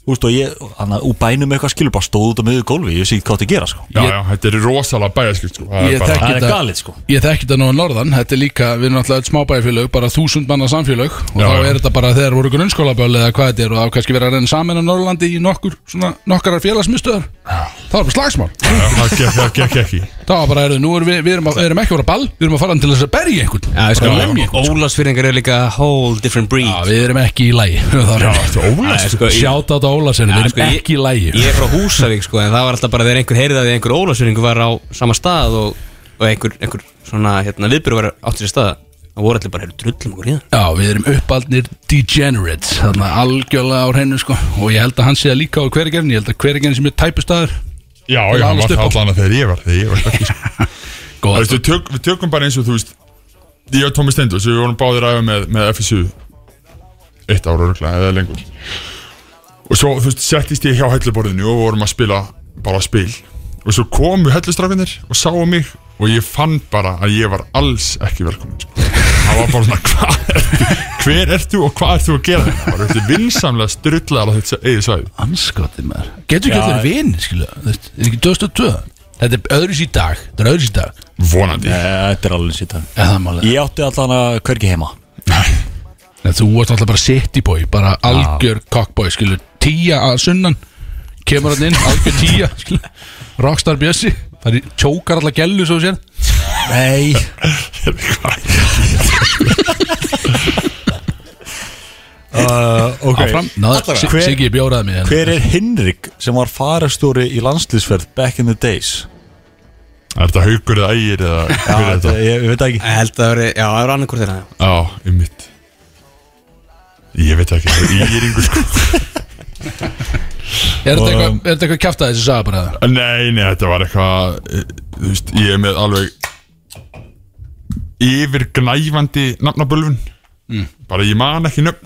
Speaker 3: Úst, og ég, hann úr bænum eitthvað skilur bara stóð út á miður gólfi, ég sé ekki hvað það gera sko.
Speaker 6: já, já, þetta er rosalega bæjarskipt sko Það
Speaker 2: Ég
Speaker 6: er bara
Speaker 2: þekki
Speaker 3: það er
Speaker 2: þetta-
Speaker 3: galið sko
Speaker 2: Ég þekki þetta nú að norðan, þetta er líka, við erum alltaf smábæjarfélög, bara þúsund manna samfélög og
Speaker 6: Já,
Speaker 2: þá
Speaker 6: já.
Speaker 2: er þetta bara þegar voru grunnskólaböli eða hvað þetta er og þá kannski verið að reyna saman á Norrlandi í nokkur, svona nokkarar félagsmyndstöðar það var bara slagsmál,
Speaker 6: Já, það gekk- það gekk ekki
Speaker 2: það var bara, er, nú erum við, við erum, að, erum ekki að fara á ball, við erum að fara til þess að berja einhvern,
Speaker 4: Já, ég sko
Speaker 2: Bara lemja einhvern
Speaker 4: Ólasfyrringar er líka a whole different breed
Speaker 2: Já, við erum ekki í lægi
Speaker 6: Þetta er ólega
Speaker 4: Æ, sko, ég-
Speaker 2: Sjáta þetta Ólasen, við
Speaker 4: Já,
Speaker 2: erum
Speaker 4: sko, ég-
Speaker 2: ekki í lægi
Speaker 4: Ég er frá Húsavík sko en það var alltaf bara þegar einhver heyrði að einhver ólasfyrringu var á sama stað og, og einhver, einhver svona hérna viðbyrðu var átt sér stað Það voru allir bara heyrðu drullum okkur í það
Speaker 2: Já, við erum uppaldnir degenerates Þannig algjörlega á hreinu sko Og ég held að hann sé það líka á hverjargerðin Ég held að hverjargerðin sem er tæpustadur
Speaker 6: Já, já, hann var það allan að þegar ég var Þegar ég var ekki sko Það
Speaker 2: Góð
Speaker 6: veistu, tök, við tökum bara eins og þú veist Ég og Tómi Steindur, sem við vorum báðir aðeins með, með FSU Eitt ára örgulega, eða lengur Og svo, þú veist, settist ég hjá helluborðinu og vorum að spila bara spil Og svo komu hellustrákunir og sáu mig Og ég fann bara að ég var alls ekki velkomin sko. Það var bara svona, hvað ertu, hver ertu og hvað ertu að gera hérna? Það var eftir vinsamlega strullaðar á þetta eigið svæði
Speaker 2: Anskotið maður Getur ekki allir vinn, skilja þú veist, Er ekki 2002 Þetta er öðru í dag Þetta er öðru í dag
Speaker 6: Vonandi
Speaker 3: Eh, Þetta er alveg sýta
Speaker 2: Eða það máli
Speaker 3: Ég átti allan að hvergi heima
Speaker 2: En þú ert alltaf bara city boy Bara algjör cockboy, skilja Tía að sunnan Kemur hann inn, algjör tía skilja Rockstar Bjössi Það er tjókar allar gælu svo sér
Speaker 3: Nei uh, Ok
Speaker 2: Áfram Náður,
Speaker 3: Hver-
Speaker 2: Siggi bjóraði mig hérna.
Speaker 3: Hver er Hinrik sem var farastjóri í landsliðsferð back in the days?
Speaker 6: Er þetta haukur eða ægir eða
Speaker 3: Já,
Speaker 6: hver er
Speaker 3: þetta,
Speaker 6: þetta?
Speaker 3: ég, ég veit það ekki
Speaker 4: Ég held að það veri, já það var annarkur þeirra já.
Speaker 6: Já, um mitt Ég veit ekki, ég er yngur sko
Speaker 2: Er þetta eitthvað- er þetta eitthvað kjaftaði sem sagði bara það?
Speaker 6: Nei, nei, þetta var eitthvað eh, Þú veist, ég er með alveg Mm. Yfirgnæfandi nafnabölfun Bara ég man ekki nöfn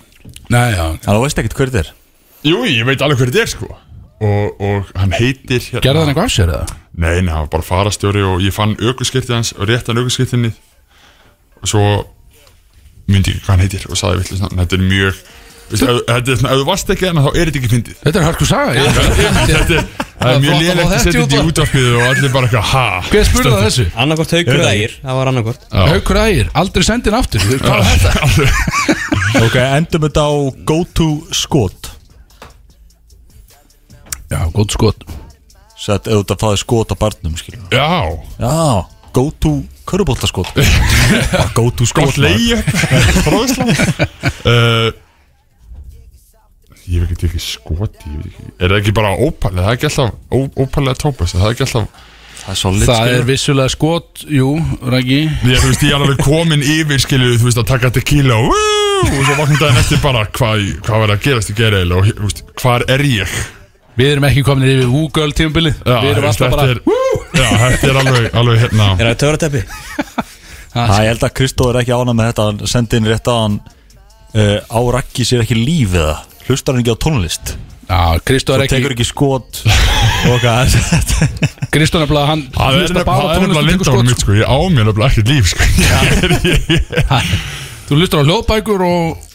Speaker 2: Nei, já,
Speaker 3: Þannig að þú veist ekkert hver þetta er
Speaker 6: Jú, ég veit alveg hver þetta er sko Og, og hann heitir hérna,
Speaker 2: gerði hann eitthvað af sér eða?
Speaker 6: Nei, nei, hann var bara farastjóri og ég fann aukurskirtið hans og réttan aukurskirtinni og svo myndi ég ekki hvað hann heitir og sagði villu svona, þetta er mjög veist, ef, þetta er svona, ef þú varst ekki þannig þá er þetta ekki fyndið
Speaker 2: Þetta er hörku saga ég-
Speaker 6: Þetta er, það er
Speaker 2: flott að
Speaker 6: mjög
Speaker 2: fá
Speaker 6: lélegt að
Speaker 2: þetta
Speaker 6: setja
Speaker 2: út á-
Speaker 6: þetta í útvarpið og allir bara eitthvað ha
Speaker 2: Hver spurði það þessu?
Speaker 4: Annarkort haukur eða ægir, það var annarkort
Speaker 2: Haukur ægir, aldrei sendin aftur Hvað er þetta?
Speaker 3: Ok, endum þetta á go to skot
Speaker 2: Já, góð skot
Speaker 3: Sett eða þetta fáið skot á barnum skilur við.
Speaker 6: Já,
Speaker 3: Já, go to körubóltaskot Bara Go to skot
Speaker 6: gott leið Fróðsla uh, Ég veit ekki skoti ég veit ekki, Er það ekki bara ópalið? Það er ekki alltaf ó, ópalið að tópa Það er ekki alltaf
Speaker 3: Það er solid
Speaker 2: Það
Speaker 3: skilur
Speaker 2: er
Speaker 3: við.
Speaker 2: vissulega skot, jú, Raggi
Speaker 6: Ég, þú veist, ég er alveg komin yfir, skilju, þú veist, að taka tequila og "Woo!" og svo vakna daginn eftir bara hvað, hvað var að gerast í gerðil og þú veist, hvar er ég?
Speaker 2: Við erum ekki komin yfir Google tímabilið Við
Speaker 6: þú
Speaker 2: erum
Speaker 6: veist,
Speaker 2: alltaf bara
Speaker 6: þetta er, Já, þetta er alveg, alveg hérna
Speaker 4: Er það töfrateppi?
Speaker 3: Það ég held að Kristó er ekki ánað með þetta Hann sendi inn rétt að hann uh, Á rakki sér ekki lífið það Hlustar hann ekki á tónlist
Speaker 2: Já, Kristó er
Speaker 3: Það
Speaker 2: ekki
Speaker 3: tekur ekki skot Og hvað
Speaker 2: Kristó nefnilega hann
Speaker 6: Það er
Speaker 2: hlustar
Speaker 6: nefnilega-
Speaker 2: bara á
Speaker 6: það er
Speaker 2: tónlist og
Speaker 6: nefnilega
Speaker 2: tekur
Speaker 6: lindónum
Speaker 2: skot,
Speaker 6: mitt, sko, ég á mér nefnilega ekkert líf, sko
Speaker 2: Þú hlustar á hljóðbækur og,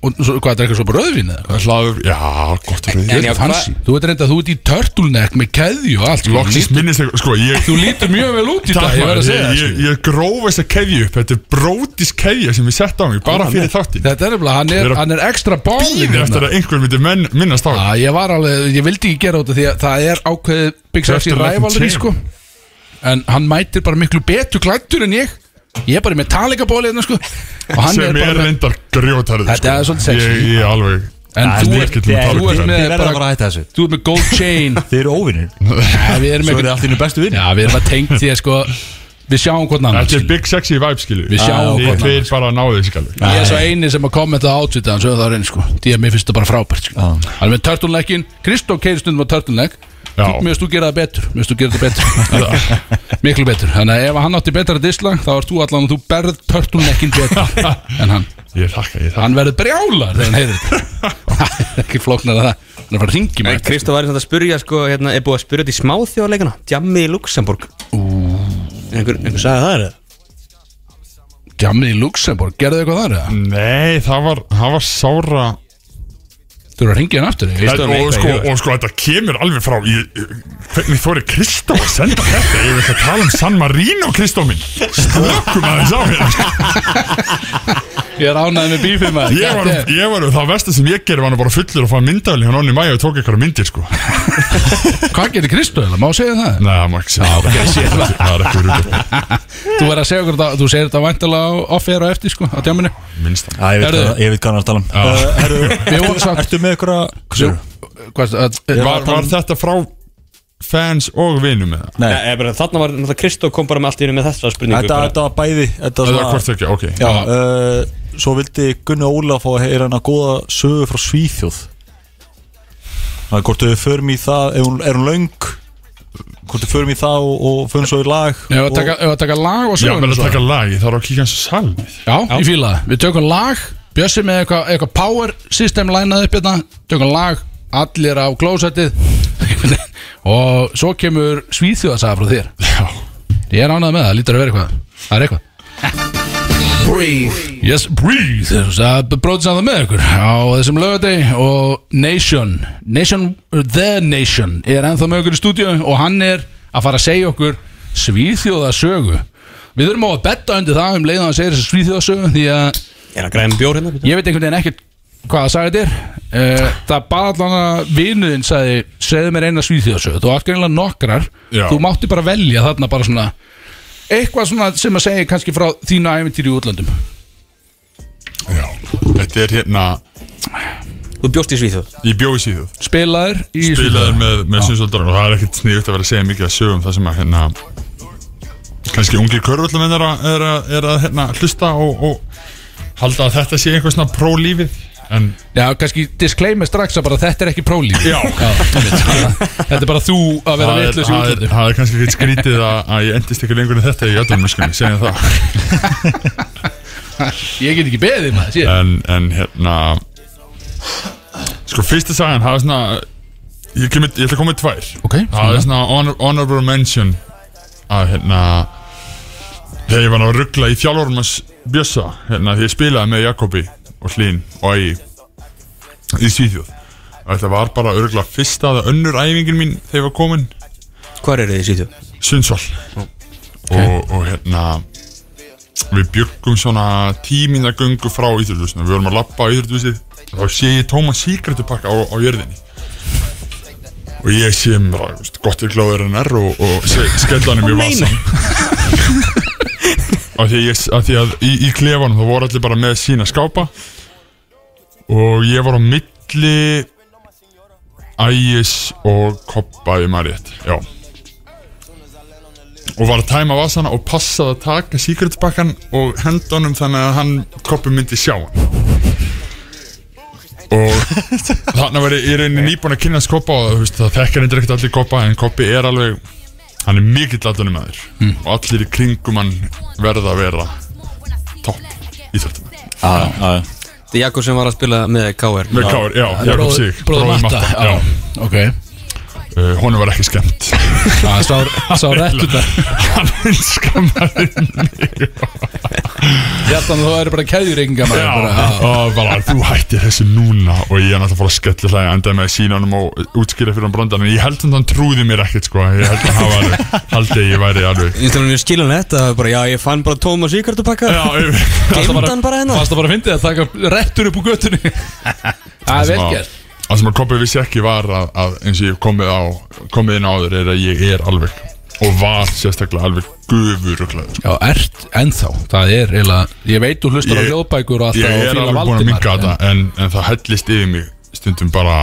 Speaker 2: og svo, hvað, þetta er eitthvað svo bara rauðvín eða?
Speaker 6: Það er Hlaður, já, gott að
Speaker 2: Ég
Speaker 6: reyða
Speaker 2: er fancy Þú veit reynda að þú ert í turtleneck með keðju og allt sko.
Speaker 6: Loksins minnist ég, sko, ég
Speaker 2: Þú lítur mjög vel út í dag,
Speaker 6: Takk
Speaker 2: ég verð
Speaker 6: maður,
Speaker 2: að
Speaker 6: ég,
Speaker 2: segja það,
Speaker 6: ég,
Speaker 2: sko.
Speaker 6: ég gróf þess að keðju upp Þetta er brótis keðja sem ég sett á mig bara fyrir þáttinn
Speaker 2: Þetta er hérna. nefnilega, hann
Speaker 6: Ég
Speaker 2: er,
Speaker 6: er að
Speaker 2: hann er ekstra bálin
Speaker 6: Býðir eftir að einhver myndi menn, minnast á
Speaker 2: Já, ég var alveg, ég vildi ekki gera þetta því að það er ákveðið Big Sexy
Speaker 6: Turtleneck
Speaker 2: rivalry
Speaker 6: chain.
Speaker 2: sko En hann mætir bara miklu betur klættur en ég Ég er bara með talegabóli hérna sko Og hann er
Speaker 6: sem
Speaker 2: bara
Speaker 6: er
Speaker 2: með
Speaker 6: reyndar grjótarður
Speaker 2: Þetta er svolítið sexy.
Speaker 6: ég, ég alveg
Speaker 2: En
Speaker 6: Nei,
Speaker 2: þú
Speaker 6: ég
Speaker 2: ert-
Speaker 6: get nú talað
Speaker 2: þú
Speaker 6: um
Speaker 2: ert
Speaker 6: það.
Speaker 2: með
Speaker 3: Þið verða bara að
Speaker 2: bara
Speaker 3: hætta þessu
Speaker 2: Þú ert með gold chain
Speaker 3: Þið eru óvinnir
Speaker 2: Ja, Við erum
Speaker 3: Svo er þið
Speaker 2: eitthvað
Speaker 3: allt í einu bestu vinn
Speaker 2: Já, við erum að tengt því að sko Við sjáum hvort sko. annan
Speaker 6: Þetta er big sexy vibe skilur
Speaker 2: Við sjáum
Speaker 6: Þið
Speaker 2: hvort
Speaker 6: tveir bara náðu þessi galvi
Speaker 2: Ég er svo eini sem að kommenta á átvitað hans Það er einn sko, því að mér finnst þetta bara frábært sko. Það er með törtunleikin, Kristó keiri stundum á törtunleik
Speaker 6: Já.
Speaker 2: Mér finnst þú gera það betur Mér finnst þú gera það betur Miklu betur, þannig að ef hann átti betra disla Þá ert þú allan að þú berð törtunleikin betur En hann,
Speaker 6: Ég þakka, ég þakka
Speaker 2: hann verður brjálar Þegar hann heyrir þetta Það er Ekki flóknar að það, hann er bara að ringi
Speaker 4: Nei,
Speaker 2: mig
Speaker 4: Kristó var einhvern veginn að spyrja sko, hérna, er búið að spyrja þetta í smáþjóðleikana Djammi í Luxemburg Einhver, einhver sagði það er það
Speaker 2: Djammið í Luxemburg, gerðu eitthvað þar eða?
Speaker 6: Nei, það var, það var sára
Speaker 2: Þú eru að ringi hann aftur ég veist
Speaker 6: Þetta-
Speaker 2: það.
Speaker 6: og, sko, og sko, þetta kemur alveg frá ég, Hvernig þóri Kristó að senda þetta Ég vil ekki að tala um San Marino Kristó minn Slökkum aðeins á mér sko.
Speaker 2: Ég er ánæðið með bífið maður
Speaker 6: Ég var,
Speaker 2: Þetta er-
Speaker 6: ég var það vestu sem ég gerði var nú bara fullur að fá myndavel hjá Nonni Mæja og tók eitthvað myndir sko Nei,
Speaker 2: Hvað gerir Kristó, eiginlega? má segja það?
Speaker 6: það má ekki segja það Það er ekki rúið
Speaker 2: Þú verður að segja okkur þetta, þú segir þetta væntalega off-air og eftir sko, á djáminu
Speaker 6: Minnst það
Speaker 3: Já, ég veit
Speaker 2: Herðu.
Speaker 3: hvað- ég veit hvað hann er að tala um Uh, herðu,
Speaker 2: Við vorum samt
Speaker 3: Ertu með ykkur að
Speaker 2: Jú, hvað, að,
Speaker 6: Var, var þetta frá fans og vinum með það?
Speaker 3: Nei,
Speaker 4: Nei, bara, Þarna var náttúrulega Kristó kom bara með allt í einu með þessa spurningu
Speaker 3: þetta,
Speaker 4: bara,
Speaker 3: þetta var bæði Þetta
Speaker 6: Það var
Speaker 3: var
Speaker 6: hvort ekki, ok
Speaker 3: Já, uh, svo vildi Gunni Óla fá að heyra hann að góða sögu frá Svíþjóð Það er hvort við förum í það ef hún, er hún löng hvort við förum í það og, og förum svo í lag
Speaker 2: Ef að
Speaker 3: og,
Speaker 2: taka, ef að taka lag og
Speaker 6: Já,
Speaker 2: sögur
Speaker 6: menn að taka lag, ég þarf að kíka eins og salmið
Speaker 2: Já, ég fíla það, við tökum lag Bjössi með eitthvað eitthva power system lænað upp hérna, tökum lag Allir á klósettið Og svo kemur svíþjóðasaga frá þér
Speaker 6: Já,
Speaker 2: Ég er ánægð með það, lítur að vera eitthvað Það er eitthvað Breathe Yes, breathe Það bróðis að það með ykkur á þessum lögadeg og Nation, Nation uh, The Nation er ennþá með ykkur í stúdíu og hann er að fara að segja okkur svíþjóðasögu Við þurfum á að betta undir það um leiðan að hann segir þessa svíþjóðasögu því að
Speaker 4: Er það græðin bjór hérna?
Speaker 2: ég veit einhvern veginn ekkert hvað það sagði þetta er uh, það bara allan að vinuðin sagði segðu mér eina svíþjóðsögu, þú átt greinlega nokkrar
Speaker 6: Já.
Speaker 2: þú mátti bara velja þarna bara svona eitthvað svona sem að segja kannski frá þínu æfintýri í útlöndum
Speaker 6: já Þetta er hérna,
Speaker 4: Þú bjóst í Svíþjóð
Speaker 6: ég bjóði síðuð
Speaker 2: spilaður í
Speaker 6: Spilaður
Speaker 2: Svíþjóð.
Speaker 6: með, með sinnsöldar og það er ekkert sniðugt að vera að segja mikið að sögum það sem að hérna kannski ungir körvöldamenn er að, er að, er að hérna, hlusta og, og halda að þetta sé einhver svona prólífið en
Speaker 2: Já, kannski disclaimer strax að bara þetta er ekki prólíf
Speaker 6: Já.
Speaker 2: Þetta er bara þú að vera
Speaker 6: það er,
Speaker 2: vitlaus í
Speaker 6: það, er,
Speaker 2: útlöndum
Speaker 6: það er kannski ekkert skrítið að, að ég endist ekki lengur en þetta í öllumöskunni, segjum það
Speaker 2: Ég get ekki beðið maður, síðan
Speaker 6: en, en hérna Sko fyrsta sagan, það er svona Ég, kem, ég ætla að koma með tvær
Speaker 2: Ok,
Speaker 6: Það er svona honor, honorable mention Að hérna Þegar ég var að ruggla í þjálfórum hans Bjössa Hérna því ég spilaði með Jakobi Og Hlín og Ægi Í Svíþjóð Þetta var bara örgulega fyrsta að önnur æfingin mín Þegar ég var komin
Speaker 4: Hvar eru þið í sýtu?
Speaker 6: Sundsvall og, og hérna Við bjökkum svona tíminda göngu frá Íþjóðlúsinu Við vorum að labba á Íþjóðlúsið Þá sé ég tóma síkretupakka á, á jörðinni Og ég sé mér að veist, gott er gláður en er Og, og se- skella hann í mjög vasan Af því að, ég, af því að í, í klefanum þá voru allir bara með sína skápa Og ég var á milli Ægis og Koppa í Mariett Já og var að tæma vasana og passaði að taka síkretbakkan og henda honum þannig að hann koppi myndi sjá hann og þannig var ég í rauninni nýbúin að kynna skoppa og þú veist, það þekkar eitthvað ekkert allir koppa en koppi er alveg hann er mikill aðdunum aður mm. og allir í kringum hann verða að vera topp í þörtum
Speaker 3: já,
Speaker 4: Þetta er Jakob sem var að spila með KR
Speaker 6: með Káur, já, Jakob Sig,
Speaker 2: Bróður Matta
Speaker 6: já,
Speaker 2: já, Ok,
Speaker 6: uh, honum var ekki skemmt
Speaker 2: það sá, sá rétt út það
Speaker 6: hann skammaði
Speaker 2: Hjartan þú eru bara keðjureykingar maður bara, ah.
Speaker 6: Já, og bara þú hættir þessu núna og ég er náttúrulega fór að skella hlæja endaði með að sína honum og útskýra fyrir hann brandan en ég held að hann trúði mér ekkert sko ég held að hann var haldið að ég væri alveg
Speaker 4: Ég finnst alveg mjög skiljanlegt að bara, já, ég fann bara tóma síkartupakka
Speaker 6: Já, ég,
Speaker 2: Fannst það
Speaker 4: Geymdi hann bara hérna?
Speaker 2: Fannst það bara að fyndi að taka réttur upp úr göttunni Það er vel
Speaker 6: að-
Speaker 2: gert
Speaker 6: það sem að kopið vissi ekki var að, að eins og ég komið á komið inn áður er að ég er alveg og var sérstaklega alveg gufur og klæður sko.
Speaker 2: Já, ert ennþá, það er eiginlega Ég veit þú hlustar á
Speaker 6: Ég-
Speaker 2: hljóðbækur og alltaf
Speaker 6: ég
Speaker 2: og
Speaker 6: er
Speaker 2: fílar
Speaker 6: alveg búin að
Speaker 2: Valdimar,
Speaker 6: minga
Speaker 2: en-
Speaker 6: þetta en, en það hellist yfir mig stundum bara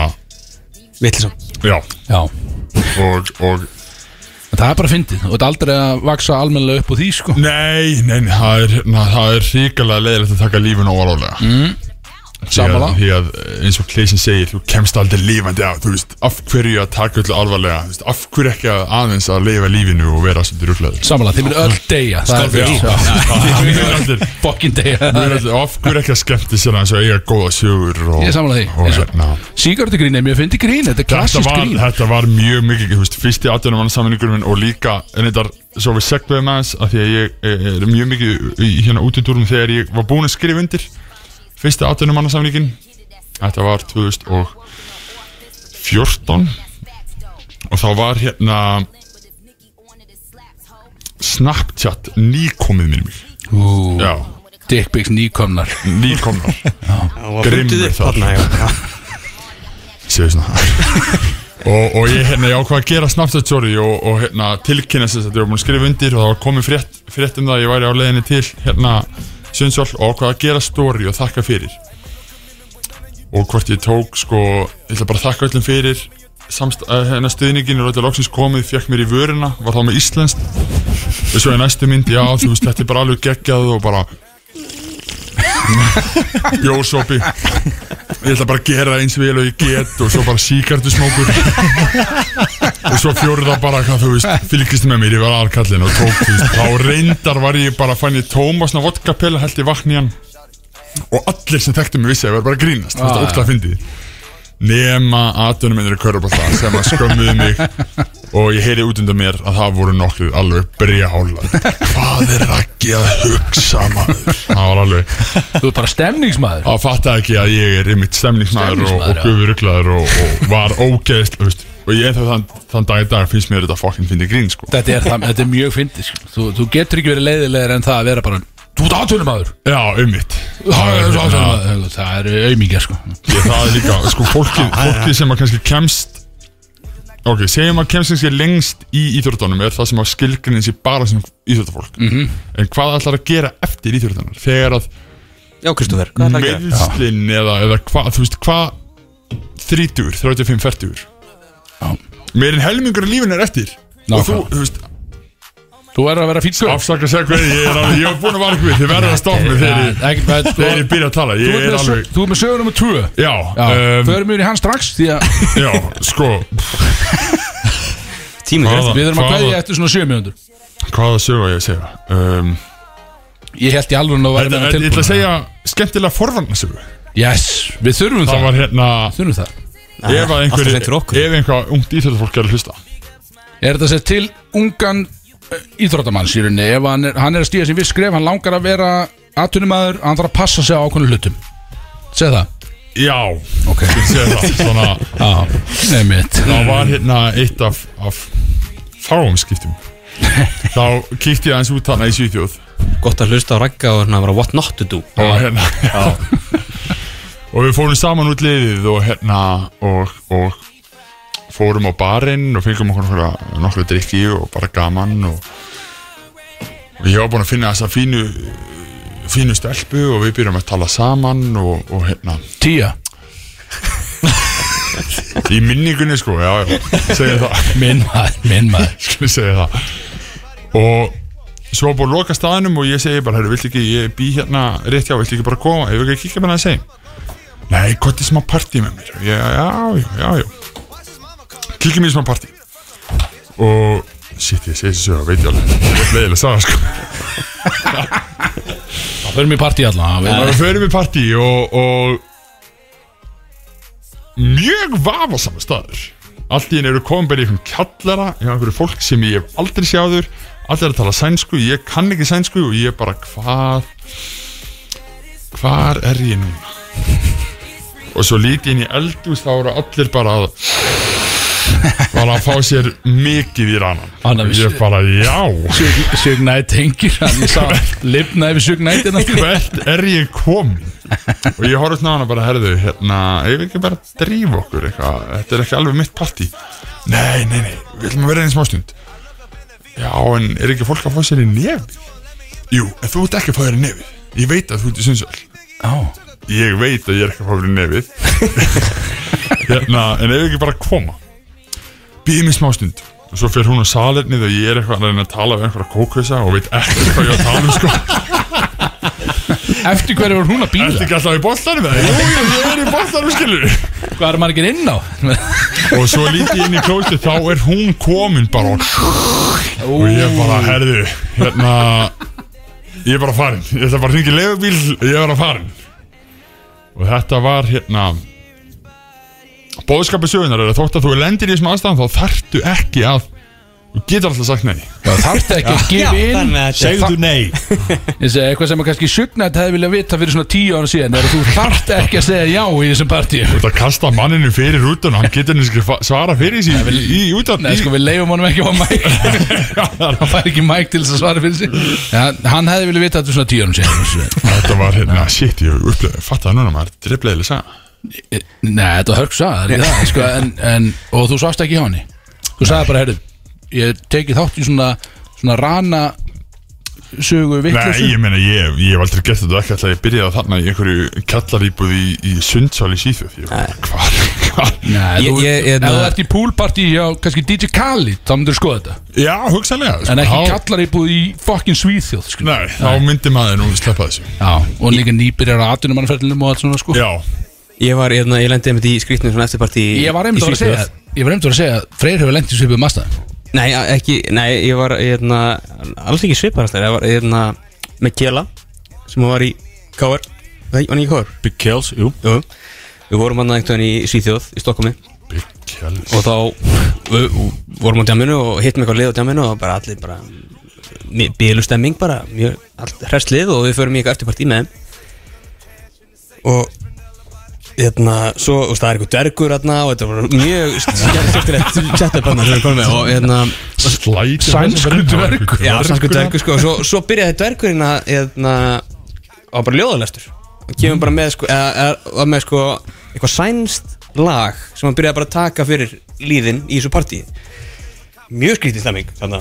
Speaker 4: Vittlisam
Speaker 6: já
Speaker 2: Já,
Speaker 6: og, og
Speaker 2: en það er bara fyndið og þetta er aldrei að vaksa almennilega upp úr því sko
Speaker 6: Nei, nei, nei, það er, na, það er ríkalega leiðilegt að taka lífun óarálega mm.
Speaker 2: sammála.
Speaker 6: Því að eins og Kleysin segir, þú kemst aldrei lífandi af Þú veist, af hverju að taka öllu alvarlega Þú veist, Af hverju ekki að aðeins að leifa lífinu og vera svolítið rúklaður
Speaker 2: Samanlega, þið myndir öll deyja Það
Speaker 6: Já,
Speaker 2: er
Speaker 6: já, já, við erum allir-
Speaker 2: fokkin deyja
Speaker 6: við erum allir- Af hverju ekki að skemmti sér aðeins og eiga góða sögur og,
Speaker 2: Ég er sammála því,
Speaker 6: og,
Speaker 2: eins og-
Speaker 6: hérna,
Speaker 2: Sigurðugrín er mjög fyndið grín, þetta er
Speaker 6: þetta,
Speaker 2: klassist
Speaker 6: var,
Speaker 2: grín
Speaker 6: þetta var mjög mikið, þú veist, fyrsti atvinnum mann sammenningur minn og líka, en þetta svo við segveðum aðeins af því að ég eh, er mjög mikið í hérna út í túrum þegar ég var búinn að skrifa undir fyrsti atvinnum mann sammenningun þetta var 2014 og þá var hérna Snapchat nýkomið minni mig
Speaker 2: Ú,
Speaker 6: já,
Speaker 2: Dickpics nýkomnar
Speaker 6: nýkomnar grimmur þar séu svona og, og ég hérna, ég ákvað að gera Snapchat story og, og hérna, tilkynna þess að ég var búin að skrifa undir og það var komið frétt, frétt um það að ég væri á leiðinni til hérna Sundsvall og ákvað að gera story og þakka fyrir og hvort ég tók sko, ég ætla bara að þakka öllum fyrir samst, að, hérna stuðningin er öllum loksins komið, fekk mér í vörina var þá með íslenskt og svo í næstu mynd, já þú veist, þetta er bara alveg geggjað og bara Jósopi Ég ætla bara að gera eins vel og ég get Og svo bara síkartu smókur Og svo fjóruða bara hvað þú veist Fylgist með mér, ég var aðkallin og tók þú veist, Þá reyndar var ég bara fann ég tóma Svona vodkapela held ég vatn í hann Og allir sem þekktu mig vissi að ég var bara að grínast Þetta ógla að fyndi Nema aðdunum minnir í körubólta Sem að skömmuðu mig Og ég heyri út undan mér að það voru nokkur Alveg brjálar Hvað er Raggi að hugsa maður Það var alveg
Speaker 2: Þú er bara stemningsmaður
Speaker 6: að fatta ekki að ég er einmitt stemningsmaður og, og
Speaker 2: Stemningsmaður, já.
Speaker 6: gufuruglaður og, og var ógeðist þú veist. og ég ennþá þann, þann dag í dag finnst mér þetta fokkin fyndi grín sko.
Speaker 2: Þetta er, það, þetta er mjög fyndið sko. þú, þú getur ekki verið leiðilegur en það að vera bara Þú ert aðtunumadur
Speaker 6: já, einmitt það er, það,
Speaker 2: Það eru aumingja sko
Speaker 6: ég, það er líka, sko, fólki, fólki sem að kannski kemst ok, segjum að kemst kannski lengst í íþjórdunum er það sem að skilgrinin sé bara sem íþjórdafólk -hmm. en hvað ætlar að gera eftir íþjórdunar þegar að
Speaker 4: Já, Kristoffer, hvað er það að gera?
Speaker 6: meðslinn eða, eða hvað, þú veist, hvað 30, 35, 40
Speaker 2: Já.
Speaker 6: meirinn helmingur af lífin er eftir og þú,
Speaker 2: Nákvæmlega.
Speaker 6: þú veist,
Speaker 2: Þú verður að vera fýtt sko
Speaker 6: afsaka að segja hverju ég er alveg, ég var búin að vara ykkur við, þið verður að stoppa mig þegar ég- þegar ég
Speaker 2: Þú
Speaker 6: byrja að tala, ég
Speaker 2: ert
Speaker 6: er
Speaker 2: með sö-
Speaker 6: alveg
Speaker 2: þú ert með sögur nummer 2
Speaker 6: já,
Speaker 2: Já,
Speaker 6: um,
Speaker 2: förum við í hann strax Því að
Speaker 6: já, sko
Speaker 4: Tíminn er
Speaker 6: Hvaða-
Speaker 2: við erum að
Speaker 6: hvaða-
Speaker 2: kveðja eftir svona 7 mínútur
Speaker 6: hvaða sögur ég að segja um,
Speaker 2: Ég held í alveg að
Speaker 6: þetta-
Speaker 2: vera með
Speaker 6: þetta- ég ætla að
Speaker 2: tilbúin
Speaker 6: segja skemmtilega forvarnasögu
Speaker 2: Yes, við þurfum
Speaker 6: það
Speaker 2: það
Speaker 6: var hérna
Speaker 2: Þurfum það
Speaker 6: ef að
Speaker 4: alltaf
Speaker 6: einhverju
Speaker 4: seint fyrir okkur.
Speaker 6: ef einhvað ungt íþjóðafólk er að hlusta
Speaker 2: Er þetta sér til ungan eh, íþróttamanns í rauninni ef hann er, hann er að stíða sér viss skref, hann langar að vera atvinnumæður, hann þarf að passa sig á ákveðnum hlutum Segð það
Speaker 6: já,
Speaker 2: Ok
Speaker 6: ég sé það svona,
Speaker 2: Já, nefnitt
Speaker 6: það var hérna eitt af, af fáum skiptum þá kíkti ég aðeins út þarna í Svíþjóð
Speaker 4: Gott að hlusta á ragga og hérna bara what not to do
Speaker 6: og hérna og við fórum saman út liðið og hérna og, og fórum á barinn og fengum okkur nokkra, nokkra drikki og bara gaman og, og ég var búinn að finna þessa fínu fínu stelpu og við byrjum að tala saman og, og hérna
Speaker 2: Tía
Speaker 6: í minningunni sko, já, já, segjum það
Speaker 2: Minn maður, minn maður
Speaker 6: skulum segja það og svo búið að loka staðanum og ég segi bara, herru, viltu ekki, ég bý hérna rétt hjá, viltu ekki bara koma, ef ekki að kíkja með það að segja nei, gott í smá partí með mér já, já, já, já, já kíkjum í smá partí og shit, ég segi þessu sögur, veit ég alveg ég er leiðilega sagði sko
Speaker 2: Það fyrir mér partí allan
Speaker 6: og
Speaker 2: við-
Speaker 6: við förum í partí og, og mjög vafasamma staður allt í henni eru komin bara í einhvern kjallara hjá einhverju fólk sem ég hef aldrei sjáður allir að tala sænsku, ég kann ekki sænsku og ég bara hvað hvar er ég núna og svo líti inn í eldús þá eru allir bara að bara að fá sér mikið í rannan
Speaker 2: Annað vissi-
Speaker 6: ég bara já
Speaker 2: Sug- Sugnæt hengir hann í sá- Lifnaði við sugnætina
Speaker 6: hvert er ég komin og ég horfði svona á hana bara herðu hérna, ég vil ekki bara drífa okkur eitthvað, þetta er ekki alveg mitt partí nei, nei, nei, við ætlum að vera einn smástund já, en er ekki fólk að fá sér í nefi jú, en þú ert ekki að fá þér í nefi ég veit að þú ert í sunnsöld ég veit að ég er ekki að fá fyrir nefið hérna, en ef ekki bara að koma býði mig smástund og svo fer hún á salernið og ég er eitthvað að reyna að tala við einhverja kókvisa og veit ekkert hvað ég á að tala um sko
Speaker 2: Eftir hverju var hún að
Speaker 6: Ertu
Speaker 2: býða?
Speaker 6: ekki alltaf í boltanum eða? Jú, jú, ég er í boltanum, skilur
Speaker 2: Hvað er maður ekki inn á?
Speaker 6: Og svo lítið inn í klósið, þá er hún komin bara Og og ég bara, herðu, hérna Ég er bara farin Ég ætla bara að hringja í leifubíl, ég er bara farin Og þetta var, hérna Bóðskapi sögunar er að þótt að þú lendir í þessum aðstæðan Þá þarftu ekki að Þú getur alltaf sagt nei
Speaker 2: Þarfti ekki að gefa inn
Speaker 4: þannig að þetta
Speaker 3: Segðu nei
Speaker 2: Ég segi eitthvað sem að kannski sugnæt hefði viljað vita fyrir svona tíu ára síðan er að þú þarft ekki að segja já í þessum partí
Speaker 6: Þú ert að kasta manninu fyrir rútun Hann getur nýskri svara fyrir sig í, í, í útvarp-
Speaker 2: Nei,
Speaker 6: í-
Speaker 2: sko, við leifum honum ekki á mæk Hann fær ekki mæk til þess að svara fyrir sig ja, Hann hefði viljað vita þetta fyrir svona tíu árum sér
Speaker 6: Þetta var hérna, shit, ég upplega, fattaði núna maður, driflegileg saga.
Speaker 2: Nei, þetta var hörgsa það, sko, en, en, Og þú sást ekki hjá henni Þú sagði bara, herrðu Ég teki þátt í svona, svona rana Sögu
Speaker 6: Nei,
Speaker 2: vitleysu
Speaker 6: ég meina, ég, ég hef aldrei gert þetta ekki alltaf ég byrjaði þarna í einhverju kjallaríbúð í, í Sundsvall í Svíþjóð. Ég bara, hvað, hvað?
Speaker 2: Nei,
Speaker 4: Ég-
Speaker 2: þú,
Speaker 4: ég- ég-
Speaker 2: ef þú ert í poolpartí hjá kannski DJ Khalid, þá myndir skoða þetta
Speaker 6: Já, hugsanlega. sko,
Speaker 2: En ekki
Speaker 6: þá-
Speaker 2: kallar íbúð í fokkin Svíþjóð sko.
Speaker 6: Nei, þá myndi maður nú sleppa þessu.
Speaker 2: Já, og líka nýbyrjar á atvinnumannferðlinum og allt svona sko
Speaker 6: Já,
Speaker 4: Ég var, hérna, ég lendi einmitt í skrýtnum svona eftirparti í-
Speaker 2: Ég var einmitt
Speaker 4: í
Speaker 2: að vera að
Speaker 4: Svíþjóð.
Speaker 2: segja Ég var einmitt að vera að segja að Freyr hefur lent í svipuð mastaðum
Speaker 4: Nei, a- ekki, nei, ég var, hérna, alls ekki sviparastar Ég var, hérna, með Kjela sem var í K.R. Nei, var hann í K.R.?
Speaker 3: Big Kels, jú
Speaker 4: Jú Við vorum hann einhvern veginn í Svíþjóð, í Stokkumi
Speaker 6: byggjælis.
Speaker 4: og þá við, vorum á djamminu og hittum eitthvað lið á djamminu og bara allir bara bílustemming bara, mjög, allt hrest lið og við förum í eitthvað eftirpartí með þeim og hérna, svo, og það er eitthvað dvergur hérna og þetta var mjög skemmtilegt setup hérna sem við komum með og hérna,
Speaker 6: Slæti.
Speaker 2: Sænskur dvergur.
Speaker 4: já, sannsku dvergur sko og svo, svo byrjaði dvergurinn að hérna, á bara ljóðalestur og kemur bara með sko, eða, eða, var með sko eitthvað sænst lag sem hann byrjaði bara að taka fyrir líðin í þessu partíi mjög skrítið stemming þarna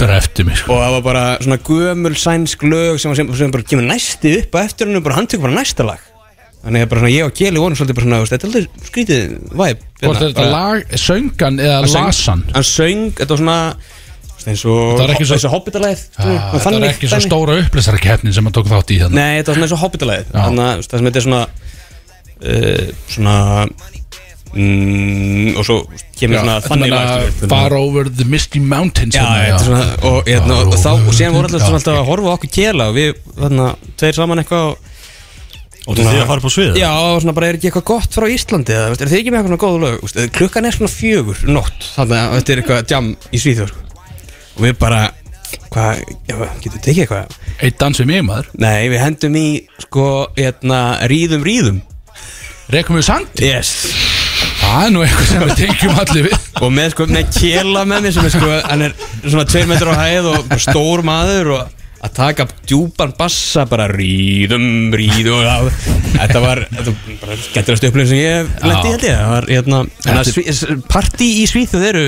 Speaker 2: Drefti mig sko
Speaker 4: og það var bara svona gömul sænsk lög sem, sem, sem bara kemur næsti upp og eftir hann bara hann tekur bara næsta lag þannig að bara svona ég og Kjeli vonum svolítið bara svona þú veist, þetta er aldrei skrítið væp
Speaker 2: Hvort er þetta lag, söngan eða lasan
Speaker 4: hann söng, þetta var svona þú veist, eins og
Speaker 2: Þetta var ekki svo- Ah,
Speaker 4: eins og hobbitalæð
Speaker 2: Þetta er ekki svo stóra upplýsarkeppnin sem hann tók þátt í þannig
Speaker 4: Nei, þetta var svona eins og Hobbitalæðið
Speaker 2: Já.
Speaker 4: Þannig að það sem þetta er svona uh, Svona mm, Og svo kemur svona þannig lagt
Speaker 2: Far over the misty mountains
Speaker 4: Já,
Speaker 2: hérna,
Speaker 4: þetta er svona Og, hérna,
Speaker 2: Far
Speaker 4: og,
Speaker 2: over
Speaker 4: þá, og síðan voru
Speaker 2: the-
Speaker 4: alltaf,
Speaker 2: Já,
Speaker 4: hérna, alltaf að horfa á okkur kjela Og við, þannig að, tveir saman eitthvað og,
Speaker 3: Og til því að fara upp á sviðið?
Speaker 4: Já, og svona bara er ekki eitthvað gott frá Íslandi eða, veist, er þið ekki með eitthvað svona góð lög veist, eða klukkan er svona fjögur nótt þannig að þetta er eitthvað jam í Svíþjóð sko. og við bara hvað, já, getum við tekið eitthvað
Speaker 2: Eitt dans við mig maður
Speaker 4: nei, við hendum í sko, hérna, ríðum ríðum
Speaker 2: Rekum við sand
Speaker 4: yes.
Speaker 2: Það er nú eitthvað sem við tengjum allir við
Speaker 4: og með sko, með kjela með mér sem er sko, hann er svona tveir metrar á hæð og bara stór maður og að taka djúpan bassa bara ríðum, ríðum og það- þetta var, þetta var bara skemmtilegast upplifin sem ég lendi í held ég það var, hérna, hérna, sví, partí í Svíþjóð eru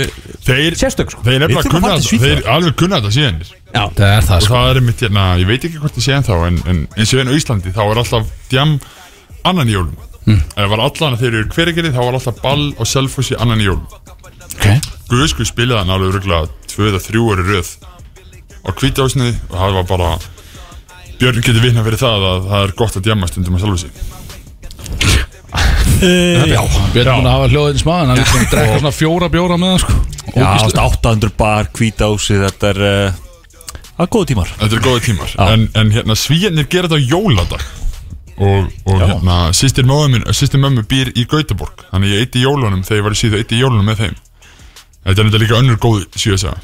Speaker 6: Þeir,
Speaker 4: Sérstök, sko.
Speaker 6: þeir nefnilega
Speaker 3: Við þurfum að
Speaker 6: kunna
Speaker 3: fara til
Speaker 6: þetta Þeir alveg kunna þetta síðan
Speaker 4: já,
Speaker 2: Það er það
Speaker 6: Og
Speaker 2: sko
Speaker 6: það er mitt hérna Ég veit ekki hvort ég sé en þá En, en eins og enn á Íslandi Þá er alltaf djam annan í jólum
Speaker 2: Hmm.
Speaker 6: Það var allan að þeir eru hveragerði Þá var alltaf ball og selfossi annan í jólum
Speaker 2: okay.
Speaker 6: Guðsku spilaði hann alveg röglega tvö eða þrjú ári röð á kvításnið og það var bara Björn getur vinna fyrir það að það er gott að djama stundum að sjálfu sig
Speaker 3: Eh,
Speaker 2: Björn er búin að hafa hljóðin smá En hann er búin að drekka svona fjóra bjóra með hann sko
Speaker 3: Já,
Speaker 2: Ógeðslega.
Speaker 3: 800 bar, hvít ási, þetta er uh, Það er góð tímar
Speaker 6: Þetta er góða tímar en, en hérna svíjarnir gera þetta á jóladag og, og hérna sýstir mömmu mín sýstir mömmu býr í Gautaborg þannig ég eitt í jólunum þegar ég var í síðu eitt í jólunum með þeim Þetta er þetta líka önnur góð síðu að segja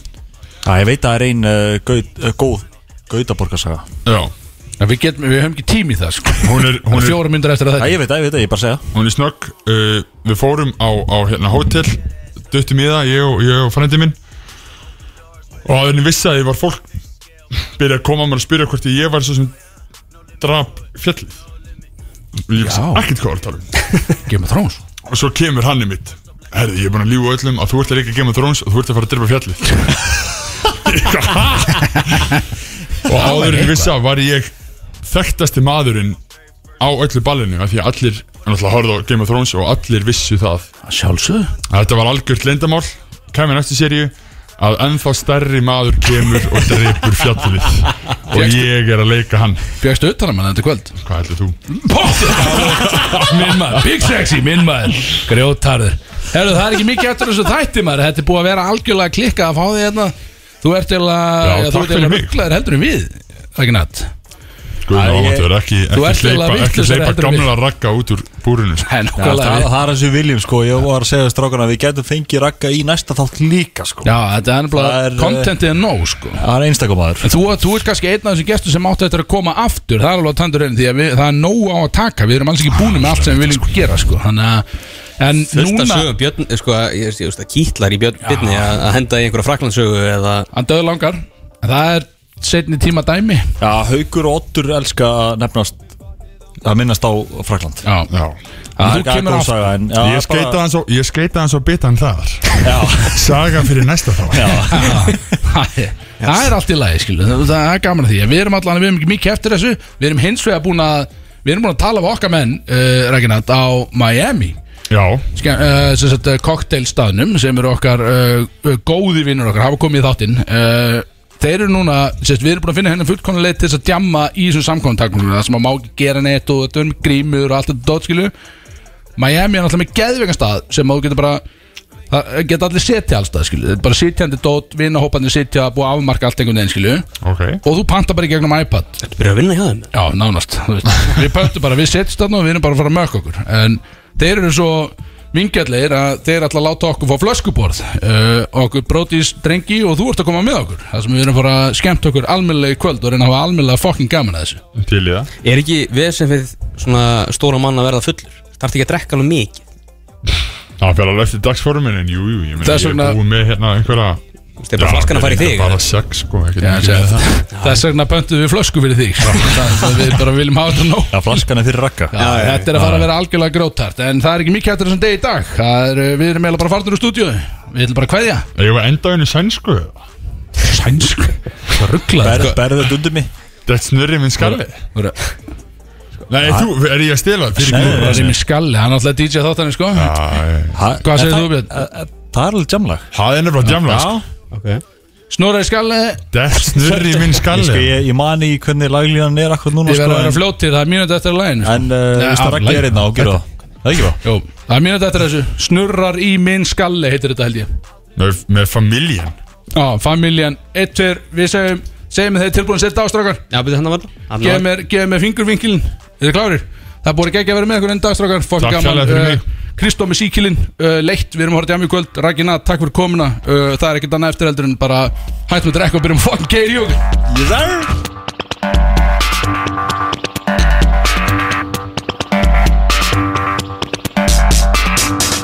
Speaker 3: Já, ég veit að það er ein uh, gaut, uh, góð Gautaborgarsaga
Speaker 6: Já,
Speaker 2: En Við, getum, við höfum ekki tími í það sko
Speaker 6: hún er,
Speaker 2: Það
Speaker 6: hún
Speaker 2: er
Speaker 6: er,
Speaker 2: fjóra myndir eftir að
Speaker 3: Já,
Speaker 2: þetta
Speaker 3: ég veit að, ég veit að, ég bara segja
Speaker 6: hún er snögg uh, Við fórum á, á hérna hótel Duttum í það, ég og, ég og frændi minn Og að henni vissi að ég var fólk Byrja að koma að mér að spyrja hvort ég var svo sem Drap fjallið Ég vissi
Speaker 2: Já.
Speaker 6: ekkert hvað var að tala um
Speaker 2: Game of Thrones
Speaker 6: Og svo kemur hann í mitt Herði, ég er búin að lífa öllum að þú ert að leika Game of Thrones og þú ert að fara að drepa fjallið Ég, "Ha?" Og áður en ég vissi að var ég Þekktasti maðurinn Á öllu ballinu af Því að allir, hann ætla að horfa á Game of Thrones Og allir vissu það
Speaker 2: Sjálfsög
Speaker 6: að Þetta var algjört leyndamál Kæmi næstu seríu Að ennþá stærri maður kemur og dreipur fjallið Og ég er að leika hann
Speaker 2: Fjögstu utan að mann þetta kvöld
Speaker 6: Hvað heldur þú?
Speaker 2: Minn maður, Big Sexy, minn maður Grjótarður Herru, það er ekki mikið eftir þessu þætti maður Þetta er búið að vera algjörlega klikka að fá því hérna Þú ert til að
Speaker 6: Já, takk
Speaker 2: Þú ert til
Speaker 6: fyrir
Speaker 2: að
Speaker 6: mig.
Speaker 2: rugglaður heldur en við Það er ekki nætt
Speaker 6: Guð,
Speaker 2: Æ,
Speaker 6: það
Speaker 2: ég-
Speaker 6: áttu ekki,
Speaker 2: Þú ert
Speaker 6: ekki hleypa,
Speaker 2: eiginlega
Speaker 6: ekki
Speaker 2: vitlausari
Speaker 6: hleypa
Speaker 2: heldur en
Speaker 6: gamla ragga út úr búrinu sko.
Speaker 2: Það er
Speaker 3: Já, það,
Speaker 2: nákvæmlega við.
Speaker 3: það er þessi viljum sko, ég var að segja strákan að við getum fengið rakka í næsta þátt líka sko
Speaker 2: Já, þetta er
Speaker 3: Það er,
Speaker 2: nefnilega
Speaker 3: eh,
Speaker 2: Contentið er nóg, sko
Speaker 3: Það er einstakum maður
Speaker 2: En þú, þú ert kannski einn af þessum gestur sem áttu eftir að koma aftur Það er alveg að tandur einn Því að við, það er nóg á að taka Við erum alls ekki búin með allt sem við viljum gera sko. Þannig að En
Speaker 4: Fullt af
Speaker 2: núna
Speaker 4: sögum björn, eh, sko, ég veist, ég veist, það kýtlar í björn, björni að að henda í einhverja fraklandsögu eða
Speaker 2: Hann döðu langar En það er setni tíma dæmi
Speaker 3: Já, Haukur og Ottur elska að nefnast að minnast á Frakland
Speaker 2: Já,
Speaker 6: Já.
Speaker 2: En þú kemur aftur
Speaker 3: saga, en, já,
Speaker 6: Ég skeita hans og, ég skeita hans og bitan þar
Speaker 3: Já,
Speaker 6: Saga fyrir næsta þá
Speaker 3: já,
Speaker 2: Það er- það er allt í lagi skilu það, það er gaman að því En Við erum allan, við erum ekki mikið eftir þessu Við erum hins vegar búin að Við erum búin að tala við okkar menn uh, Reginald á Miami
Speaker 6: Já,
Speaker 2: Ske- eh, sem sagt, uh, cocktailstaðnum sem eru okkar uh, góði vinnur okkar hafa komið í þáttinn uh, þeir eru núna, sérst, við erum búin að finna hennar fullkomna leið til þess að djamma í þessum samkomntaknum það sem að má ekki gera neitt og þetta er með grímur og allt þetta dót skilu Miami er náttúrulega með geðvegan stað sem að þú getur bara það geta allir setja allstað skilu þetta er bara sitjandi dót, vinnahópandi sitja búið að afmarka allt einhvern veginn skilu
Speaker 6: ok
Speaker 2: og þú panta bara í gegnum iPad
Speaker 4: Þetta byrja að vinna hjá þeim
Speaker 2: Já, nánast þú veist. Við pöntum bara, við setjum þarna og við erum bara að fara að mökka okkur En þeir eru svo vingjallegir að þeir ætla að láta okkur fá flöskuborð uh, Okkur brótis drengi og þú ert að koma með okkur Það sem við erum að fara að skemmt okkur almennlega í kvöld og reyna að hafa almennlega fokkin gaman að þessu
Speaker 6: Til í það
Speaker 4: Er ekki vesen fyrir svona stóra mann að verða fullur? Þarf ekki að drekka alveg mikið
Speaker 6: Það fyrir alveg eftir dagsformin en jú, jú, ég meina
Speaker 2: Þess
Speaker 6: ég
Speaker 2: vegna-
Speaker 6: er búið með hérna einhverja
Speaker 4: Þú veist, er bara flaskan að fara í þig
Speaker 6: Bara sex, sko, ekkert
Speaker 2: Já,
Speaker 6: mikið
Speaker 2: segja
Speaker 6: meira.
Speaker 2: það. Þess vegna pöntum við flösku fyrir þig Það það við bara viljum hafa þetta nóg
Speaker 3: já flaskan er fyrir rakka
Speaker 2: Já, þetta er að fara að vera algjörlega grótart En það er ekki mikið hættur þessum degi í dag Það er, uh, Við erum eiginlega bara farnir úr stúdíu Við ætlum bara að kveðja
Speaker 6: Ég var enda á einu sænsku
Speaker 2: Sænsk Rugglaður
Speaker 3: Ber, Berðu þetta undir mig
Speaker 6: Þetta snurri minn skalvi Nei, þú, er ég að stela? Fyrir
Speaker 3: Nei,
Speaker 6: ekki
Speaker 2: Það er mér skalli, hann er alltaf DJ þáttanir sko
Speaker 6: Æ,
Speaker 3: Ha-
Speaker 2: Hvað
Speaker 3: en
Speaker 2: segir
Speaker 3: það-
Speaker 2: þú, Björn?
Speaker 3: eh, eh, Það er alveg jamlag
Speaker 6: Það er nefnilega djamla, sko
Speaker 2: Snorri skalli,
Speaker 6: Þetta snurri minn
Speaker 3: Ég, sko,
Speaker 6: skalvi
Speaker 3: ég, ég mani í hvernig laglíðan er akkur núna
Speaker 2: ég verður
Speaker 3: sko,
Speaker 2: að vera
Speaker 3: en-
Speaker 2: fljótið, það er mínúti eftir að lægin
Speaker 3: En uh,
Speaker 2: Nei,
Speaker 3: veist
Speaker 2: af
Speaker 3: að rakka
Speaker 2: laginu.
Speaker 3: er einna og gera það Það er ekki það
Speaker 2: Jú, það er mínúti eftir þessu Snurrar í minn skalli heitir þetta held ég
Speaker 6: Með, með familjan
Speaker 2: Já, familjan, eitt fyrr, við segjum Segjum þeir tilbúin að setja ástrákar
Speaker 4: Já, byrja hann að verða
Speaker 2: Gefum mér, gefum mér fingurvinkilin, er þið klárir? Það búið ekki að vera með ykkur enn dagstrákar Fólk
Speaker 6: Takk
Speaker 2: gaman eh,
Speaker 6: kærlega fyrir mig.
Speaker 2: Kristó með síkilinn uh, Leitt, við erum að horta hjá mjög kvöld Ragina, takk Eh, fyrir komuna uh, Það er ekkert annað eftir heldur en bara Hættum að drekka og byrjum að fucking geir júk
Speaker 3: Yes, sir